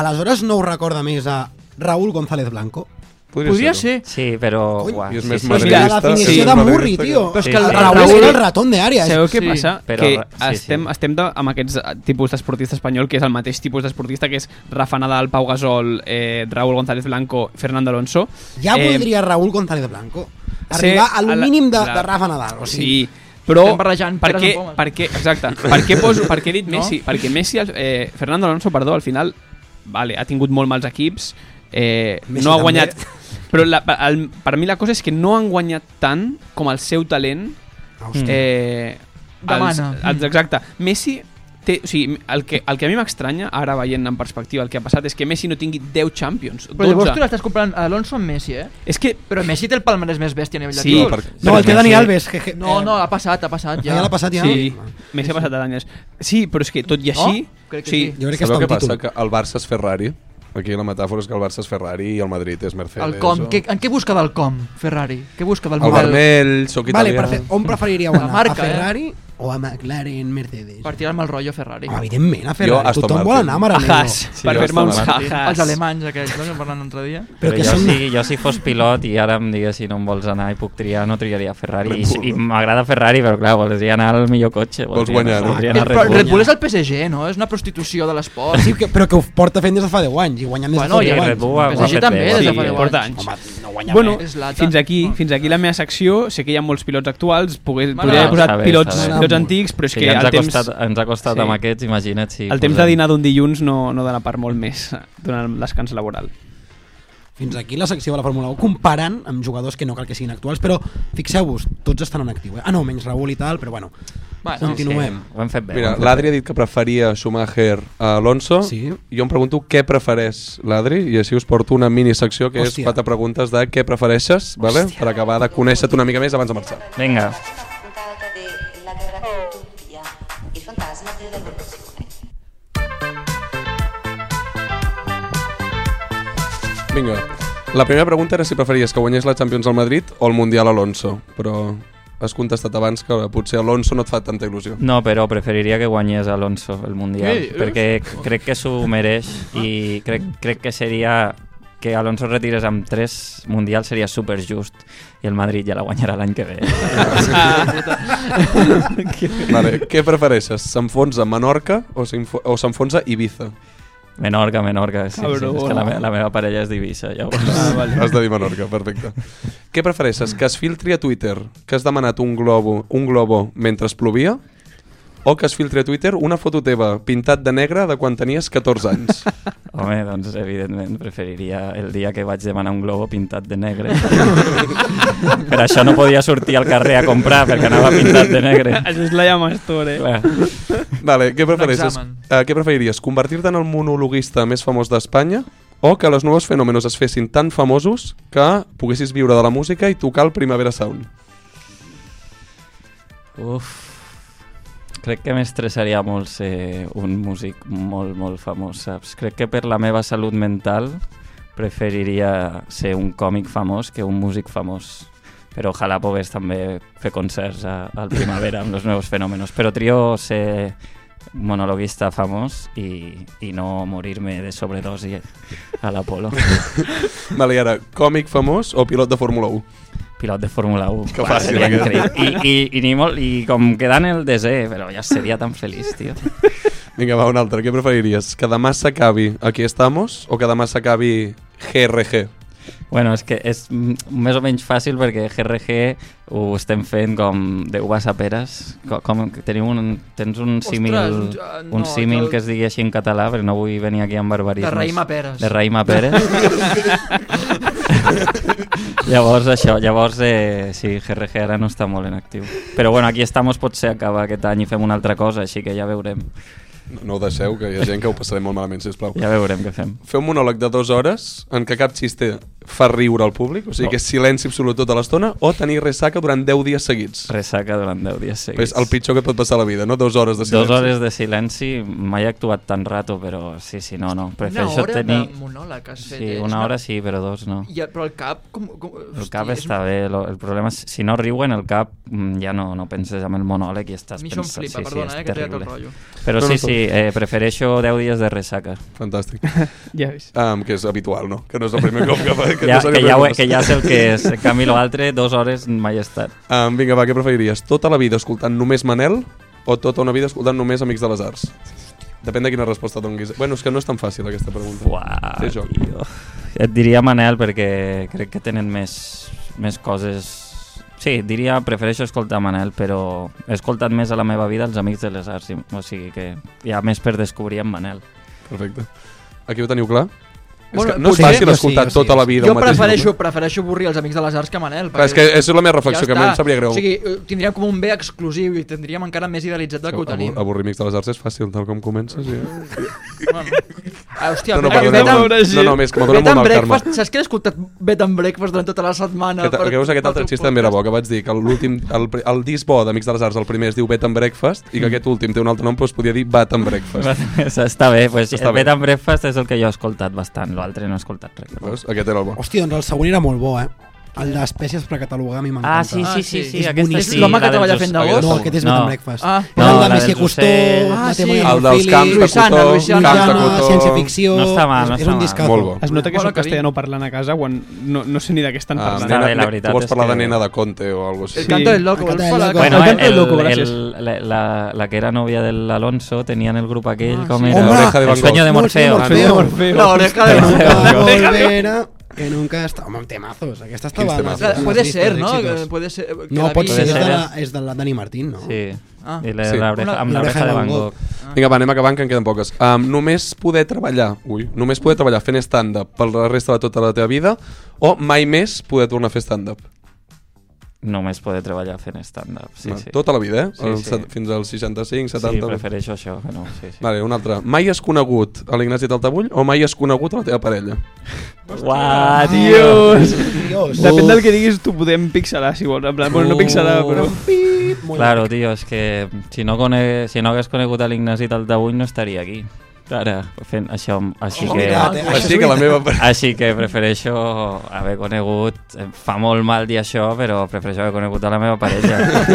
[SPEAKER 5] aleshores no us recorda més a Raúl González Blanco?
[SPEAKER 7] Podria ser. Sí, però... Uah,
[SPEAKER 8] I és
[SPEAKER 7] sí,
[SPEAKER 8] més
[SPEAKER 7] sí,
[SPEAKER 5] És que la
[SPEAKER 8] madridista.
[SPEAKER 5] definició
[SPEAKER 8] és
[SPEAKER 5] de
[SPEAKER 8] madridista
[SPEAKER 5] murri,
[SPEAKER 8] que-
[SPEAKER 5] tio.
[SPEAKER 9] Però és
[SPEAKER 7] Sí,
[SPEAKER 9] que el
[SPEAKER 7] sí.
[SPEAKER 9] Raúl,
[SPEAKER 5] Raúl era el ratón de àrea.
[SPEAKER 9] Sabeu
[SPEAKER 5] és-
[SPEAKER 9] què
[SPEAKER 5] sí.
[SPEAKER 9] passa?
[SPEAKER 7] Però
[SPEAKER 9] que
[SPEAKER 7] ra- sí,
[SPEAKER 9] estem, estem de, amb aquests eh, tipus d'esportista espanyol, que és el mateix tipus d'esportista que és Rafa Nadal, Pau Gasol, eh, Raúl González Blanco, Fernando Alonso.
[SPEAKER 5] Ja
[SPEAKER 9] eh,
[SPEAKER 5] voldria Raúl González Blanco.
[SPEAKER 9] ser
[SPEAKER 5] Arribar al
[SPEAKER 9] a la-
[SPEAKER 5] mínim de,
[SPEAKER 9] clar.
[SPEAKER 5] de Rafa Nadal. O sigui,
[SPEAKER 9] Sí, però
[SPEAKER 6] Estem barrejant
[SPEAKER 9] per
[SPEAKER 6] peres
[SPEAKER 9] què,
[SPEAKER 6] amb pomes.
[SPEAKER 9] per què, exacte, per què, poso, per què he dit
[SPEAKER 6] No?
[SPEAKER 9] Messi? Perquè Messi, eh, Fernando Alonso, perdó, al final vale, ha tingut molt mals equips, eh,
[SPEAKER 5] Messi
[SPEAKER 9] no ha
[SPEAKER 5] també.
[SPEAKER 9] guanyat... Però la, el, per mi la cosa és que no han guanyat tant com el seu talent
[SPEAKER 5] Hòstia.
[SPEAKER 9] Eh,
[SPEAKER 6] Demana.
[SPEAKER 9] Els, els, exacte. Messi té, o sigui, el que, el que a mi m'estranya, ara veient en perspectiva el que ha passat, és que Messi no tingui 10 Champions, 12.
[SPEAKER 6] Però llavors tu l'estàs comprant a Alonso amb Messi, eh?
[SPEAKER 9] És que...
[SPEAKER 6] Però Messi té el palmarès més bèstia a nivell de
[SPEAKER 9] Sí,
[SPEAKER 6] títols.
[SPEAKER 9] per-
[SPEAKER 5] No, el té Dani Alves. Que, que,
[SPEAKER 6] No,
[SPEAKER 5] eh,
[SPEAKER 6] no, ha passat, ha passat ja.
[SPEAKER 5] Ja l'ha passat ja?
[SPEAKER 9] Sí, Messi ha passat a Daniels. Sí, però és que tot i així...
[SPEAKER 6] No? Crec que
[SPEAKER 9] o sigui,
[SPEAKER 6] sí.
[SPEAKER 5] Jo crec que
[SPEAKER 8] Sabeu
[SPEAKER 5] està
[SPEAKER 8] què
[SPEAKER 5] el títol.
[SPEAKER 8] passa? Que el Barça és Ferrari. Aquí la metàfora és que el Barça és Ferrari i el Madrid és Mercedes.
[SPEAKER 6] El com,
[SPEAKER 8] o-
[SPEAKER 6] que, en què busca del com, Ferrari? Què busca del
[SPEAKER 8] El
[SPEAKER 6] model?
[SPEAKER 8] vermell, soc
[SPEAKER 5] Vale,
[SPEAKER 8] italià.
[SPEAKER 5] perfecte. On preferiríeu
[SPEAKER 6] La
[SPEAKER 5] anar?
[SPEAKER 6] marca,
[SPEAKER 5] a Ferrari o a McLaren Mercedes?
[SPEAKER 6] Per tirar-me el rotllo Ferrari.
[SPEAKER 5] Home, evidentment, a Ferrari.
[SPEAKER 8] Jo, Aston
[SPEAKER 5] Tothom vol
[SPEAKER 8] Martin.
[SPEAKER 5] anar a Maranello.
[SPEAKER 9] Ajas,
[SPEAKER 7] Sí,
[SPEAKER 9] per
[SPEAKER 7] jo
[SPEAKER 9] fer-me uns
[SPEAKER 7] estava-
[SPEAKER 6] Sí,
[SPEAKER 9] ajas.
[SPEAKER 6] Els alemanys aquests, no? Que en parlant l'altre dia.
[SPEAKER 5] Però
[SPEAKER 7] Però,
[SPEAKER 5] que
[SPEAKER 7] jo,
[SPEAKER 5] són...
[SPEAKER 7] si, jo si fos pilot i ara em diguessin no em vols anar i puc triar, no triaria Ferrari. I, i m'agrada Ferrari, però clar, voldria anar al millor cotxe.
[SPEAKER 8] Vols
[SPEAKER 7] voldria-
[SPEAKER 8] guanyar, no?
[SPEAKER 7] voldria
[SPEAKER 6] El,
[SPEAKER 7] anar a
[SPEAKER 6] però el Red
[SPEAKER 7] Red Bull.
[SPEAKER 6] Bull és el PSG, no? És una prostitució de l'esport.
[SPEAKER 5] Sí, que, però que ho porta fent des de fa 10 anys i guanyant des de
[SPEAKER 6] Bueno,
[SPEAKER 5] fa
[SPEAKER 6] i
[SPEAKER 5] 10
[SPEAKER 6] el
[SPEAKER 5] anys.
[SPEAKER 7] Red Bull ho ha- ho ha
[SPEAKER 6] PSG
[SPEAKER 7] fet
[SPEAKER 6] també,
[SPEAKER 7] bé.
[SPEAKER 6] des de
[SPEAKER 7] sí.
[SPEAKER 6] fa deu
[SPEAKER 9] porta
[SPEAKER 6] anys.
[SPEAKER 9] anys.
[SPEAKER 5] No guanya
[SPEAKER 9] Bueno,
[SPEAKER 6] És lata.
[SPEAKER 9] fins aquí, fins aquí la meva secció. Sé que hi ha molts pilots actuals, pogués,
[SPEAKER 6] M'agrada.
[SPEAKER 9] podria haver posat
[SPEAKER 7] Està bé,
[SPEAKER 9] pilots,
[SPEAKER 7] està bé.
[SPEAKER 9] pilots antics, però és
[SPEAKER 7] Sí,
[SPEAKER 9] que
[SPEAKER 7] ja ens,
[SPEAKER 9] el
[SPEAKER 7] ha
[SPEAKER 9] temps,
[SPEAKER 7] costat, eh, ens ha costat
[SPEAKER 9] Sí.
[SPEAKER 7] amb aquests, imagina't si...
[SPEAKER 9] el temps de
[SPEAKER 7] posem-
[SPEAKER 9] dinar d'un dilluns no, no dona per molt més eh, durant el descans laboral.
[SPEAKER 5] Fins aquí la secció de la Fórmula 1 comparant amb jugadors que no cal que siguin actuals, però fixeu-vos, tots estan en actiu. Eh? Ah, no, menys Raúl i tal, però bueno.
[SPEAKER 6] Va, sí,
[SPEAKER 5] Continuem.
[SPEAKER 7] Sí, ho hem fet bé. ho
[SPEAKER 8] Mira,
[SPEAKER 7] hem fet
[SPEAKER 8] l'Adri ha dit que preferia Schumacher a Alonso.
[SPEAKER 5] Sí.
[SPEAKER 8] Jo em pregunto què prefereix l'Adri i així us porto una mini secció que
[SPEAKER 5] Hòstia.
[SPEAKER 8] és quatre preguntes de què prefereixes, vale? per acabar de conèixer-te una mica més abans de marxar.
[SPEAKER 7] bé. Vinga,
[SPEAKER 13] tratta della guerra Tuttavia, il fantasma della rivoluzione.
[SPEAKER 8] Vinga. La primera pregunta era si preferies que guanyés la Champions al Madrid o el Mundial a Alonso, però has contestat abans que potser Alonso no et fa tanta il·lusió.
[SPEAKER 7] no, però preferiria que guanyés Alonso el Mundial,
[SPEAKER 6] Ei, eh?
[SPEAKER 7] perquè crec que s'ho mereix i crec, crec que seria que Alonso es retirés amb 3 mundials seria superjust i el Madrid ja la guanyarà l'any que ve. Ah,
[SPEAKER 8] Vale. què prefereixes? S'enfonsa Menorca o s'info- o s'enfonsa Ibiza?
[SPEAKER 7] Menorca, Menorca, sí, sí,
[SPEAKER 9] Cabró.
[SPEAKER 7] és que la, me la meva parella és d'Eivissa, llavors.
[SPEAKER 9] Ah, vale.
[SPEAKER 8] Has de dir Menorca, perfecte. Què prefereixes, que es filtri a Twitter que has demanat un globo, un globo mentre es plovia o que es filtri a Twitter una foto teva pintat de negre de quan tenies 14 anys?
[SPEAKER 7] Home, doncs evidentment preferiria el dia que vaig demanar un globo pintat de negre. per això no podia sortir al carrer a comprar, perquè anava pintat de negre.
[SPEAKER 9] Això és la Llamastor, eh?
[SPEAKER 7] Clar.
[SPEAKER 8] Vale, què prefereixes? Eh,
[SPEAKER 6] examen.
[SPEAKER 8] Uh, què preferiries, convertir-te en el monologuista més famós d'Espanya o que els nous fenòmenos es fessin tan famosos que poguessis viure de la música i tocar el Primavera Sound.
[SPEAKER 7] Uf. Crec que m'estressaria molt ser un músic molt, molt famós, saps? Crec que per la meva salut mental preferiria ser un còmic famós que un músic famós. Però ojalà pogués també fer concerts a, al Primavera amb els nous fenòmenos. Però trio ser monologuista famós i, i no morir-me de sobredosi a l'Apolo.
[SPEAKER 8] Vale, i ara, còmic famós o pilot de Fórmula 1?
[SPEAKER 7] Pilot de Fórmula 1.
[SPEAKER 8] Que
[SPEAKER 7] Buah,
[SPEAKER 8] fàcil.
[SPEAKER 7] seria
[SPEAKER 8] aquest.
[SPEAKER 7] increïble. I, i, i, ni molt, I com quedant el desè, però ja seria tan feliç, tio.
[SPEAKER 8] Vinga, va, un altre. Què preferiries? Que demà s'acabi Aquí estamos o que demà s'acabi GRG?
[SPEAKER 7] Bueno, és que és mm, més o menys fàcil perquè GRG ho estem fent com de uvas a peres. Com, com que teniu un, tens un
[SPEAKER 6] Ostres,
[SPEAKER 7] símil,
[SPEAKER 6] ja, no,
[SPEAKER 7] un símil
[SPEAKER 6] jo-
[SPEAKER 7] que es digui així en català, perquè no vull venir aquí amb barbarismes.
[SPEAKER 6] De raïm a peres.
[SPEAKER 7] De raïm a peres. llavors això, llavors eh, sí, GRG ara no està molt en actiu. Però bueno, aquí estamos, potser acaba aquest any i fem una altra cosa, així que ja veurem.
[SPEAKER 8] No ho deixeu, que hi ha gent que ho passarem molt malament, sisplau.
[SPEAKER 7] Ja veurem què fem.
[SPEAKER 8] Fer un monòleg de dues hores en què cap xiste fa riure al públic, o sigui
[SPEAKER 7] No.
[SPEAKER 8] que és silenci absolut tota l'estona, o tenir ressaca durant 10 dies seguits.
[SPEAKER 7] Ressaca durant 10 dies seguits.
[SPEAKER 8] És el pitjor que et pot passar a la vida, no? Dues hores de silenci.
[SPEAKER 7] Dos hores de silenci, mai he actuat tan rato, però sí, sí, no, no. Prefereixo
[SPEAKER 6] hora de
[SPEAKER 7] tenir...
[SPEAKER 6] monòleg has fet,
[SPEAKER 7] Sí,
[SPEAKER 6] eh? És
[SPEAKER 7] una
[SPEAKER 6] una-
[SPEAKER 7] hora sí, però dos no.
[SPEAKER 6] I, però el cap... Com, com,
[SPEAKER 7] El cap està bé, lo- el problema és si no riuen el cap mm, ja no, no penses en el monòleg i estàs
[SPEAKER 6] A mi això em
[SPEAKER 7] pensant...
[SPEAKER 6] flipa, perdona, eh,
[SPEAKER 7] és
[SPEAKER 6] que t'he tret el
[SPEAKER 7] terrible.
[SPEAKER 6] rotllo.
[SPEAKER 7] Però
[SPEAKER 8] No,
[SPEAKER 7] sí,
[SPEAKER 8] no,
[SPEAKER 7] sí,
[SPEAKER 8] tot.
[SPEAKER 7] eh, prefereixo 10 dies de ressaca.
[SPEAKER 8] Fantàstic.
[SPEAKER 9] ja ves.
[SPEAKER 8] Um, que és habitual, no? Que no és el primer cop que fa...
[SPEAKER 7] ja,
[SPEAKER 8] no és el
[SPEAKER 7] que,
[SPEAKER 8] primer
[SPEAKER 7] ja, ho-
[SPEAKER 8] cop
[SPEAKER 7] que ja sé el que és. En canvi, l'altre, dues hores mai he estat.
[SPEAKER 8] Um, vinga, va, què preferiries? Tota la vida escoltant només Manel o tota una vida escoltant només Amics de les Arts? Depèn de quina resposta donguis. Bueno, és que no és tan fàcil aquesta pregunta.
[SPEAKER 7] Uah,
[SPEAKER 8] Té joc.
[SPEAKER 7] tio. Et diria Manel perquè crec que tenen més, més coses... Sí, diria, prefereixo escoltar Manel, però he escoltat més a la meva vida els Amics de les Arts, i- o sigui que hi ha més per descobrir en Manel.
[SPEAKER 8] Perfecte. Aquí ho teniu clar?
[SPEAKER 6] Bueno,
[SPEAKER 8] és que no és
[SPEAKER 6] potser-
[SPEAKER 8] fàcil escoltar tota la vida
[SPEAKER 6] Jo
[SPEAKER 8] el mateix
[SPEAKER 6] prefereixo, prefereixo avorrir els amics de les arts que Manel.
[SPEAKER 8] Clar, és que és la meva reflexió, que a mi em
[SPEAKER 6] està.
[SPEAKER 8] sabria greu.
[SPEAKER 6] O sigui, eh, tindríem com un bé exclusiu i tindríem encara més idealitzat del que ho
[SPEAKER 8] Abor-
[SPEAKER 6] tenim.
[SPEAKER 8] Avorrir Amics de les Arts és fàcil, tal com comences. Ja.
[SPEAKER 6] Ah, hòstia,
[SPEAKER 8] No, no,
[SPEAKER 6] Bed-
[SPEAKER 8] perdona,
[SPEAKER 6] Bed and-
[SPEAKER 8] no, no, no, més, que m'adona
[SPEAKER 6] Bed
[SPEAKER 8] molt
[SPEAKER 6] and
[SPEAKER 8] mal
[SPEAKER 6] Breakfast, Saps que he escoltat Bed and Breakfast durant tota la setmana?
[SPEAKER 8] Que, ta- que veus aquest altre xiste també era bo, que vaig dir que l'últim, el, pri- el disc bo d'Amics de les Arts, el primer es diu Bet and Breakfast,
[SPEAKER 7] Mm.
[SPEAKER 8] i que aquest últim té un altre nom, però es podia dir Bat and Breakfast.
[SPEAKER 7] Està bé, pues,
[SPEAKER 8] Està
[SPEAKER 7] Està
[SPEAKER 8] bé.
[SPEAKER 7] Bed and Breakfast és el que jo he escoltat bastant, l'altre no he escoltat res.
[SPEAKER 8] Veus? Aquest era el bo.
[SPEAKER 5] Hòstia, doncs el següent era molt bo, eh? El d'espècies per catalogar a mi m'encanta.
[SPEAKER 7] Ah, sí, sí, sí, sí,
[SPEAKER 5] És
[SPEAKER 7] aquesta
[SPEAKER 5] boníssim.
[SPEAKER 7] sí, És l'home que la del treballa Josep- fent de gos?
[SPEAKER 5] No, aquest és
[SPEAKER 7] No.
[SPEAKER 5] no. Bed and Breakfast.
[SPEAKER 7] Ah.
[SPEAKER 5] Però el
[SPEAKER 7] No, la
[SPEAKER 5] de
[SPEAKER 7] del
[SPEAKER 5] Messi Costó,
[SPEAKER 7] Josep. Ah, sí.
[SPEAKER 8] El dels camps de Cotó, camps de Cotó.
[SPEAKER 5] ciència-ficció...
[SPEAKER 7] No està mal, no
[SPEAKER 5] és
[SPEAKER 7] està
[SPEAKER 5] un
[SPEAKER 7] mal.
[SPEAKER 5] discazo.
[SPEAKER 8] Molt bo.
[SPEAKER 9] Es nota que
[SPEAKER 5] Bueno,
[SPEAKER 9] sóc castellano parlant a casa quan no, no sé ni de què estan
[SPEAKER 8] Ah,
[SPEAKER 9] parlant.
[SPEAKER 8] nena, tu vols parlar de nena de Conte o alguna cosa així.
[SPEAKER 9] El canto del loco, El canto del vols parlar de-
[SPEAKER 7] Bueno,
[SPEAKER 9] El canto del
[SPEAKER 7] el,
[SPEAKER 9] loco,
[SPEAKER 7] el-
[SPEAKER 9] gràcies.
[SPEAKER 7] la, la, la que era novia de l'Alonso tenien el grup aquell, com
[SPEAKER 5] sí.
[SPEAKER 7] era?
[SPEAKER 5] Home, Oreja de
[SPEAKER 7] el
[SPEAKER 5] Van
[SPEAKER 7] sueño
[SPEAKER 5] Gogh.
[SPEAKER 7] de Morfeo.
[SPEAKER 5] El
[SPEAKER 7] Ah,
[SPEAKER 5] sueño de Morfeo. La oreja de Van Gogh.
[SPEAKER 7] Van Gogh.
[SPEAKER 5] Deja de- Volver a- Que nunca està... Home, temazos. Aquesta estava...
[SPEAKER 7] Quins
[SPEAKER 5] en les
[SPEAKER 7] temazos?
[SPEAKER 5] listes
[SPEAKER 6] Puede
[SPEAKER 5] d'èxits.
[SPEAKER 6] ser, no? Que puede ser- que
[SPEAKER 5] No,
[SPEAKER 6] la
[SPEAKER 5] pot
[SPEAKER 6] vi.
[SPEAKER 5] ser. És
[SPEAKER 7] Puede
[SPEAKER 5] de
[SPEAKER 7] ser.
[SPEAKER 5] la, és de la Dani Martín, no?
[SPEAKER 7] Sí.
[SPEAKER 6] Ah.
[SPEAKER 7] I la, la oreja, amb la oreja de Van Gogh.
[SPEAKER 8] Vinga, va, anem acabant, que en queden poques. Um, només poder treballar, ui, només poder treballar fent stand-up per la resta de tota la teva vida o mai més poder tornar a fer stand-up?
[SPEAKER 7] Només poder treballar fent stand-up. Sí,
[SPEAKER 8] Va,
[SPEAKER 7] sí.
[SPEAKER 8] Tota la vida, eh?
[SPEAKER 7] Sí,
[SPEAKER 8] El
[SPEAKER 7] sí.
[SPEAKER 8] set- Fins als 65, 70...
[SPEAKER 7] Sí, prefereixo això. Que no, sí, sí.
[SPEAKER 8] Vale, un altre. Mai has conegut a l'Ignasi Taltabull o mai has conegut a la teva parella?
[SPEAKER 5] Eh,
[SPEAKER 7] Uah,
[SPEAKER 9] Dios.
[SPEAKER 5] Dios.
[SPEAKER 9] Depèn del
[SPEAKER 5] Uf.
[SPEAKER 9] que diguis, t'ho podem pixelar, si vols. En plan, bueno, no pixelar, però...
[SPEAKER 5] Molt
[SPEAKER 7] Claro, tio, és que si no, cone... si no hagués conegut a l'Ignasi Taltabull no estaria aquí. Ara, fent això, així
[SPEAKER 5] Oh,
[SPEAKER 7] que...
[SPEAKER 5] mira, eh, això Així és que la veritat. meva-
[SPEAKER 7] Així que prefereixo haver conegut... em Fa molt mal dir això, però prefereixo haver conegut a la meva parella.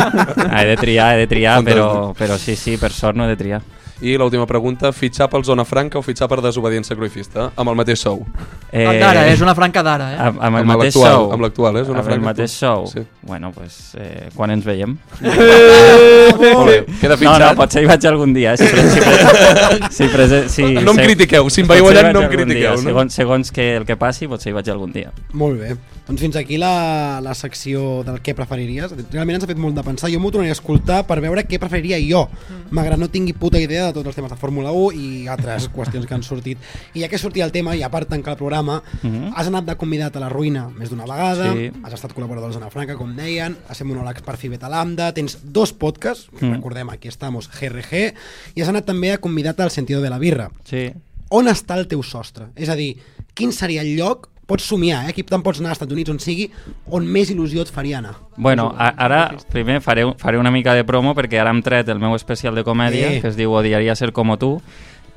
[SPEAKER 7] Ah, he de triar, he de triar, però, però sí, sí, per sort no he de triar.
[SPEAKER 8] I l'última pregunta, fitxar pel Zona Franca o fitxar per desobediència cruifista amb el mateix sou?
[SPEAKER 7] Eh, ah,
[SPEAKER 6] El d'ara, eh, és una franca d'ara, eh?
[SPEAKER 7] Amb, amb el
[SPEAKER 8] Amb
[SPEAKER 7] mateix
[SPEAKER 8] l'actual,
[SPEAKER 7] sou.
[SPEAKER 8] amb l'actual, eh, és una
[SPEAKER 7] amb el
[SPEAKER 8] franca
[SPEAKER 7] mateix
[SPEAKER 8] actual.
[SPEAKER 7] sou.
[SPEAKER 8] Sí.
[SPEAKER 7] Sí. Bueno, pues, eh, quan ens veiem?
[SPEAKER 8] Eh! Molt bé, queda
[SPEAKER 7] No,
[SPEAKER 8] fitxat.
[SPEAKER 7] no, potser hi vaig algun dia. eh, Si, pre- si, pre- si, prese- si,
[SPEAKER 8] No em
[SPEAKER 7] se-
[SPEAKER 8] critiqueu, si em veieu
[SPEAKER 7] potser hi
[SPEAKER 8] allà, no
[SPEAKER 7] vaig
[SPEAKER 8] em
[SPEAKER 7] algun
[SPEAKER 8] critiqueu, no?
[SPEAKER 7] Dia, Segons, segons que el que passi, potser hi vaig algun dia.
[SPEAKER 5] Molt bé. Doncs fins aquí la, la secció del què preferiries. Realment ens ha fet molt de pensar. Jo m'ho tornaré a escoltar per veure què preferiria jo, malgrat no tingui puta idea de tots els temes de Fórmula 1 i altres qüestions que han sortit. I ja que sortia el tema, i a part tancar el programa,
[SPEAKER 7] Mhm.
[SPEAKER 5] has anat de convidat a la ruïna més d'una vegada,
[SPEAKER 7] Sí.
[SPEAKER 5] has estat col·laborador de Zona Franca, com deien, has fet monòlegs per Fi Beta Lambda, tens dos podcasts,
[SPEAKER 7] Mhm.
[SPEAKER 5] recordem, aquí estamos, GRG, i has anat també a convidat al Sentido de la Birra.
[SPEAKER 7] Sí.
[SPEAKER 5] on està el teu sostre? És a dir, quin seria el lloc pots somiar, eh? aquí tant pots anar als Estats Units on sigui, on més il·lusió et faria anar.
[SPEAKER 7] Bueno, a- ara primer faré, un- faré una mica de promo perquè ara hem tret el meu especial de comèdia
[SPEAKER 5] Eh.
[SPEAKER 7] que es diu Odiaria ser com tu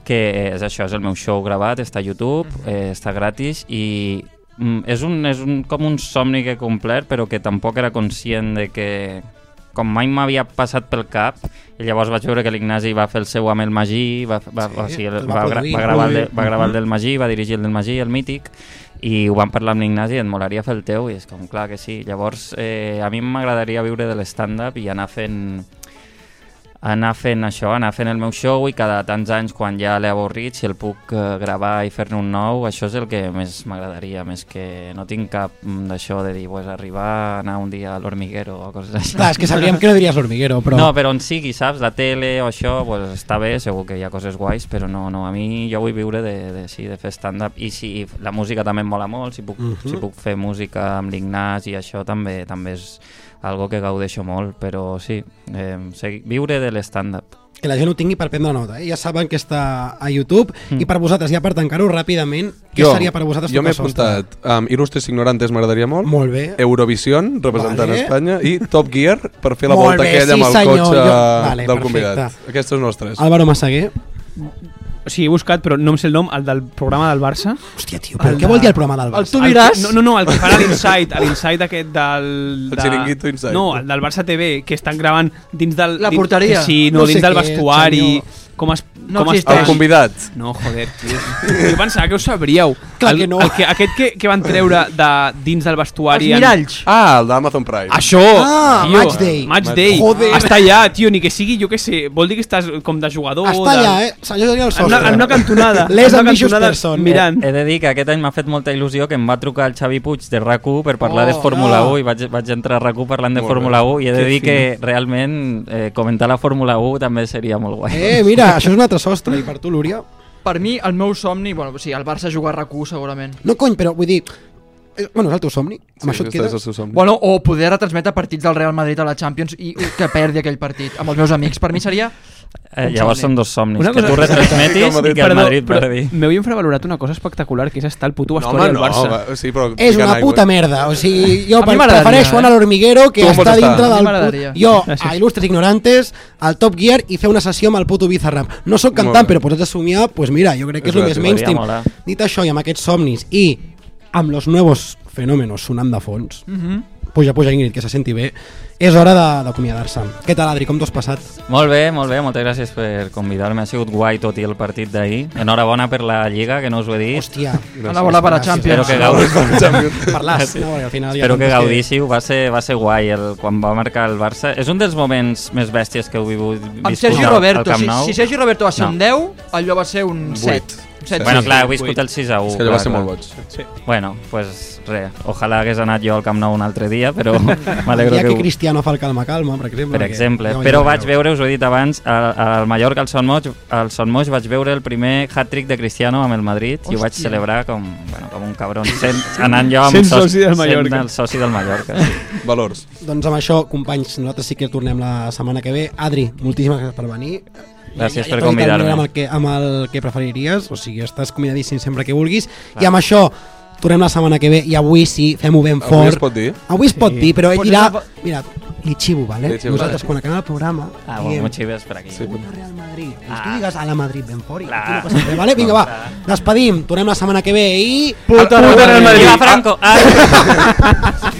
[SPEAKER 7] que és això, és el meu show gravat, està a YouTube, eh, està gratis i mm, és, un, és un, com un somni que he complert però que tampoc era conscient de que com mai m'havia passat pel cap i llavors vaig veure que l'Ignasi va fer el seu amb el Magí va, va, va, o
[SPEAKER 14] Sí,
[SPEAKER 7] sigui,
[SPEAKER 14] el
[SPEAKER 7] el-
[SPEAKER 14] va
[SPEAKER 7] va, gra-
[SPEAKER 14] produir,
[SPEAKER 7] va, gravar el de,
[SPEAKER 14] produir.
[SPEAKER 7] va gravar el
[SPEAKER 14] Mhm.
[SPEAKER 7] del Magí, va dirigir el del Magí, el mític, i ho vam parlar amb l'Ignasi, et molaria fer el teu, i és com, clar que sí. Llavors, eh, a mi m'agradaria viure de l'stand-up i anar fent anar fent això, anar fent el meu show i cada tants anys quan ja l'he avorrit si el puc eh, gravar i fer-ne un nou això és el que més m'agradaria més que no tinc cap mm, d'això de dir pues, arribar, anar un dia a l'hormiguero o coses així
[SPEAKER 5] Clar, és que sabríem que no diries l'hormiguero, però...
[SPEAKER 7] No, però on sigui, saps? La tele o això, pues, està bé, segur que hi ha coses guais, però no, no, a mi jo vull viure de, de, sí, de fer stand-up. I si la música també em mola molt, si puc,
[SPEAKER 5] Mhm.
[SPEAKER 7] si puc fer música amb l'Ignàs i això també també és algo que gaudeixo molt, però sí, eh, segui, viure de l'stand-up.
[SPEAKER 5] que la gent ho tingui per prendre nota. Eh? Ja saben que està a YouTube. Mm. I per vosaltres, ja per tancar-ho ràpidament, què seria per vosaltres
[SPEAKER 8] Jo m'he Eh,
[SPEAKER 5] tocar sostre?
[SPEAKER 8] apuntat um, Il·lustres Ignorantes m'agradaria molt.
[SPEAKER 5] Molt bé.
[SPEAKER 8] Eurovision, representant
[SPEAKER 5] Vale.
[SPEAKER 8] vale. Espanya. I Top Gear, per fer la
[SPEAKER 5] Molt
[SPEAKER 8] volta
[SPEAKER 5] bé,
[SPEAKER 8] aquella
[SPEAKER 5] sí,
[SPEAKER 8] amb el
[SPEAKER 5] senyor,
[SPEAKER 8] cotxe
[SPEAKER 5] jo- Vale,
[SPEAKER 8] del
[SPEAKER 5] perfecte.
[SPEAKER 8] convidat. Aquestes nostres.
[SPEAKER 5] Álvaro Massaguer.
[SPEAKER 9] O sigui, he buscat, però no em sé el nom, el del programa del Barça.
[SPEAKER 5] Hòstia, tio, però què vol dir el programa del Barça?
[SPEAKER 9] El, tu diràs... El, no, no, no, el que farà l'Insight, l'Insight aquest del...
[SPEAKER 8] El Chiringuito Inside.
[SPEAKER 9] No, el del Barça TV, que estan gravant dins del...
[SPEAKER 6] La
[SPEAKER 9] dins-
[SPEAKER 6] porteria.
[SPEAKER 9] Sí, no,
[SPEAKER 6] No
[SPEAKER 9] no
[SPEAKER 6] sé
[SPEAKER 9] dins del
[SPEAKER 6] què és,
[SPEAKER 9] vestuari...
[SPEAKER 6] senyor.
[SPEAKER 9] Com es,
[SPEAKER 6] No
[SPEAKER 9] com
[SPEAKER 6] existeix.
[SPEAKER 9] està.
[SPEAKER 6] El convidat.
[SPEAKER 9] No, joder, tio. Jo pensava que ho sabríeu. Clar el, que no. El que, aquest que, que van treure de dins del vestuari...
[SPEAKER 6] Els
[SPEAKER 9] en-
[SPEAKER 6] miralls.
[SPEAKER 8] Ah, el d'Amazon Prime.
[SPEAKER 9] Això,
[SPEAKER 6] Ah,
[SPEAKER 9] tio,
[SPEAKER 6] Match Day.
[SPEAKER 9] Match Day.
[SPEAKER 6] Joder.
[SPEAKER 9] Està allà, tio, ni que sigui, jo què sé, vol dir que estàs com de jugador...
[SPEAKER 5] Està
[SPEAKER 9] de...
[SPEAKER 5] allà, eh? Senyor Daniel
[SPEAKER 9] En
[SPEAKER 5] Sostre.
[SPEAKER 9] una- en una cantonada.
[SPEAKER 5] Les
[SPEAKER 9] En una
[SPEAKER 5] ambitious
[SPEAKER 9] cantonada
[SPEAKER 5] person.
[SPEAKER 9] mirant.
[SPEAKER 7] He, he de dir que aquest any m'ha fet molta il·lusió que em va trucar el Xavi Puig de rac per parlar
[SPEAKER 14] Oh,
[SPEAKER 7] de Fórmula
[SPEAKER 14] no.
[SPEAKER 7] 1 i vaig, vaig entrar a rac parlant de
[SPEAKER 14] Molt
[SPEAKER 7] Fórmula
[SPEAKER 14] bé.
[SPEAKER 7] 1 i he de
[SPEAKER 14] Que
[SPEAKER 7] dir
[SPEAKER 14] fino.
[SPEAKER 7] que realment eh, comentar la Fórmula 1 també seria molt guai.
[SPEAKER 5] Eh, mira, això és un altre sostre. I per tu, Lúria?
[SPEAKER 6] Per mi, el meu somni, bueno, sí, el Barça jugar a RAC1 segurament.
[SPEAKER 5] No, cony, però vull dir... eh, Bueno, és el teu somni. Amb això et quedes?
[SPEAKER 6] Bueno, o poder retransmetre partits del Real Madrid a la Champions i que perdi aquell partit amb els meus amics. Per mi seria...
[SPEAKER 7] Eh,
[SPEAKER 6] un
[SPEAKER 7] llavors
[SPEAKER 6] somni.
[SPEAKER 7] són dos somnis, que tu retransmetis i que el
[SPEAKER 9] Perdó,
[SPEAKER 7] Madrid
[SPEAKER 9] però
[SPEAKER 7] perdi.
[SPEAKER 9] M'heu infravalorat una cosa espectacular, que és estar al puto
[SPEAKER 8] No,
[SPEAKER 9] vestuari
[SPEAKER 8] home,
[SPEAKER 9] del
[SPEAKER 8] no,
[SPEAKER 9] Barça.
[SPEAKER 8] va, sí, però
[SPEAKER 5] És una puta merda. O sigui, jo
[SPEAKER 9] A mi
[SPEAKER 5] pre-
[SPEAKER 9] m'agradaria,
[SPEAKER 5] prefereixo anar a
[SPEAKER 9] eh?
[SPEAKER 5] l'hormiguero que
[SPEAKER 9] Tu on
[SPEAKER 5] està
[SPEAKER 9] vols estar?
[SPEAKER 5] dintre
[SPEAKER 9] A mi
[SPEAKER 5] del...
[SPEAKER 9] m'agradaria.
[SPEAKER 5] put- Jo,
[SPEAKER 9] Gràcies.
[SPEAKER 5] a il·lustres ignorantes, al Top Gear i fer una sessió amb el puto Bizarrap. No sóc
[SPEAKER 14] Molt
[SPEAKER 5] cantant,
[SPEAKER 14] bé.
[SPEAKER 5] però posats a somiar, doncs pues mira, jo crec que
[SPEAKER 14] És
[SPEAKER 5] és, el
[SPEAKER 14] veritat,
[SPEAKER 5] més
[SPEAKER 14] podria
[SPEAKER 5] mainstream.
[SPEAKER 14] molar.
[SPEAKER 5] Dit això, i amb aquests somnis i amb los nuevos fenómenos sonant de fons,
[SPEAKER 6] Mhm.
[SPEAKER 5] puja, puja Ingrid, que se senti bé, és hora de- d'acomiadar-se. Què tal, Adri, com t'ho has passat?
[SPEAKER 7] Molt bé, molt bé, moltes gràcies per convidar-me. Ha sigut guai tot i el partit d'ahir. Enhorabona per la Lliga, que no us ho he dit.
[SPEAKER 5] Hòstia,
[SPEAKER 6] Enhorabona per la Champions.
[SPEAKER 7] Espero que, gaudi...
[SPEAKER 5] Champions. Per l'As, no, perquè al final hi ha
[SPEAKER 7] Espero que
[SPEAKER 5] tantes que-
[SPEAKER 7] gaudíssiu. Va ser, va ser guai el, quan va marcar el Barça. És un dels moments més bèsties que heu vigut
[SPEAKER 6] Amb
[SPEAKER 7] viscut
[SPEAKER 6] Sergi
[SPEAKER 7] al-
[SPEAKER 6] Roberto,
[SPEAKER 7] al Camp
[SPEAKER 6] si,
[SPEAKER 7] Nou.
[SPEAKER 6] si Sergi Roberto va ser
[SPEAKER 7] No.
[SPEAKER 6] un 10, allò va ser un 7.
[SPEAKER 7] Bueno, clar, heu viscut el 6 a 1.
[SPEAKER 8] És que allò va ser molt boig.
[SPEAKER 7] Sí. Bueno, pues res, ojalà hagués anat jo al Camp Nou un altre dia, però
[SPEAKER 5] Hi
[SPEAKER 7] m'alegro
[SPEAKER 5] ha
[SPEAKER 7] que...
[SPEAKER 5] que
[SPEAKER 7] ho-
[SPEAKER 5] Cristiano fa el calma-calma, per exemple.
[SPEAKER 7] Per
[SPEAKER 5] que
[SPEAKER 7] exemple,
[SPEAKER 5] ja ho
[SPEAKER 7] però
[SPEAKER 5] veureu.
[SPEAKER 7] vaig veure, us ho he dit abans, al, al Mallorca, al Son Moix, al Son Moix vaig veure el primer hat-trick de Cristiano amb el Madrid i ho vaig
[SPEAKER 14] Hòstia.
[SPEAKER 7] celebrar com, bueno, com un cabron, sent, anant jo amb
[SPEAKER 9] Sent soci del
[SPEAKER 7] Sent
[SPEAKER 9] Mallorca.
[SPEAKER 7] el soci del Mallorca. Sí.
[SPEAKER 8] Valors.
[SPEAKER 5] Doncs amb això, companys, nosaltres sí que tornem la setmana que ve. Adri, moltíssimes gràcies per venir.
[SPEAKER 7] Gràcies per
[SPEAKER 5] t'ho he dit al
[SPEAKER 7] convidar-me.
[SPEAKER 5] Amb, el que, amb el que preferiries, o sigui, estàs convidadíssim sempre que vulguis. I amb això, tornem la setmana que ve i avui sí, fem-ho ben
[SPEAKER 8] Avui
[SPEAKER 5] fort.
[SPEAKER 8] es pot dir?
[SPEAKER 5] Avui es pot
[SPEAKER 8] Sí.
[SPEAKER 5] dir, però ell
[SPEAKER 8] Pots
[SPEAKER 5] dirà...
[SPEAKER 8] anar-
[SPEAKER 5] Mira, li xivo, vale?
[SPEAKER 8] Li xivo,
[SPEAKER 5] Nosaltres,
[SPEAKER 8] vale.
[SPEAKER 5] quan acaba el programa,
[SPEAKER 7] Ah, bueno, m'ho xives per aquí. Sí.
[SPEAKER 5] Real Madrid. Ah. Tu digues a la Madrid ben fort. i aquí
[SPEAKER 7] Clar.
[SPEAKER 5] No passa res, vale? Vinga, va, despedim, tornem la setmana que ve i...
[SPEAKER 7] Puta Real Madrid. Viva Franco. Ah.